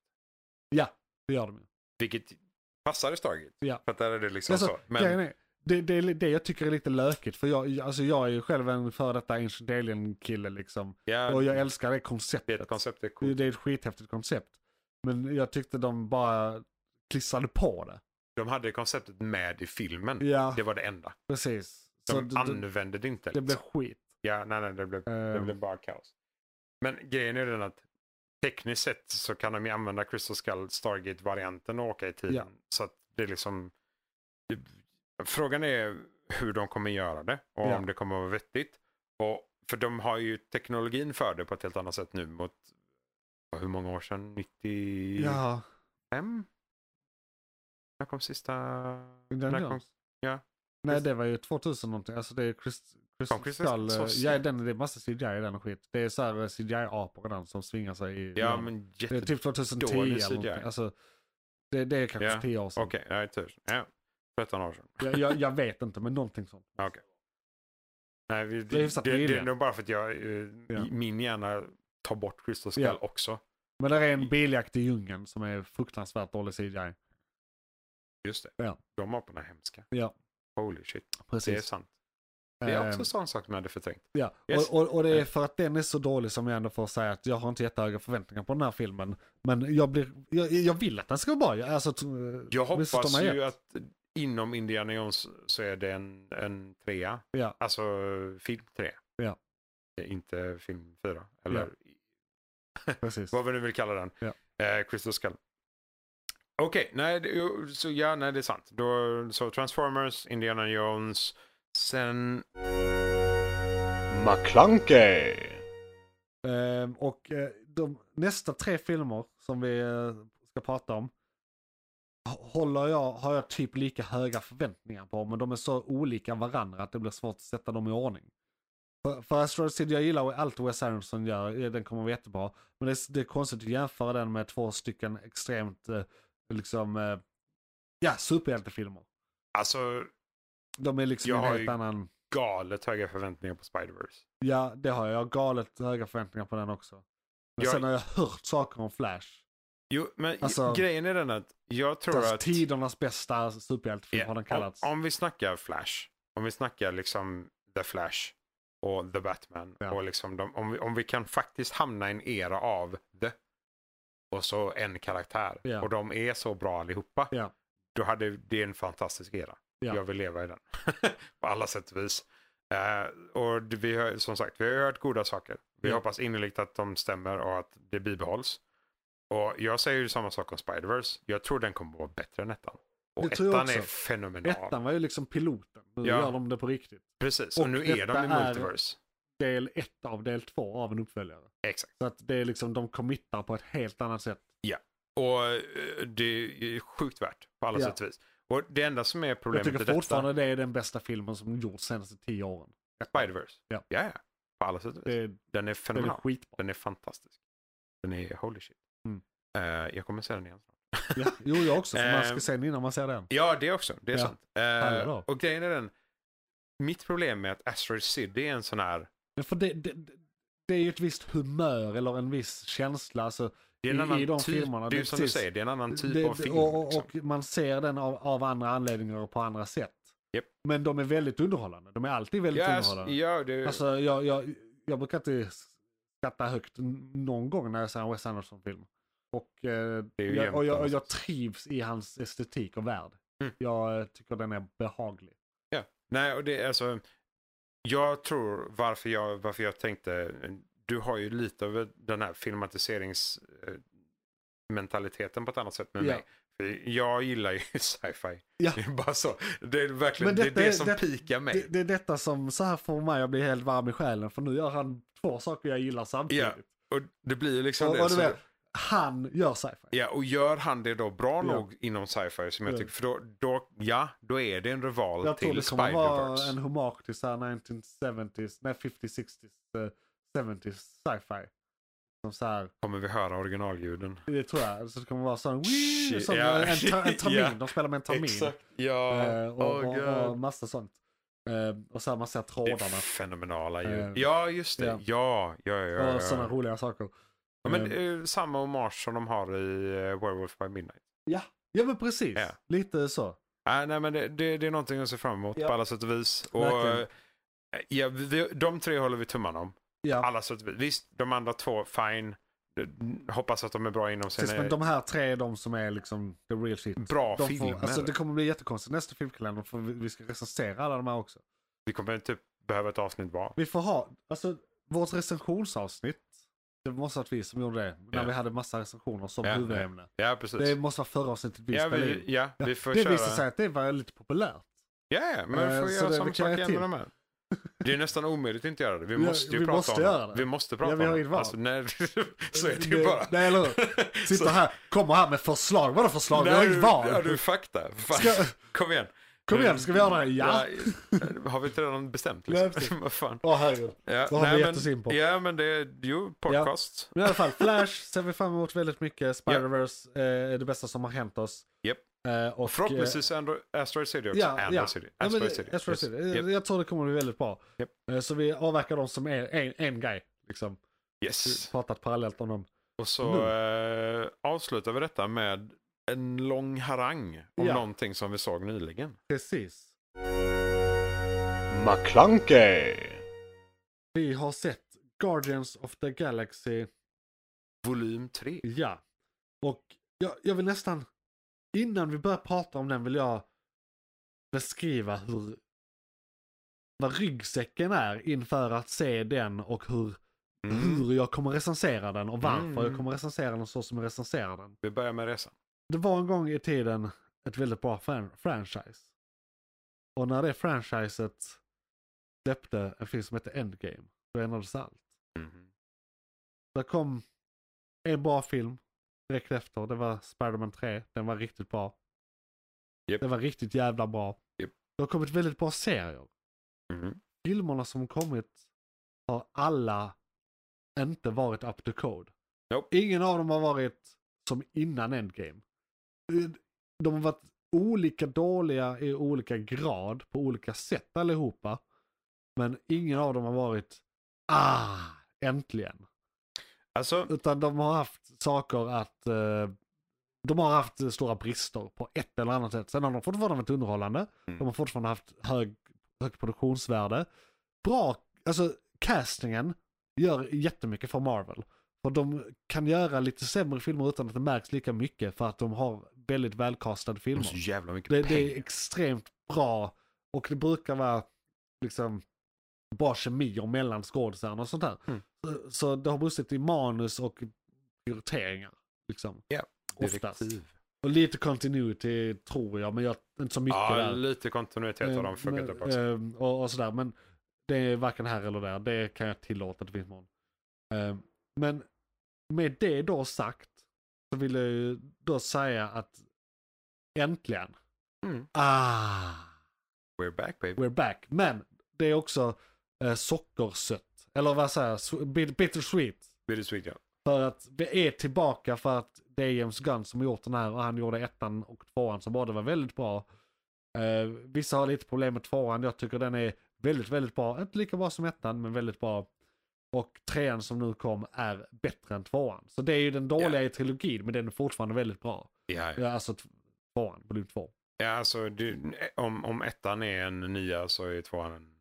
S2: Det gör de ju.
S3: Vilket passar i Stargate.
S2: Ja.
S3: För att där är det liksom
S2: Alltså,
S3: så.
S2: Grejen
S3: Men
S2: är, det, det, är li- det jag tycker är lite lökigt, för jag, alltså jag är ju själv en före detta Ancient Alien-kille liksom.
S3: ja,
S2: Och jag älskar det
S3: det är
S2: konceptet.
S3: ett koncept. Det är coolt.
S2: Det är ett skithäftigt koncept. Men jag tyckte de bara klissade på det.
S3: De hade konceptet med i filmen.
S2: Ja,
S3: Det var det enda.
S2: precis. Så
S3: Mm. De
S2: det, det,
S3: använde det inte.
S2: det blev
S3: liksom.
S2: skit.
S3: Ja, nej, nej, det blev, det
S2: Ehm.
S3: blev bara kaos. Men grejen är den att tekniskt sett så kan de ju använda Crystal Skull Stargate-varianten och åka i tiden.
S2: Ja.
S3: Så att det är liksom... det- Frågan är hur de kommer göra det och
S2: Ja.
S3: om det kommer att vara vettigt. Och, för de har ju teknologin för det på ett helt annat sätt nu mot hur många år sedan? 95?
S2: Ja,
S3: När kom sista...
S2: Indiana
S3: När kom-
S2: Jones.
S3: ja.
S2: Nej, det var ju 2000 någonting. Alltså det är Chris, Chris
S3: Kom Crystal
S2: Skull. eh,
S3: Skull?
S2: Ja, den, det är massa CGI i den och skit. Det är så här eh, CGI-apor redan som svingar sig i...
S3: Ja, men
S2: det är
S3: jätte...
S2: typ 2010
S3: dålig
S2: eller någonting.
S3: CGI.
S2: Alltså, det, det är kanske
S3: Ja,
S2: 10 år sedan.
S3: Okej, nej, tur. Ja, 13 år sedan.
S2: Jag, jag, jag vet inte, men någonting sånt.
S3: Ja, Okej. Nej, vi,
S2: Det är
S3: det,
S2: hyfsat
S3: det, det, är
S2: nyligen.
S3: nog bara för att jag, eh,
S2: Ja.
S3: min hjärna tar bort Crystal Skull
S2: Ja.
S3: också.
S2: Men det är en biljakt i djungeln som är fruktansvärt dålig CGI.
S3: Just det.
S2: Ja.
S3: De aporna är hemska.
S2: Ja.
S3: Holy shit, det är
S2: Precis.
S3: sant. Det är också
S2: Ehm,
S3: en sån sak man hade förträngt.
S2: Ja,
S3: Yes. Eh.
S2: och, och, och det är för att den är så dålig som jag ändå får säga att jag har inte jättehöga förväntningar på den här filmen. Men jag, blir, jag, jag vill att den ska vara bra. Alltså, t-
S3: Jag
S2: missförstå
S3: hoppas
S2: mig
S3: ju
S2: rätt.
S3: att inom Indiana Jones så är det en, en trea.
S2: Ja.
S3: Alltså film tre.
S2: Ja.
S3: Eh, Inte film fyra. Eller
S2: Precis.
S3: vad vi nu vill kalla den.
S2: Ja.
S3: Eh, Crystal Skull. Okej, nej, det- jo, så ja, nej, det är sant. Då, så Transformers, Indiana Jones, sen
S4: McClunkey!
S2: Ehm, och eh, de nästa tre filmer som vi eh, ska prata om håller jag, har jag typ lika höga förväntningar på, men de är så olika varandra att det blir svårt att sätta dem i ordning. För, för Asteroid City, jag gillar allt Wes Anderson gör, eh, den kommer vara jättebra. Men det, är- det är konstigt att jämföra den med två stycken extremt, eh, liksom, eh, ja, superhjältefilmer.
S3: Alltså
S2: De är liksom
S3: Jag
S2: en
S3: har
S2: helt
S3: ju-
S2: annan,
S3: galet höga förväntningar på Spider-Verse.
S2: ja det har jag, jag har galet höga förväntningar på den också. Men
S3: Jag-
S2: sen har jag hört saker om Flash.
S3: Jo, men
S2: Alltså-
S3: grejen är den att jag tror
S2: Alltså,
S3: att...
S2: tidernas bästa superhjältefilm
S3: Ja,
S2: har den kallats.
S3: Om, om vi snackar Flash, om vi snackar liksom The Flash och The Batman
S2: Ja.
S3: och liksom de, om, vi, om vi kan faktiskt hamna i en era av The och så en karaktär
S2: Ja.
S3: och de är så bra allihopa.
S2: Ja.
S3: Då hade det är en fantastisk era.
S2: Ja.
S3: Jag vill leva i den. På alla sätt och vis. Eh, och det- vi har, som sagt, vi har hört goda saker. Vi
S2: Ja.
S3: hoppas innerligt att de stämmer och att det bibehålls. Och jag säger ju samma sak om Spider-Verse. Jag tror den kommer att vara bättre än ettan. Och
S2: Det tror jag
S3: ettan
S2: också.
S3: är fenomenal.
S2: Ettan var ju liksom piloten. Nu
S3: Ja.
S2: gör de det på riktigt.
S3: Precis,
S2: Och
S3: och nu är
S2: detta
S3: de i
S2: är-
S3: multiverse.
S2: Del ett av del två av en uppföljare.
S3: Exakt.
S2: Så att det är liksom, de committar på ett helt annat sätt.
S3: Och eh, det är sjukt värt på alla
S2: Ja.
S3: sätt och vis. Och det enda som är
S2: Jag
S3: problemet i
S2: tycker
S3: detta,
S2: fortfarande det är den bästa filmen som gjorts senaste tio åren.
S3: Spider-Verse.
S2: Ja.
S3: ja, ja. på alla sätt och vis.
S2: Det, är-
S3: Den är
S2: den är
S3: fenomenal.
S2: skitbra.
S3: Den är fantastisk. Den är holy shit.
S2: Mm.
S3: Eh, jag kommer se den igen.
S2: Ja. Jo, jag också. För man ska
S3: Ehm.
S2: se den innan man ser den.
S3: Ja, det också. Det är
S2: Ja.
S3: sant. Eh,
S2: Alla dagar.
S3: och grejen är den, mitt problem är att Asteroid City är en sån här,
S2: Men för det, det, det- det är ju ett visst humör eller en viss känsla. Alltså,
S3: det är en
S2: I-
S3: annan
S2: i de
S3: typ,
S2: filmerna,
S3: det är
S2: det
S3: ju
S2: är
S3: som
S2: precis-
S3: du säger, det är en annan typ
S2: Det-
S3: av
S2: det-
S3: film.
S2: Och, och,
S3: liksom.
S2: och man ser den av, av andra anledningar och på andra sätt.
S3: Japp.
S2: Men de är väldigt underhållande. De är alltid väldigt
S3: ja, ass-
S2: underhållande.
S3: ja, det,
S2: Alltså jag, jag, jag brukar inte skratta högt n- någon gång när jag ser en Wes Anderson-film. Och, eh,
S3: Det är ju
S2: jag,
S3: jämnt
S2: och jag, och
S3: annars.
S2: jag trivs i hans estetik och värld.
S3: Mm.
S2: Jag eh, tycker den är behaglig.
S3: Ja, nej och det är alltså Jag tror varför jag, varför jag tänkte, du har ju lite av den här filmatiseringsmentaliteten på ett annat sätt med
S2: Ja.
S3: mig. För jag gillar ju sci-fi.
S2: Ja.
S3: Det är bara så. Det är verkligen det,
S2: Men detta
S3: är
S2: är-
S3: det som
S2: det-
S3: pikar mig.
S2: Det, det är detta som så här får mig att bli helt varm i själen för nu gör han två saker jag gillar samtidigt.
S3: Ja, och det blir ju liksom
S2: och,
S3: det.
S2: och du
S3: så-
S2: vet, han gör sci-fi.
S3: Ja, och gör han det då bra
S2: Ja.
S3: nog inom sci-fi som jag
S2: Ja.
S3: tycker, för då, då, ja, då är det en rival
S2: Jag tror
S3: till
S2: det kommer vara
S3: Spider-Verse.
S2: en hommage till så här 1970s, nej 50 60s, eh, 70s sci-fi. Som så här,
S3: Kommer vi höra originalljuden?
S2: det tror jag. Så det kommer vara sån, "Wii",
S3: Shit,
S2: som
S3: ja.
S2: en, ta, en termin,
S3: Ja.
S2: de spelar med en termin.
S3: ja.
S2: Eh, och,
S3: Åh,
S2: och,
S3: gud.
S2: och massa sånt. Eh, och så här man ser
S3: Det är
S2: trådarna.
S3: fenomenala ljud.
S2: Eh,
S3: ja, just det.
S2: ja.
S3: Ja, ja, ja. ja, ja.
S2: Och sådana roliga saker.
S3: ja men eh, samma hommage som de har i eh, Werewolf by Midnight.
S2: Ja men precis,
S3: Ja.
S2: lite så.
S3: Äh, nej, men det, det, det är någonting att se fram emot
S2: Ja.
S3: på alla sätt och vis. Och,
S2: Verkligen.
S3: eh, ja, vi- vi, de tre håller vi tummarna om.
S2: Ja.
S3: Alla sätt och vis. Visst, de andra två, fine. Eh, Hoppas att de är bra inom
S2: Precis,
S3: sina
S2: men de här tre är de som är liksom the real shit.
S3: bra
S2: De får,
S3: filmer.
S2: alltså, det kommer bli jättekonstigt nästa filmkalender för vi vi ska recensera alla de här också.
S3: Vi kommer typ behöva ett avsnitt var.
S2: Vi får ha, alltså vårt recensionsavsnitt. Det måste att vi som gjorde det. När
S3: Ja.
S2: vi hade massa recensioner som
S3: Ja,
S2: huvudämne.
S3: Ja, precis.
S2: Det måste vara förra avsnittet vi
S3: ja,
S2: spelade
S3: vi,
S2: in.
S3: ja,
S2: Ja,
S3: vi får
S2: det
S3: köra.
S2: visade sig att det var lite populärt.
S3: Ja, ja, men vi
S2: Eh,
S3: får
S2: så
S3: göra
S2: det-
S3: samma
S2: vi kan
S3: sak
S2: göra
S3: igen
S2: till.
S3: med de här. Det är nästan omöjligt att inte göra det. Vi
S2: Ja,
S3: måste ju
S2: vi
S3: prata
S2: måste
S3: om
S2: göra det.
S3: Vi måste prata
S2: Ja, vi har
S3: om
S2: inget val.
S3: Alltså, nej, så är det ju
S2: Det-
S3: bara.
S2: Nej, eller hur?
S3: Så-
S2: Sitter här, kommer här med förslag. Vadå förslag?
S3: Nej,
S2: jag har
S3: du-
S2: inget
S3: Ja,
S2: val.
S3: du fakta. Fan.
S2: Ska-
S3: Kom igen.
S2: Kom igen, ska vi göra det här? Ja.
S3: Ja, har vi inte redan bestämt
S2: Nej, precis.
S3: liksom? Vad fan.
S2: Åh herregud.
S3: Ja,
S2: Vad har vi gett
S3: men-
S2: oss in på?
S3: Ja, men det är ju podcast.
S2: Men i alla fall, Flash ser vi fram emot väldigt mycket. Spider-Verse eh, är det bästa som har hänt oss.
S3: Japp.
S2: Eh, och,
S3: Förhoppningsvis Andro- Asteroid City också.
S2: Ja,
S3: Android
S2: ja.
S3: City.
S2: Ja, men,
S3: Asteroid
S2: det-
S3: City.
S2: Asteroid
S3: Yes.
S2: City.
S3: Yep.
S2: Jag, jag tror det kommer bli väldigt bra.
S3: Japp.
S2: Eh, Så vi avverkar dem som en, en, en guy. Liksom.
S3: Yes.
S2: Pratat parallellt om dem.
S3: Och så
S2: Mm.
S3: eh, avslutar vi detta med en lång harang om
S2: Ja.
S3: någonting som vi såg nyligen.
S2: Precis.
S4: McClunkey!
S2: Vi har sett Guardians of the Galaxy.
S3: Volym 3.
S2: Ja. Och jag, jag vill nästan, innan vi börjar prata om den vill jag beskriva hur vad ryggsäcken är inför att se den och hur, hur jag kommer recensera den och varför
S3: Mm.
S2: jag kommer recensera den så som jag recenserar den.
S3: Vi börjar med resan.
S2: Det var en gång i tiden ett väldigt bra fran- franchise. Och när det franchiset släppte en film som hette Endgame, då ändrades allt. Mm. Där kom en bra film direkt efter. Det var Spider-Man 3. Den var riktigt bra.
S3: Japp.
S2: Den var riktigt jävla bra.
S3: Japp.
S2: Det har kommit väldigt bra serier. Mm.
S3: Mhm.
S2: Filmerna som kommit har alla inte varit up to code.
S3: Nope.
S2: Ingen av dem har varit som innan Endgame. De har varit olika dåliga i olika grad på olika sätt allihopa. Men ingen av dem har varit ah, äntligen.
S3: Alltså,
S2: Utan de har haft saker att... eh, De har haft stora brister på ett eller annat sätt. Sen har de fortfarande varit underhållande.
S3: Mm.
S2: De har fortfarande haft hög, högt produktionsvärde. Bra, alltså castingen gör jättemycket för Marvel. För de kan göra lite sämre filmer utan att det märks lika mycket för att de har väldigt välkastade
S3: de har
S2: filmer.
S3: så jävla mycket
S2: Det,
S3: pengar.
S2: det är extremt bra och det brukar vara liksom bra kemier mellan skådisarna och sånt där.
S3: Mm.
S2: Så, så det har brustit i manus och prioriteringar. Liksom.
S3: Ja,
S2: Oftast.
S3: Direktiv.
S2: Och lite continuity tror jag, men jag, inte så mycket
S3: Ja,
S2: där.
S3: lite kontinuitet har de fuckat upp också.
S2: ehm, Eh, och, och sådär, men det är varken här eller där. Det kan jag tillåta till viss mån. Ehm, men med det då sagt så vill jag ju då säga att äntligen.
S3: Mm.
S2: Ah!
S3: We're back baby.
S2: We're back. Men det är också eh, sockersött. Eller vad säger jag? Sw- bit- Bittersweet.
S3: Bittersweet ja.
S2: För att vi är tillbaka för att det är James Gunn som har gjort den här och han gjorde ettan och tvåan som båda var väldigt bra. Eh, vissa har lite problem med tvåan. Jag tycker den är väldigt, väldigt bra. Inte lika bra som ettan, men väldigt bra. Och trean som nu kom är bättre än tvåan. Så det är ju den dåliga i trilogin, men den är fortfarande väldigt bra.
S3: Ja, ja.
S2: Ja, alltså t- tvåan, volym två.
S3: ja alltså, det, om, om ettan är en nia så är tvåan en,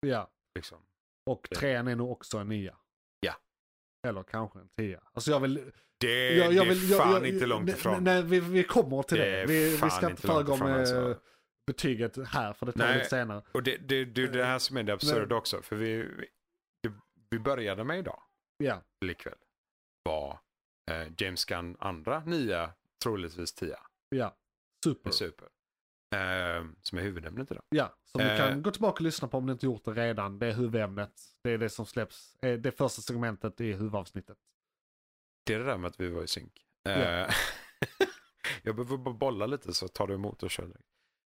S2: Ja.
S3: liksom.
S2: Och
S3: Ja.
S2: trean är nog också en nia.
S3: Ja.
S2: Eller kanske en tia. Alltså jag vill...
S3: Det,
S2: Jag, jag
S3: Eh, det
S2: vill
S3: är fan
S2: jag, jag,
S3: inte långt
S2: nej,
S3: ifrån.
S2: Nej, vi, vi kommer till
S3: Det
S2: det.
S3: är
S2: Vi, vi
S3: fan
S2: ska inte
S3: inte långt
S2: föregå
S3: ifrån,
S2: med
S3: alltså.
S2: betyget här, för det tar vi
S3: Nej.
S2: lite senare.
S3: Och det, det, det är det
S2: Eh,
S3: här som är det absurda också. För vi, vi, det, vi började med idag,
S2: Ja,
S3: likväl, var eh, James Gunn andra nia, troligtvis tia,
S2: ja.
S3: är
S2: Super.
S3: super. Eh, som är huvudämnet idag.
S2: Ja, som du
S3: Eh.
S2: kan gå tillbaka och lyssna på om du inte gjort det redan. Det är huvudämnet. Det är det som släpps. eh, Det första segmentet i huvudavsnittet.
S3: Det är det där med att vi var i synk. Eh,
S2: Ja.
S3: jag behöver bara bolla lite så tar du emot och kör direkt.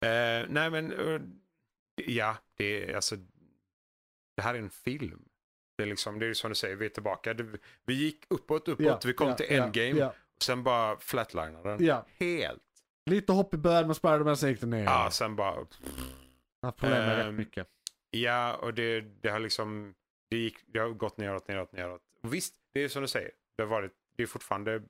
S3: Eh, nej men, eh, ja, det är alltså, det här är en film. Det är liksom, det är ju som du säger, vi är tillbaka. Det, vi gick uppåt, uppåt,
S2: Ja,
S3: vi kom
S2: ja,
S3: till
S2: ja,
S3: endgame.
S2: Ja,
S3: Sen bara flatlinade den.
S2: ja.
S3: Helt.
S2: Lite hopp i början med Spider-Man, sen gick det ner.
S3: Ja, sen bara...
S2: Jag har problem med
S3: ehm,
S2: rätt mycket.
S3: Ja, och det, det har liksom... Det, gick, det har gått neråt, neråt, neråt. Och visst, det är som du säger. Det, har varit, det är fortfarande,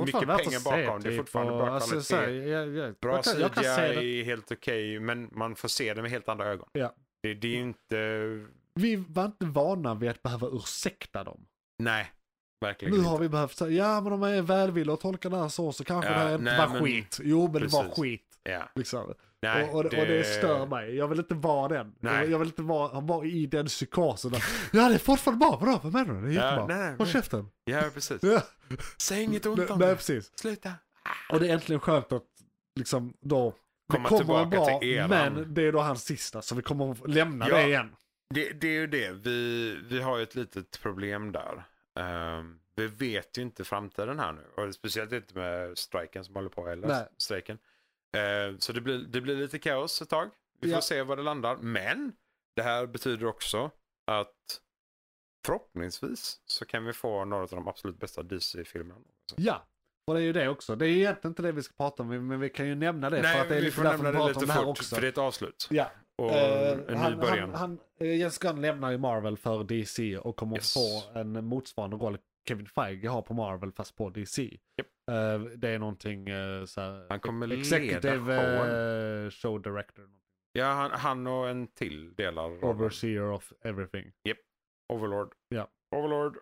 S2: Fortfarande värt
S3: mycket pengar
S2: att se, typ,
S3: bakom. Det är fortfarande
S2: och- alltså,
S3: bra kvalitet.
S2: så här, jag, jag,
S3: bra
S2: jag, kan, jag kan se det.
S3: CGI, är helt okej, men man får se det med helt andra ögon.
S2: Ja.
S3: Det, det är ju inte...
S2: Vi var inte vana vid att behöva ursäkta dem.
S3: Nej, verkligen
S2: Nu
S3: inte.
S2: har vi behövt säga, ja men de är välvilliga och tolkar det här så, så kanske
S3: Ja,
S2: det här inte
S3: nej,
S2: var
S3: men-
S2: skit. Jo men det var
S3: Precis.
S2: skit.
S3: Ja.
S2: Liksom.
S3: Nej,
S2: och, och, det... och det stör mig. Jag vill inte vara den.
S3: Nej.
S2: Jag vill inte vara, vara i den psykosen. där. Ja det är fortfarande bra, bra, vad menar du? Det är
S3: Ja,
S2: jättebra.
S3: nej, nej,
S2: Håll
S3: men-
S2: käften.
S3: Ja, precis.
S2: Ja.
S3: Säg inget
S2: Nej,
S3: ont om
S2: nej
S3: det.
S2: precis.
S3: Sluta.
S2: Och det är äntligen skönt att liksom då
S3: Komma
S2: det kommer en
S3: tillbaka
S2: bra,
S3: till eran.
S2: men det är då hans sista så vi kommer att lämna
S3: Ja.
S2: det igen.
S3: Det, det är ju det. Vi, vi har ju ett litet problem där. Ehm, vi vet ju inte framtiden här nu. Och speciellt inte med striken som håller på heller.
S2: Nej.
S3: Strejken. Ehm, så det blir, det blir lite kaos ett tag. Vi
S2: Ja.
S3: får se var det landar. Men det här betyder också att förhoppningsvis så kan vi få några av de absolut bästa DC-filmerna.
S2: Ja, och det är ju det också. Det är ju egentligen inte det vi ska prata om men vi kan ju nämna det för att det är lite därför vi pratar om det här också.
S3: för det är ett avslut.
S2: Ja.
S3: Och
S2: Eh,
S3: en ny
S2: han,
S3: början.
S2: han, han, eh, Jens Gunn lämnar ju Marvel för DC och kommer
S3: Yes.
S2: få en motsvarande roll Kevin Feige har på Marvel fast på DC. Eh, det är någonting uh, så här,
S3: Han kommer leda
S2: Executive
S3: showen.
S2: eh, Show Director.
S3: Ja, han, han och en till delar. rollen.
S2: Overseer of everything.
S3: Overlord.
S2: Ja.
S3: Overlord.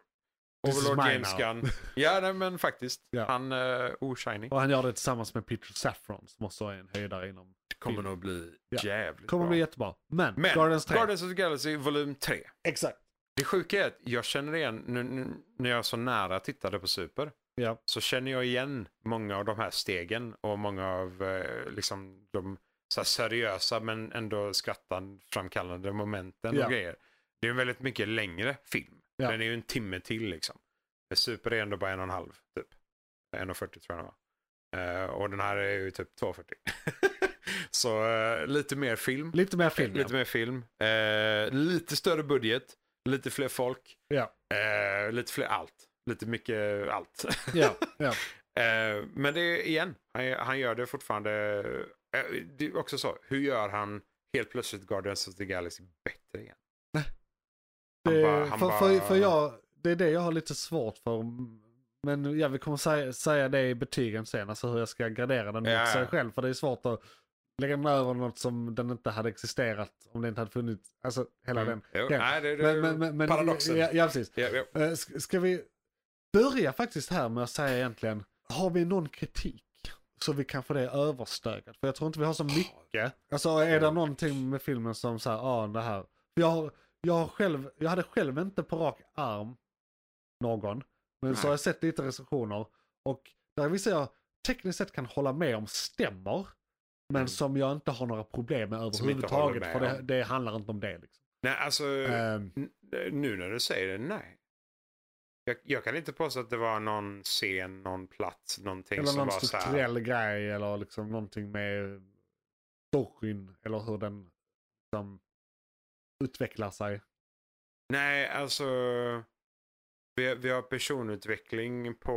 S2: This is
S3: Overlord
S2: mine
S3: James
S2: now.
S3: Gunn. Ja, nej, men faktiskt.
S2: Ja.
S3: Han uh, oshiny.
S2: Och han gör det tillsammans med Peter Saffron som också är en höjdare inom...
S3: Kommer nog bli
S2: Ja.
S3: jävligt
S2: Kommer
S3: bra.
S2: bli jättebra. Men,
S3: Men
S2: Guardians 3.
S3: Guardians of the Galaxy volym 3.
S2: Exakt.
S3: Det sjuka är att jag känner igen, nu, nu, när jag så nära tittade på Super,
S2: Ja.
S3: så känner jag igen många av de här stegen och många av eh, liksom de så här seriösa men ändå skrattanframkallande momenten
S2: Ja.
S3: och grejer. Det är en väldigt mycket längre film.
S2: Ja.
S3: Den är ju en timme till liksom. Super är ändå bara en och en halv typ. 1.40 tror jag den var. Eh, och den här är ju typ 2.40. så eh, lite mer film.
S2: Lite mer film.
S3: Lite
S2: ja.
S3: mer film. Eh, lite större budget. Lite fler folk.
S2: Ja.
S3: Eh, lite fler allt. Lite mycket allt.
S2: Ja, ja.
S3: Eh, men det är igen, han, han gör det fortfarande. Eh, det är också så, hur gör han helt plötsligt Guardians of the Galaxy bättre igen? Han
S2: Det,
S3: bara- han
S2: för,
S3: bara-
S2: för, för jag, det är det jag har lite svårt för. Men ja, vi kommer säga, säga det i betygen sen, alltså hur jag ska gradera den mot
S3: Ja.
S2: sig själv. För det är svårt att lägga den över något som den inte hade existerat om det inte hade funnits. Alltså hela
S3: Mm.
S2: den.
S3: Jo,
S2: den.
S3: Nej, det, det,
S2: Men, men, men, men,
S3: paradoxen.
S2: Ja, ja, precis.
S3: Ja, ja.
S2: Eh, sk- Ska vi börja faktiskt här med att säga egentligen, har vi någon kritik? Så vi kan få det överstökat. För jag tror inte vi har så mycket. Alltså är det någonting med filmen som så här, ja ah, det här. Jag, har, jag, har själv, jag hade själv inte på rak arm någon. Men så
S3: Nej.
S2: har jag sett lite recensioner. Och där vissa jag tekniskt sett kan hålla med om stämmer. Men
S3: Mm.
S2: som jag inte har några problem med
S3: Som inte
S2: överhuvudtaget.
S3: håller
S2: För
S3: med
S2: det, det handlar inte om det. Liksom.
S3: Nej, alltså
S2: Eh,
S3: n- nu när du säger det, nej. Jag, jag kan inte påstå att det var någon scen, någon plats, någonting
S2: Eller
S3: som
S2: någon
S3: var så här.
S2: strukturell grej eller liksom någonting med storyn eller hur den liksom utvecklar sig.
S3: Nej, alltså. Vi, vi har personutveckling på...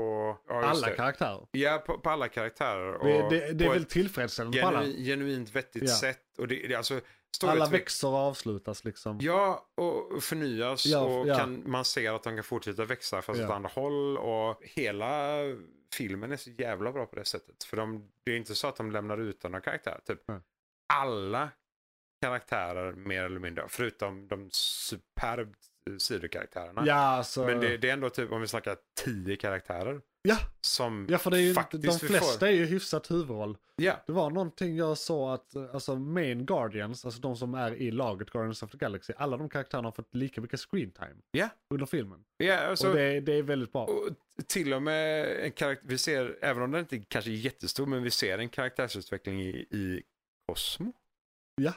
S3: Ja, just
S2: Alla
S3: det.
S2: karaktärer.
S3: Ja, på, på alla karaktärer. Och
S2: Det, det, det
S3: på
S2: är väl
S3: ett
S2: tillfredsställande på alla.
S3: genu, genuint vettigt
S2: Ja.
S3: sätt. Och det, det, alltså,
S2: Alla
S3: storyutveck-
S2: växer och avslutas liksom.
S3: Ja, och förnyas
S2: Ja,
S3: och
S2: ja.
S3: Kan, man ser att de kan fortsätta växa fast
S2: Ja.
S3: åt andra håll. Och hela filmen är så jävla bra på det sättet. För de, det är inte så att de lämnar ut några karaktärer. Typ.
S2: Nej.
S3: Alla karaktärer mer eller mindre, förutom de superbt eh, sidokaraktärerna.
S2: Ja, alltså,
S3: Men det, det är ändå typ, om vi snackar tio karaktärer.
S2: ja,
S3: Som
S2: ja, för det är ju inte, de
S3: faktiskt vi
S2: flesta
S3: får.
S2: är ju hyfsat huvudroll.
S3: Ja,
S2: Det var någonting jag såg att, eh, alltså main guardians, alltså de som är i laget Guardians of the Galaxy, alla de karaktärerna har fått lika mycket screen time
S3: Ja.
S2: under filmen.
S3: ja alltså,
S2: och det, det är väldigt bra.
S3: Och till och med en karaktär, vi ser, även om den inte kanske är jättestor, men vi ser en karaktärsutveckling i, i Cosmo.
S2: Ja.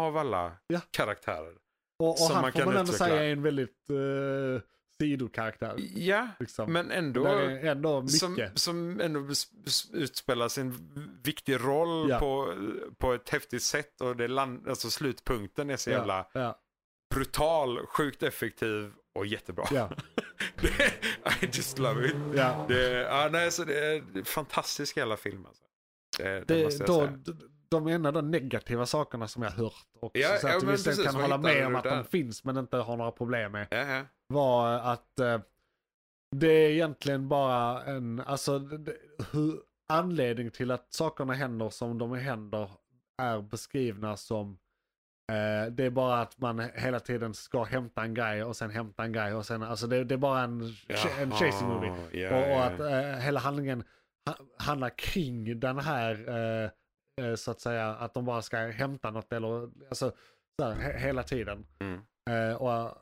S3: Av alla
S2: Ja.
S3: karaktärer.
S2: Och, och
S3: som
S2: han
S3: man
S2: får
S3: kan
S2: man ändå
S3: utveckla.
S2: säga är en väldigt eh, sidokaraktär.
S3: Ja,
S2: Liksom.
S3: men ändå,
S2: Där är ändå mycket.
S3: som, som ändå bes- bes- utspelar sin viktig roll
S2: Ja.
S3: på, på ett häftigt sätt och det land, alltså slutpunkten är så jävla
S2: Ja, ja,
S3: brutal, sjukt effektiv och jättebra.
S2: ja,
S3: I just love it.
S2: ja.
S3: Det, ja, nej, så det är en fantastisk jävla film. Alltså. Det, det, måste
S2: Det,
S3: jag
S2: då,
S3: säga.
S2: d- de enda de negativa sakerna som jag hört och
S3: Ja,
S2: så
S3: ja,
S2: att du
S3: men
S2: visst
S3: precis,
S2: kan
S3: vad
S2: hålla
S3: hittar
S2: med
S3: du
S2: om att
S3: där?
S2: de finns men inte har några problem med
S3: Ja, ja.
S2: var att eh, det är egentligen bara en, alltså det- det- hur anledning till att sakerna händer som de händer är beskrivna som eh, det är bara att man hela tiden ska hämta en grej och sen hämta en grej och sen, alltså det, det är bara en, en chasing movie.
S3: Ja,
S2: Och, och
S3: ja,
S2: att
S3: ja.
S2: eh, hela handlingen ha, handlar kring den här, eh, eh, så att säga, att de bara ska hämta något eller, alltså, så här, he, hela tiden.
S3: Mm.
S2: Eh, och,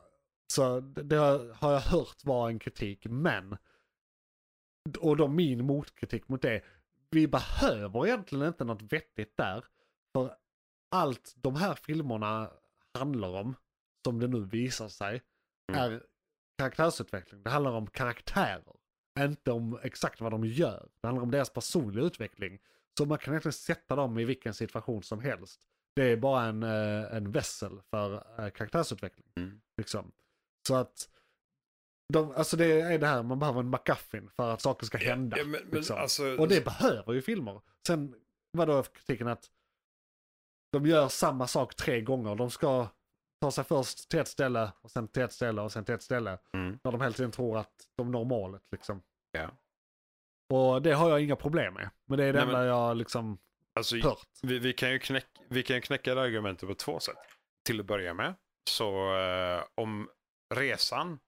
S2: så det, det har jag hört var en kritik, men, och då min motkritik mot det, vi behöver egentligen inte något vettigt där. För allt de här filmerna handlar om, som det nu visar sig,
S3: Mm.
S2: är karaktärsutveckling. Det handlar om karaktärer, inte om exakt vad de gör. Det handlar om deras personliga utveckling. Så man kan egentligen sätta dem i vilken situation som helst. Det är bara en, eh, en vässel för eh, karaktärsutveckling.
S3: Mm.
S2: Liksom. Så att, de, alltså det är det här, man behöver en MacGuffin för att saker ska hända.
S3: Ja, men, men,
S2: liksom.
S3: alltså,
S2: Och det behöver ju filmer. Sen var då kritiken att de gör samma sak tre gånger. De ska ta sig först till ett ställe och sen till ett ställe och sen till ett ställe.
S3: Mm.
S2: När de hela tiden tror att de når målet liksom.
S3: Ja.
S2: Och det har jag inga problem med. Men det är det
S3: Nej, men-
S2: enda jag liksom
S3: alltså,
S2: hört.
S3: vi, vi, kan ju knäck, vi kan ju knäcka det argumentet på två sätt. Till att börja med, så eh, om resan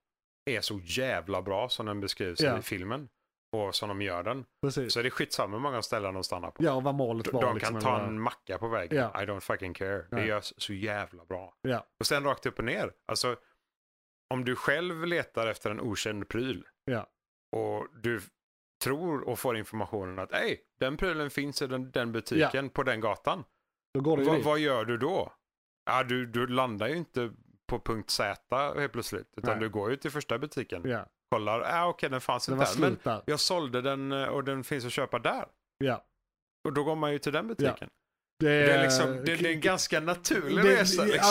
S3: är så jävla bra som den beskrivs
S2: Ja.
S3: i filmen och som de gör den,
S2: Precis.
S3: så är det skitsamma hur många ställen de stannar på.
S2: Ja, och vad målet
S3: De
S2: var.
S3: de
S2: liksom,
S3: kan ta
S2: eller-
S3: en macka på vägen.
S2: Ja.
S3: I don't fucking care. Det
S2: Nej.
S3: görs så jävla bra.
S2: Ja.
S3: Och sen rakt upp och ner. Alltså, om du själv letar efter en okänd pryl
S2: Ja.
S3: och du tror och får informationen att Ej, den prylen finns i den, den butiken på den gatan.
S2: Då går det ju
S3: Va,
S2: dit.
S3: vad gör du då? Ja, du, du landar ju inte på punkt Z helt plötsligt. Utan
S2: Nej.
S3: du går ju till första butiken.
S2: Ja,
S3: Kollar, ja okej den fanns
S2: det
S3: inte
S2: var
S3: där. Men
S2: slut där.
S3: jag sålde den eh, och den finns att köpa där.
S2: Ja.
S3: Och då går man ju till den butiken.
S2: Det,
S3: Det är, liksom, det, det är en ganska naturlig
S2: Eh, Det-
S3: resa.
S2: det-
S3: Liksom.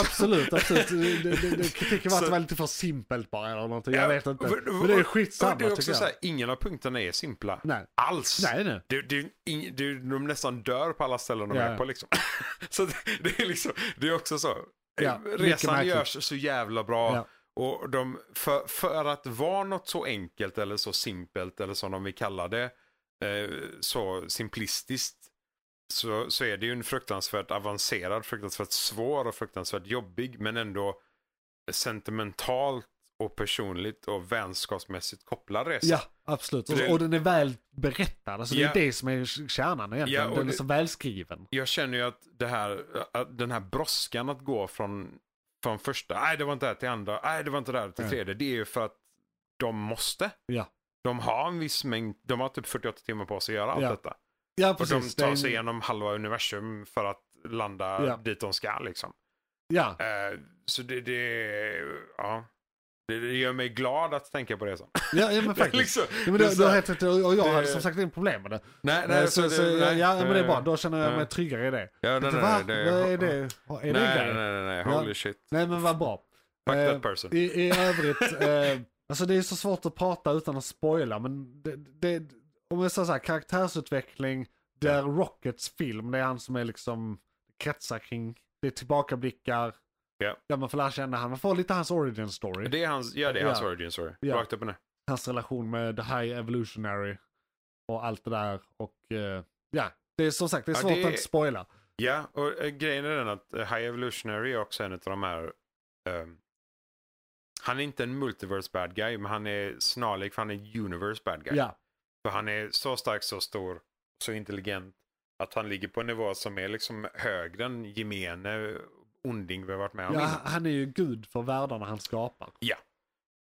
S2: Absolut, absolut. Det- det- det- det- Kritiken var
S3: Så-
S2: att det var lite för simpelt bara eller någonting. Jag
S3: Ja,
S2: vet inte.
S3: och- och-
S2: Men det är
S3: Ja,
S2: skitsamma
S3: det är också
S2: tycker jag.
S3: så här, ingen av punkterna är simpla.
S2: Nej.
S3: Alls.
S2: Nej, nej.
S3: Du, du, ing, du, de nästan dör på alla ställen de
S2: Ja.
S3: är på liksom. så det, det är liksom, det är också så. Eh,
S2: Ja, mycket
S3: Resan
S2: märkligt.
S3: görs så jävla bra.
S2: Ja.
S3: Och de, för, för att vara något så enkelt eller så simpelt eller som de vill kalla det, eh, så simplistiskt, så, så är det ju en fruktansvärt avancerad, fruktansvärt svår och fruktansvärt jobbig, men ändå sentimentalt och personligt och vänskapsmässigt kopplad resa.
S2: Ja, absolut. Och,
S3: Det-
S2: och den är väl berättad. Alltså,
S3: Ja.
S2: Det är det som är kärnan egentligen.
S3: Ja, och
S2: den är
S3: det-
S2: så välskriven.
S3: jag känner ju att, det här, att den här brådskan att gå från, från första, nej det var inte det här till andra, nej det var inte det här till
S2: Ja.
S3: tredje, det är ju för att de måste.
S2: Ja.
S3: De har en viss mängd, de har typ 48 timmar på sig att göra allt
S2: Ja,
S3: detta.
S2: Ja,
S3: Och
S2: precis.
S3: de
S2: Det
S3: tar
S2: är en-
S3: sig igenom halva universum för att landa
S2: Ja.
S3: dit de ska liksom.
S2: Ja,
S3: Eh, så det, det, ja. Det, det gör mig glad att tänka på det sen.
S2: ja, ja men
S3: Det är
S2: faktiskt.
S3: liksom-
S2: Ja, men
S3: det är
S2: du,
S3: så
S2: du har
S3: här-
S2: helt rätt. Och jag hade
S3: det-
S2: som sagt inga problem med det.
S3: Nej,
S2: Nej,
S3: nej,
S2: så,
S3: så,
S2: så,
S3: det, nej.
S2: ja, men det är bra.
S3: Eh,
S2: Då känner jag
S3: nej.
S2: mig tryggare i det.
S3: Ja, nej, nej,
S2: Va?
S3: nej,
S2: Vad är det? Är det en
S3: Nej,
S2: grej?
S3: nej, nej, nej,
S2: Ja.
S3: holy shit.
S2: Nej, men vad bra.
S3: Fuck
S2: Eh,
S3: that person.
S2: I, i övrigt, eh, alltså det är så svårt att prata utan att spoila, men det, det, om jag säger så här, karaktärsutveckling, det är Rockets film, det är han som är liksom kretsar kring, det är tillbakablickar,
S3: Ja.
S2: där man får lära känna han, man får lite hans origin story,
S3: Det är hans, ja, det är hans
S2: Ja.
S3: origin story.
S2: Ja.
S3: Rakt upp och ner.
S2: hans relation med The High Evolutionary och allt det där och eh, ja, det är som sagt, det är
S3: Ja,
S2: svårt
S3: det-
S2: att inte spoila.
S3: Ja, och eh, grejen är den att eh, High Evolutionary är också en av de här... ehm, Han är inte en multiverse bad guy, men han är snarlik för han är universe bad guy.
S2: Ja,
S3: För han är så stark, så stor, så intelligent att han ligger på en nivå som är liksom högre än gemene onding vi har varit med om.
S2: ja,
S3: innan.
S2: han är ju gud för världarna han skapar.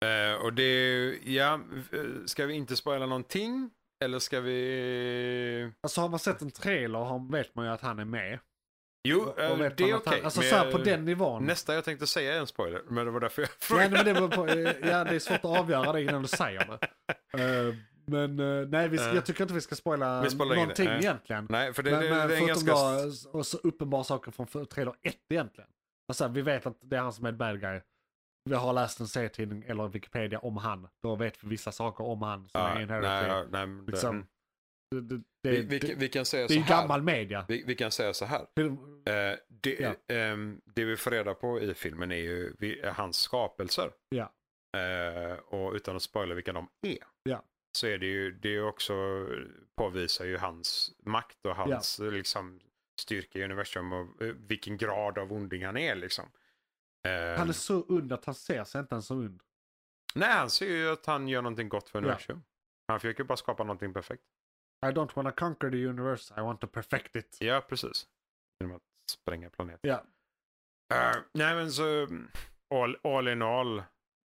S3: Eh, och det är ju- ja, eh, ska vi inte spoila någonting? Eller ska vi...
S2: Alltså har man sett en trailer har- vet man ju att han är med.
S3: Jo,
S2: Och- och
S3: eh, det är
S2: vet
S3: okej.
S2: man att han- Alltså
S3: men
S2: så här
S3: jag-
S2: på den nivån.
S3: Nästa jag tänkte säga är en spoiler, men det var därför jag
S2: Ja, nej,
S3: frågade.
S2: men det, beror på, eh, ja, det är svårt att avgöra det innan du säger det. Eh, Men eh, nej, vi, ska-
S3: Eh.
S2: jag tycker inte vi ska spoila
S3: Vi spoilar inget.
S2: någonting
S3: Nej.
S2: egentligen.
S3: Nej, för det,
S2: men,
S3: det,
S2: men
S3: det är en
S2: förutom
S3: ganska...
S2: då, och så uppenbara saker från för- trailer 1 egentligen. Alltså, vi vet att det är han som är bad guy. Vi har läst en serietidning eller Wikipedia om han. Då vet vi vissa saker om han som
S3: Ja,
S2: är
S3: nej,
S2: inherited.
S3: ja, nej, men det-
S2: Liksom,
S3: mm.
S2: Det, det,
S3: vi,
S2: det,
S3: vi,
S2: det,
S3: vi kan säga
S2: det är
S3: så
S2: ju
S3: här.
S2: gammal media.
S3: Vi, vi kan säga så här.
S2: Film-
S3: Eh, det,
S2: Ja.
S3: ehm, det vi får reda på i filmen är ju vi, är hans skapelser.
S2: Ja.
S3: Eh, och utan att spoila vilka de är.
S2: Ja.
S3: Så är det ju, det är ju också, påvisar ju hans makt och hans liksom, styrka i universum och eh, vilken grad av onding han är liksom. Eh,
S2: Han är så und att han ser sig inte ens som und.
S3: Nej, han ser ju att han gör någonting gott för
S2: Ja.
S3: universum. Han försöker bara skapa någonting perfekt.
S2: I don't wanna conquer the universe, I want to perfect it.
S3: Ja, precis. Genom att spränga planeten.
S2: Ja.
S3: Eh, nej, men så all, all in all,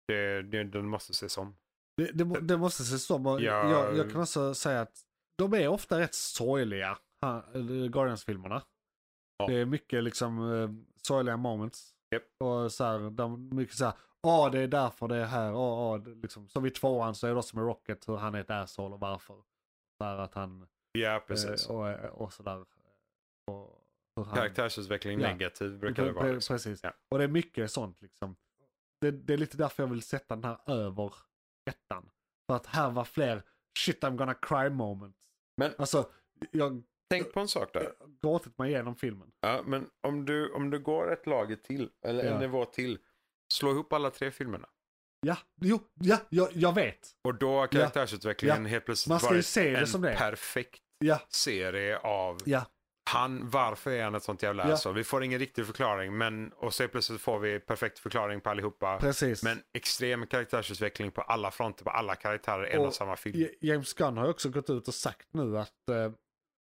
S3: det, det, den måste ses om.
S2: Det, det, må- det måste ses som. och
S3: Ja.
S2: Jag, jag kan också säga att de är ofta rätt sorgliga, ha- eh, Guardians-filmerna.
S3: Ja.
S2: Det är mycket liksom eh, sorgliga moments.
S3: Japp.
S2: Och så här, de, mycket så här, ja det är därför det är här, ja, ja, det- liksom. Som i tvåan så är det också med Rocket hur han är ett asshole och varför. Så här att han,
S3: Ja,
S2: eh,
S3: precis.
S2: och, och sådär. Och hur han-
S3: Karaktärsutveckling
S2: Ja.
S3: negativ brukar det
S2: Pre-
S3: vara.
S2: pre-
S3: Liksom.
S2: Precis.
S3: Ja.
S2: Och det är mycket sånt liksom. Det, det är lite därför jag vill sätta den här över ettan. För att här var fler shit I'm gonna cry moments.
S3: Men-
S2: Alltså, jag
S3: Tänk på en sak där.
S2: har gråtit mig igenom filmen.
S3: Ja, men om du, om du går ett lager till, eller
S2: Ja.
S3: en nivå till, slå ihop alla tre filmerna.
S2: Ja, jo, ja, jag, jag vet.
S3: Och då har karaktärsutvecklingen helt plötsligt
S2: Man ska ju
S3: varit
S2: se det
S3: en
S2: som det är.
S3: perfekt
S2: Ja,
S3: serie av
S2: ja,
S3: han, varför är han ett sånt jävla
S2: Ja.
S3: asshole? Vi får ingen riktig förklaring, men och så plötsligt får vi perfekt förklaring på allihopa.
S2: precis.
S3: Men extrem karaktärsutveckling på alla fronter, på alla karaktärer, en
S2: Och-
S3: och samma film.
S2: J- James Gunn har ju också gått ut och sagt nu att eh,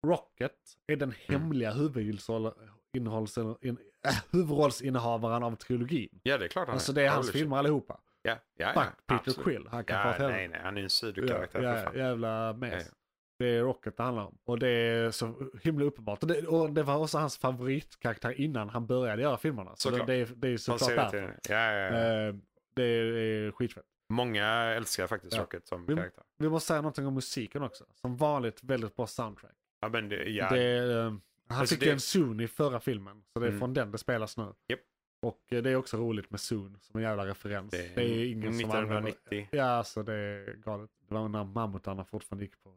S2: Rocket är den
S3: Mm.
S2: hemliga huvudinnehållsen- in- äh, huvudrollsinnehavaren av trilogin.
S3: Ja, det är klart han
S2: Alltså det är hans
S3: Holy shit.
S2: filmer allihopa.
S3: Ja, ja, ja,
S2: Fuck Peter
S3: absolut.
S2: Quill, han kan
S3: Ja,
S2: få ett
S3: nej,
S2: helvete.
S3: nej, han är ju en
S2: Ja,
S3: sidokaraktär för
S2: ja,
S3: fan.
S2: jävla mes.
S3: Ja, ja.
S2: Det är Rocket det handlar om. Och det är så himla uppenbart. Och det, och det var också hans favoritkaraktär innan han började göra filmerna. Så det,
S3: Såklart.
S2: det, är- det är
S3: Man
S2: såklart
S3: ser det
S2: därför.
S3: till ja, ja, ja.
S2: Eh, Det är skitfett.
S3: Många älskar faktiskt
S2: Ja.
S3: Rocket som
S2: Vi-
S3: karaktär.
S2: Vi måste säga någonting om musiken också. Som vanligt väldigt bra soundtrack.
S3: Ja, men det, ja,
S2: Det, är, eh, han
S3: Alltså,
S2: fick
S3: det-
S2: ju en zoon i förra filmen. Så det är
S3: Mm.
S2: från den det spelas nu.
S3: Japp.
S2: Och eh, det är också roligt med zoon som en jävla referens. Det är, ingen som använder
S3: 1990.
S2: Ja, alltså det är galet. Det var när mammutarna fortfarande gick på.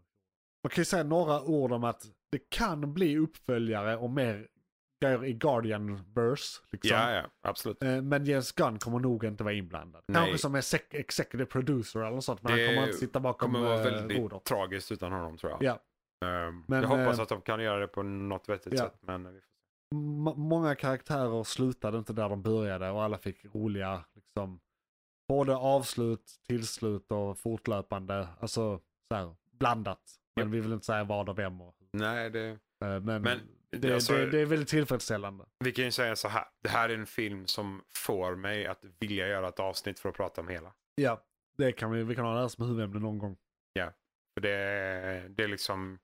S2: Man kan ju säga några ord om att det kan bli uppföljare och mer grejer i Guardian-verse. Liksom.
S3: Ja, ja, absolut.
S2: Eh, Men James Gunn kommer nog inte vara inblandad.
S3: Nej.
S2: Kanske som exec- executive producer eller något sånt. Men
S3: Det
S2: han kommer inte sitta
S3: Det
S2: bakom
S3: kommer vara
S2: eh,
S3: väldigt
S2: rodret.
S3: tragiskt utan honom tror jag.
S2: Ja.
S3: Ehm,
S2: Men,
S3: jag hoppas
S2: eh,
S3: att de kan göra det på något vettigt
S2: ja.
S3: sätt. Men vi får se.
S2: M- många karaktärer slutade inte där de började och alla fick roliga, liksom, både avslut, tillslut och fortlöpande, alltså så här, blandat. Men vi vill inte säga vad och vem och
S3: Nej, det...
S2: Eh, Men,
S3: Men,
S2: det,
S3: alltså-
S2: det, det är väldigt tillfredsställande.
S3: Vi kan ju säga så här. Det här är en film som får mig att vilja göra ett avsnitt för att prata om hela.
S2: Ja. Det kan vi, vi kan ha det här som huvudämne någon gång.
S3: För det, är- det är liksom...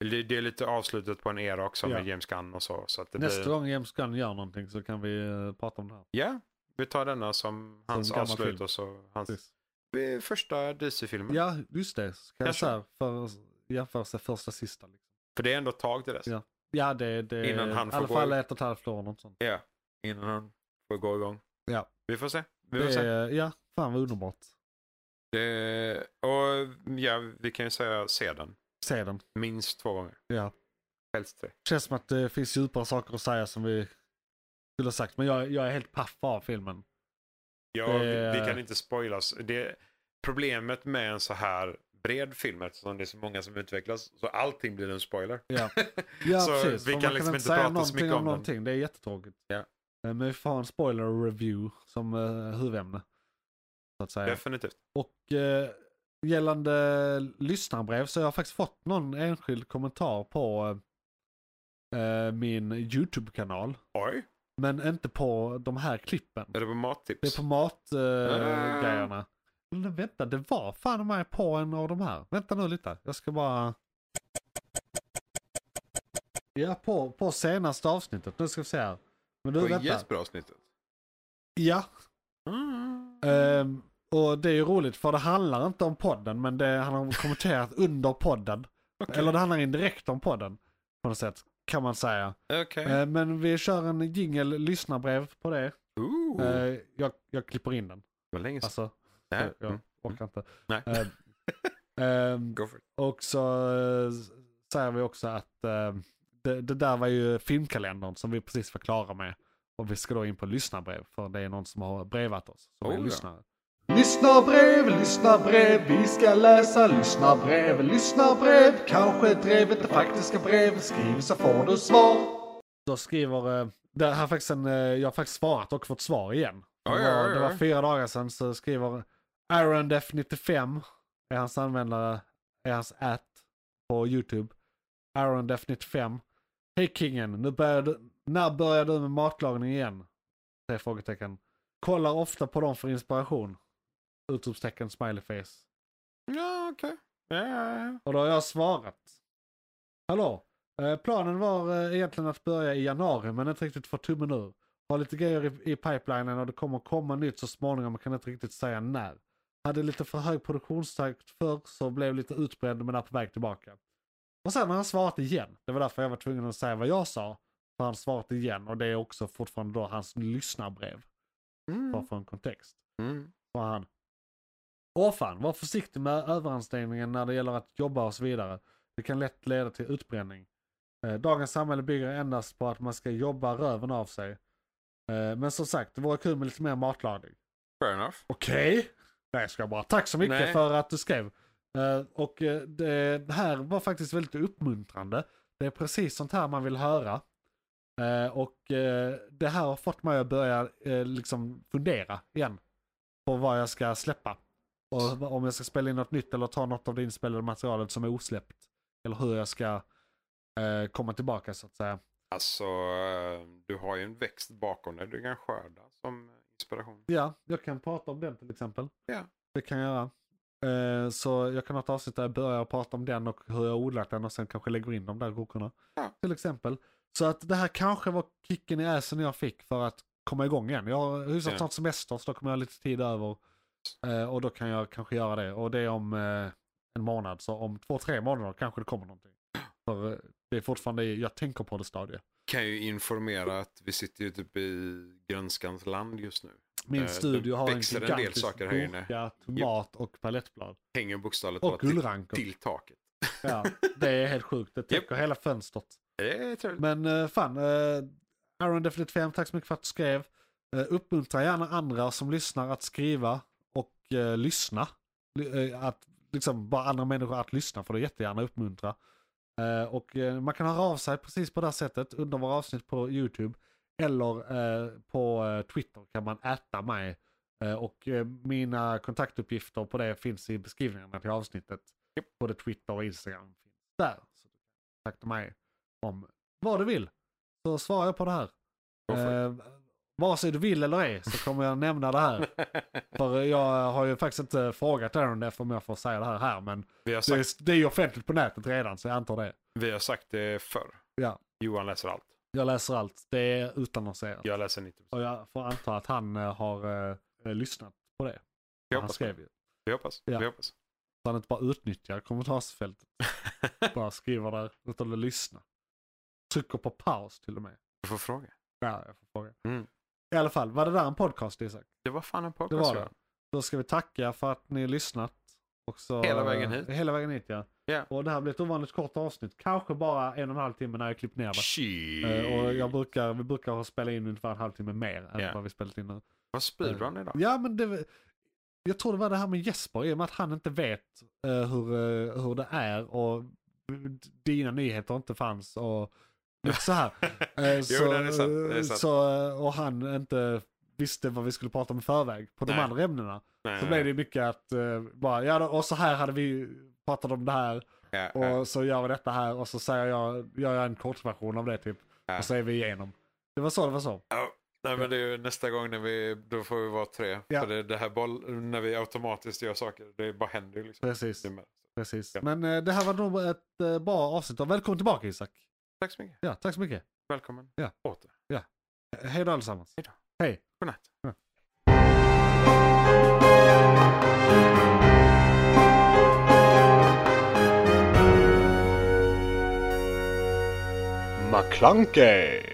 S3: Det det är lite avslutet på en era också
S2: Ja.
S3: med James Gunn och så. så att det
S2: Nästa
S3: blir...
S2: gång James Gunn gör någonting så kan vi eh, prata om det här.
S3: Ja, vi tar denna som hans
S2: gammal
S3: avslut
S2: film.
S3: och så hans
S2: Precis.
S3: eh, första DC-filmen.
S2: Ja, just det. Så Kan jag
S3: Kanske.
S2: så här, för, jämförelse första sista. Liksom.
S3: För det är ändå ett tag till dess.
S2: Ja. Ja, det, det
S3: Innan han
S2: i
S3: får
S2: alla
S3: gå
S2: fall
S3: ut.
S2: ett och ett halvt år. Något sånt.
S3: Ja, innan han får gå igång.
S2: Ja.
S3: Vi får se. Vi får
S2: Det,
S3: se.
S2: är- ja, fan vad underbart.
S3: Det, och ja, vi kan ju säga se den.
S2: Se den.
S3: Minst två gånger.
S2: Ja.
S3: Helst tre.
S2: Känns som att det finns djupare saker att säga som vi skulle ha sagt. Men jag, jag är helt paff av filmen.
S3: Ja,
S2: Det-
S3: vi, vi kan inte spoilas. Det, problemet med en så här bred film, eftersom det är så många som utvecklas, så allting blir en spoiler.
S2: Ja, ja
S3: Så
S2: precis.
S3: vi
S2: För
S3: kan
S2: man
S3: liksom
S2: inte
S3: inte
S2: säga
S3: prata så
S2: någonting
S3: mycket
S2: om,
S3: om den.
S2: någonting. Det är jättetråkigt.
S3: Ja.
S2: Eh, Men vi får ha en spoiler review som uh, eh, huvudämne. Så att säga.
S3: Definitivt.
S2: Och eh, gällande lyssnarbrev så har jag faktiskt fått någon enskild kommentar på eh, min YouTube-kanal.
S3: Oj,
S2: Men inte på de här klippen.
S3: är det på mattips?
S2: Det är på matgrejerna.
S3: Ah.
S2: Eh, grejerna. Men vänta, det var fan mig på en av de här. Vänta nu lite, jag ska bara... Ja, på, på senaste avsnittet. Nu ska vi se här. Men du,
S3: På
S2: vänta.
S3: Jesper avsnittet.
S2: Ja,
S3: Mm.
S2: ehm, och det är ju roligt för det handlar inte om podden men det, han har kommenterat under podden.
S3: Okej.
S2: Eller det handlar indirekt om podden. På något sätt, kan man säga.
S3: Okej.
S2: Eh, men vi kör en jingel lyssnarbrev på det.
S3: Ooh,
S2: Eh, jag, jag klipper in den.
S3: vad länge sedan.
S2: Alltså,
S3: Nej,
S2: jag
S3: mm,
S2: orkar inte.
S3: Nej.
S2: Ehm, ehm,
S3: Go for it.
S2: och så eh, s- säger vi också att ehm, det, det där var ju filmkalendern som vi precis var klara med. Och vi ska då in på lyssnarbrev för det är någon som har brevat oss. Som är
S3: Oh ja.
S2: lyssnare.
S5: Lyssnarbrev, lyssnarbrev, vi ska läsa lyssnarbrev, lyssnarbrev. Kanske drev inte faktiska brev, skriv så får du svar.
S2: Då skriver, eh, det här är faktiskt en, eh, jag har faktiskt svarat och fått svar igen. Det
S3: Oj,
S2: var,
S3: oj, oj.
S2: det var fyra dagar sedan så skriver AaronDef95 är hans användare, är hans at på YouTube. AaronDef95. Hej kingen, nu börjar du, när börjar du med matlagning igen? Tre frågetecken. Kollar ofta på dem för inspiration. Utropstecken smileyface.
S3: Ja, okej. Ja, ja, ja.
S2: Och då har jag svarat. Hallå, eh, planen var eh, egentligen att börja i januari men inte riktigt fått tummen ur. Har lite grejer i, i pipelinen och det kommer komma nytt så småningom men kan inte riktigt säga när. Hade lite för hög produktionstakt förr så blev lite utbränd men är på väg tillbaka. Och sen har han svarat igen. Det var därför jag var tvungen att säga vad jag sa. För han svarat igen och det är också fortfarande då hans lyssnarbrev. Bara
S3: Mm.
S2: för en kontext
S3: Mm.
S2: var han. Åh fan, var försiktig med överansträngningen när det gäller att jobba och så vidare. Det kan lätt leda till utbränning. Eh, Dagens samhälle bygger endast på att man ska jobba röven av sig. Eh, Men som sagt, det vore kul med lite mer matlagning.
S3: Fair enough.
S2: Okej. Nej, jag skojar bara. Tack så mycket
S3: Nej.
S2: för att du skrev. Eh, Och eh, det det här var faktiskt väldigt uppmuntrande. Det är precis sånt här man vill höra. Eh, Och eh, det här har fått mig att börja eh, liksom fundera igen på vad jag ska släppa. Och om jag ska spela in något nytt eller ta något av det inspelade materialet som är osläppt. Eller hur jag ska eh, komma tillbaka så att säga.
S3: Alltså, eh, du har ju en växt bakom dig du kan skörda som inspiration.
S2: Ja, jag kan prata om den till exempel.
S3: Ja.
S2: Det kan jag göra. Eh, så jag kan ha ett avsnitt där jag börjar prata om den och hur jag har odlat den och sen kanske lägger in de där gurkorna.
S3: Ja.
S2: Till exempel. Så att det här kanske var kicken i assen jag fick för att komma igång igen. Jag har hyfsat
S3: Ja.
S2: snart semester så då kommer jag ha lite tid över. Eh, och då kan jag kanske göra det. Och det är om eh, en månad. Så om två, tre månader kanske det kommer någonting. För eh, det är fortfarande, i- jag tänker på det stadiet.
S3: Kan ju informera att vi sitter ju typ i grönskans land just nu.
S2: Min
S3: Eh, det
S2: studio har en
S3: växer en del
S2: gigantisk
S3: saker här inne.
S2: gurka, tomat och palettblad.
S3: Hänger bokstavligt
S2: Och
S3: talat till,
S2: gullrankor.
S3: till taket.
S2: Ja, det är helt sjukt. Det täcker hela fönstret.
S3: Det är trevligt.
S2: Men eh, fan, eh, Aaron Definitivt 5, tack så mycket för att du skrev. Eh, uppmuntra gärna andra som lyssnar att skriva och eh, lyssna. Ly- eh, att liksom bara andra människor att lyssna får du jättegärna uppmuntra. Eh, och eh, man kan höra av sig precis på det här sättet under våra avsnitt på YouTube. Eller eh, på eh, Twitter kan man äta mig. Eh, och eh, mina kontaktuppgifter på det finns i beskrivningarna till avsnittet. Både Twitter och Instagram finns där. Så kontakta mig om vad du vill. Så svarar jag på det här.
S3: Go for
S2: Eh, vare sig du vill eller ej så kommer jag nämna det här. För jag har ju faktiskt inte frågat Aaron det om jag får säga det här här. Men
S3: Vi har,
S2: det
S3: sagt,
S2: är, det är ju offentligt på nätet redan så jag antar det.
S3: vi har sagt det förr.
S2: Ja.
S3: Johan läser allt.
S2: Jag läser allt. Det är utannonserat.
S3: Jag läser 90%.
S2: Och jag får anta att han eh, har eh, lyssnat på det.
S3: Vi
S2: han
S3: hoppas, på det.
S2: skrev ju.
S3: vi hoppas.
S2: Ja.
S3: Vi hoppas.
S2: Så han inte bara utnyttjar kommentarsfältet. bara skriver där utan att lyssna. Trycker på paus till och med.
S3: Du får fråga.
S2: Ja, jag får fråga.
S3: Mm.
S2: I alla fall, var det där en podcast Isak?
S3: Det var fan en
S2: Det
S3: podcast.
S2: var det.
S3: Johan.
S2: Då ska vi tacka för att ni har lyssnat. Och så, eh,
S3: Hela vägen hit.
S2: Hela vägen hit ja.
S3: Ja.
S2: Och det här blir ett ovanligt kort avsnitt. Kanske bara en och en halv timme när jag klippt ner det.
S3: Shit.
S2: Eh, Och jag brukar, vi brukar spela in ungefär en halvtimme mer än
S3: Ja.
S2: vad vi spelat in nu.
S3: Vad speedrun idag?
S2: Ja men det, jag tror det var det här med Jesper i och med att han inte vet eh, hur, eh, hur det är och dina nyheter inte fanns och lite så här. Eh,
S3: Jo, det är sant, det är sant.
S2: Så, eh, och han inte visste vad vi skulle prata om i förväg på de
S3: Nej.
S2: andra ämnena.
S3: Nej,
S2: Så
S3: nej,
S2: blev det mycket att, eh, bara, ja, och så här hade vi pratat om det här
S3: nej. Ja, ja.
S2: och så gör vi detta här och så säger jag, gör jag en kortversion av det typ.
S3: Ja.
S2: Och så är vi igenom. Det var så det var så.
S3: Nej, men det är ju nästa gång när vi, då får vi vara tre.
S2: Ja.
S3: För det, det här boll, när vi automatiskt gör saker, det bara händer ju liksom.
S2: Precis.
S3: Det är med.
S2: Precis.
S3: Ja.
S2: Men eh, det här var nog ett eh, bra avsnitt. Och Välkommen tillbaka Isak.
S3: Tack så mycket.
S2: Ja, tack så mycket.
S3: Välkommen
S2: Ja.
S3: åter.
S2: Eh, Hej då allesammans.
S3: Hej då.
S2: Hej.
S3: Godnatt.
S4: McClunkey!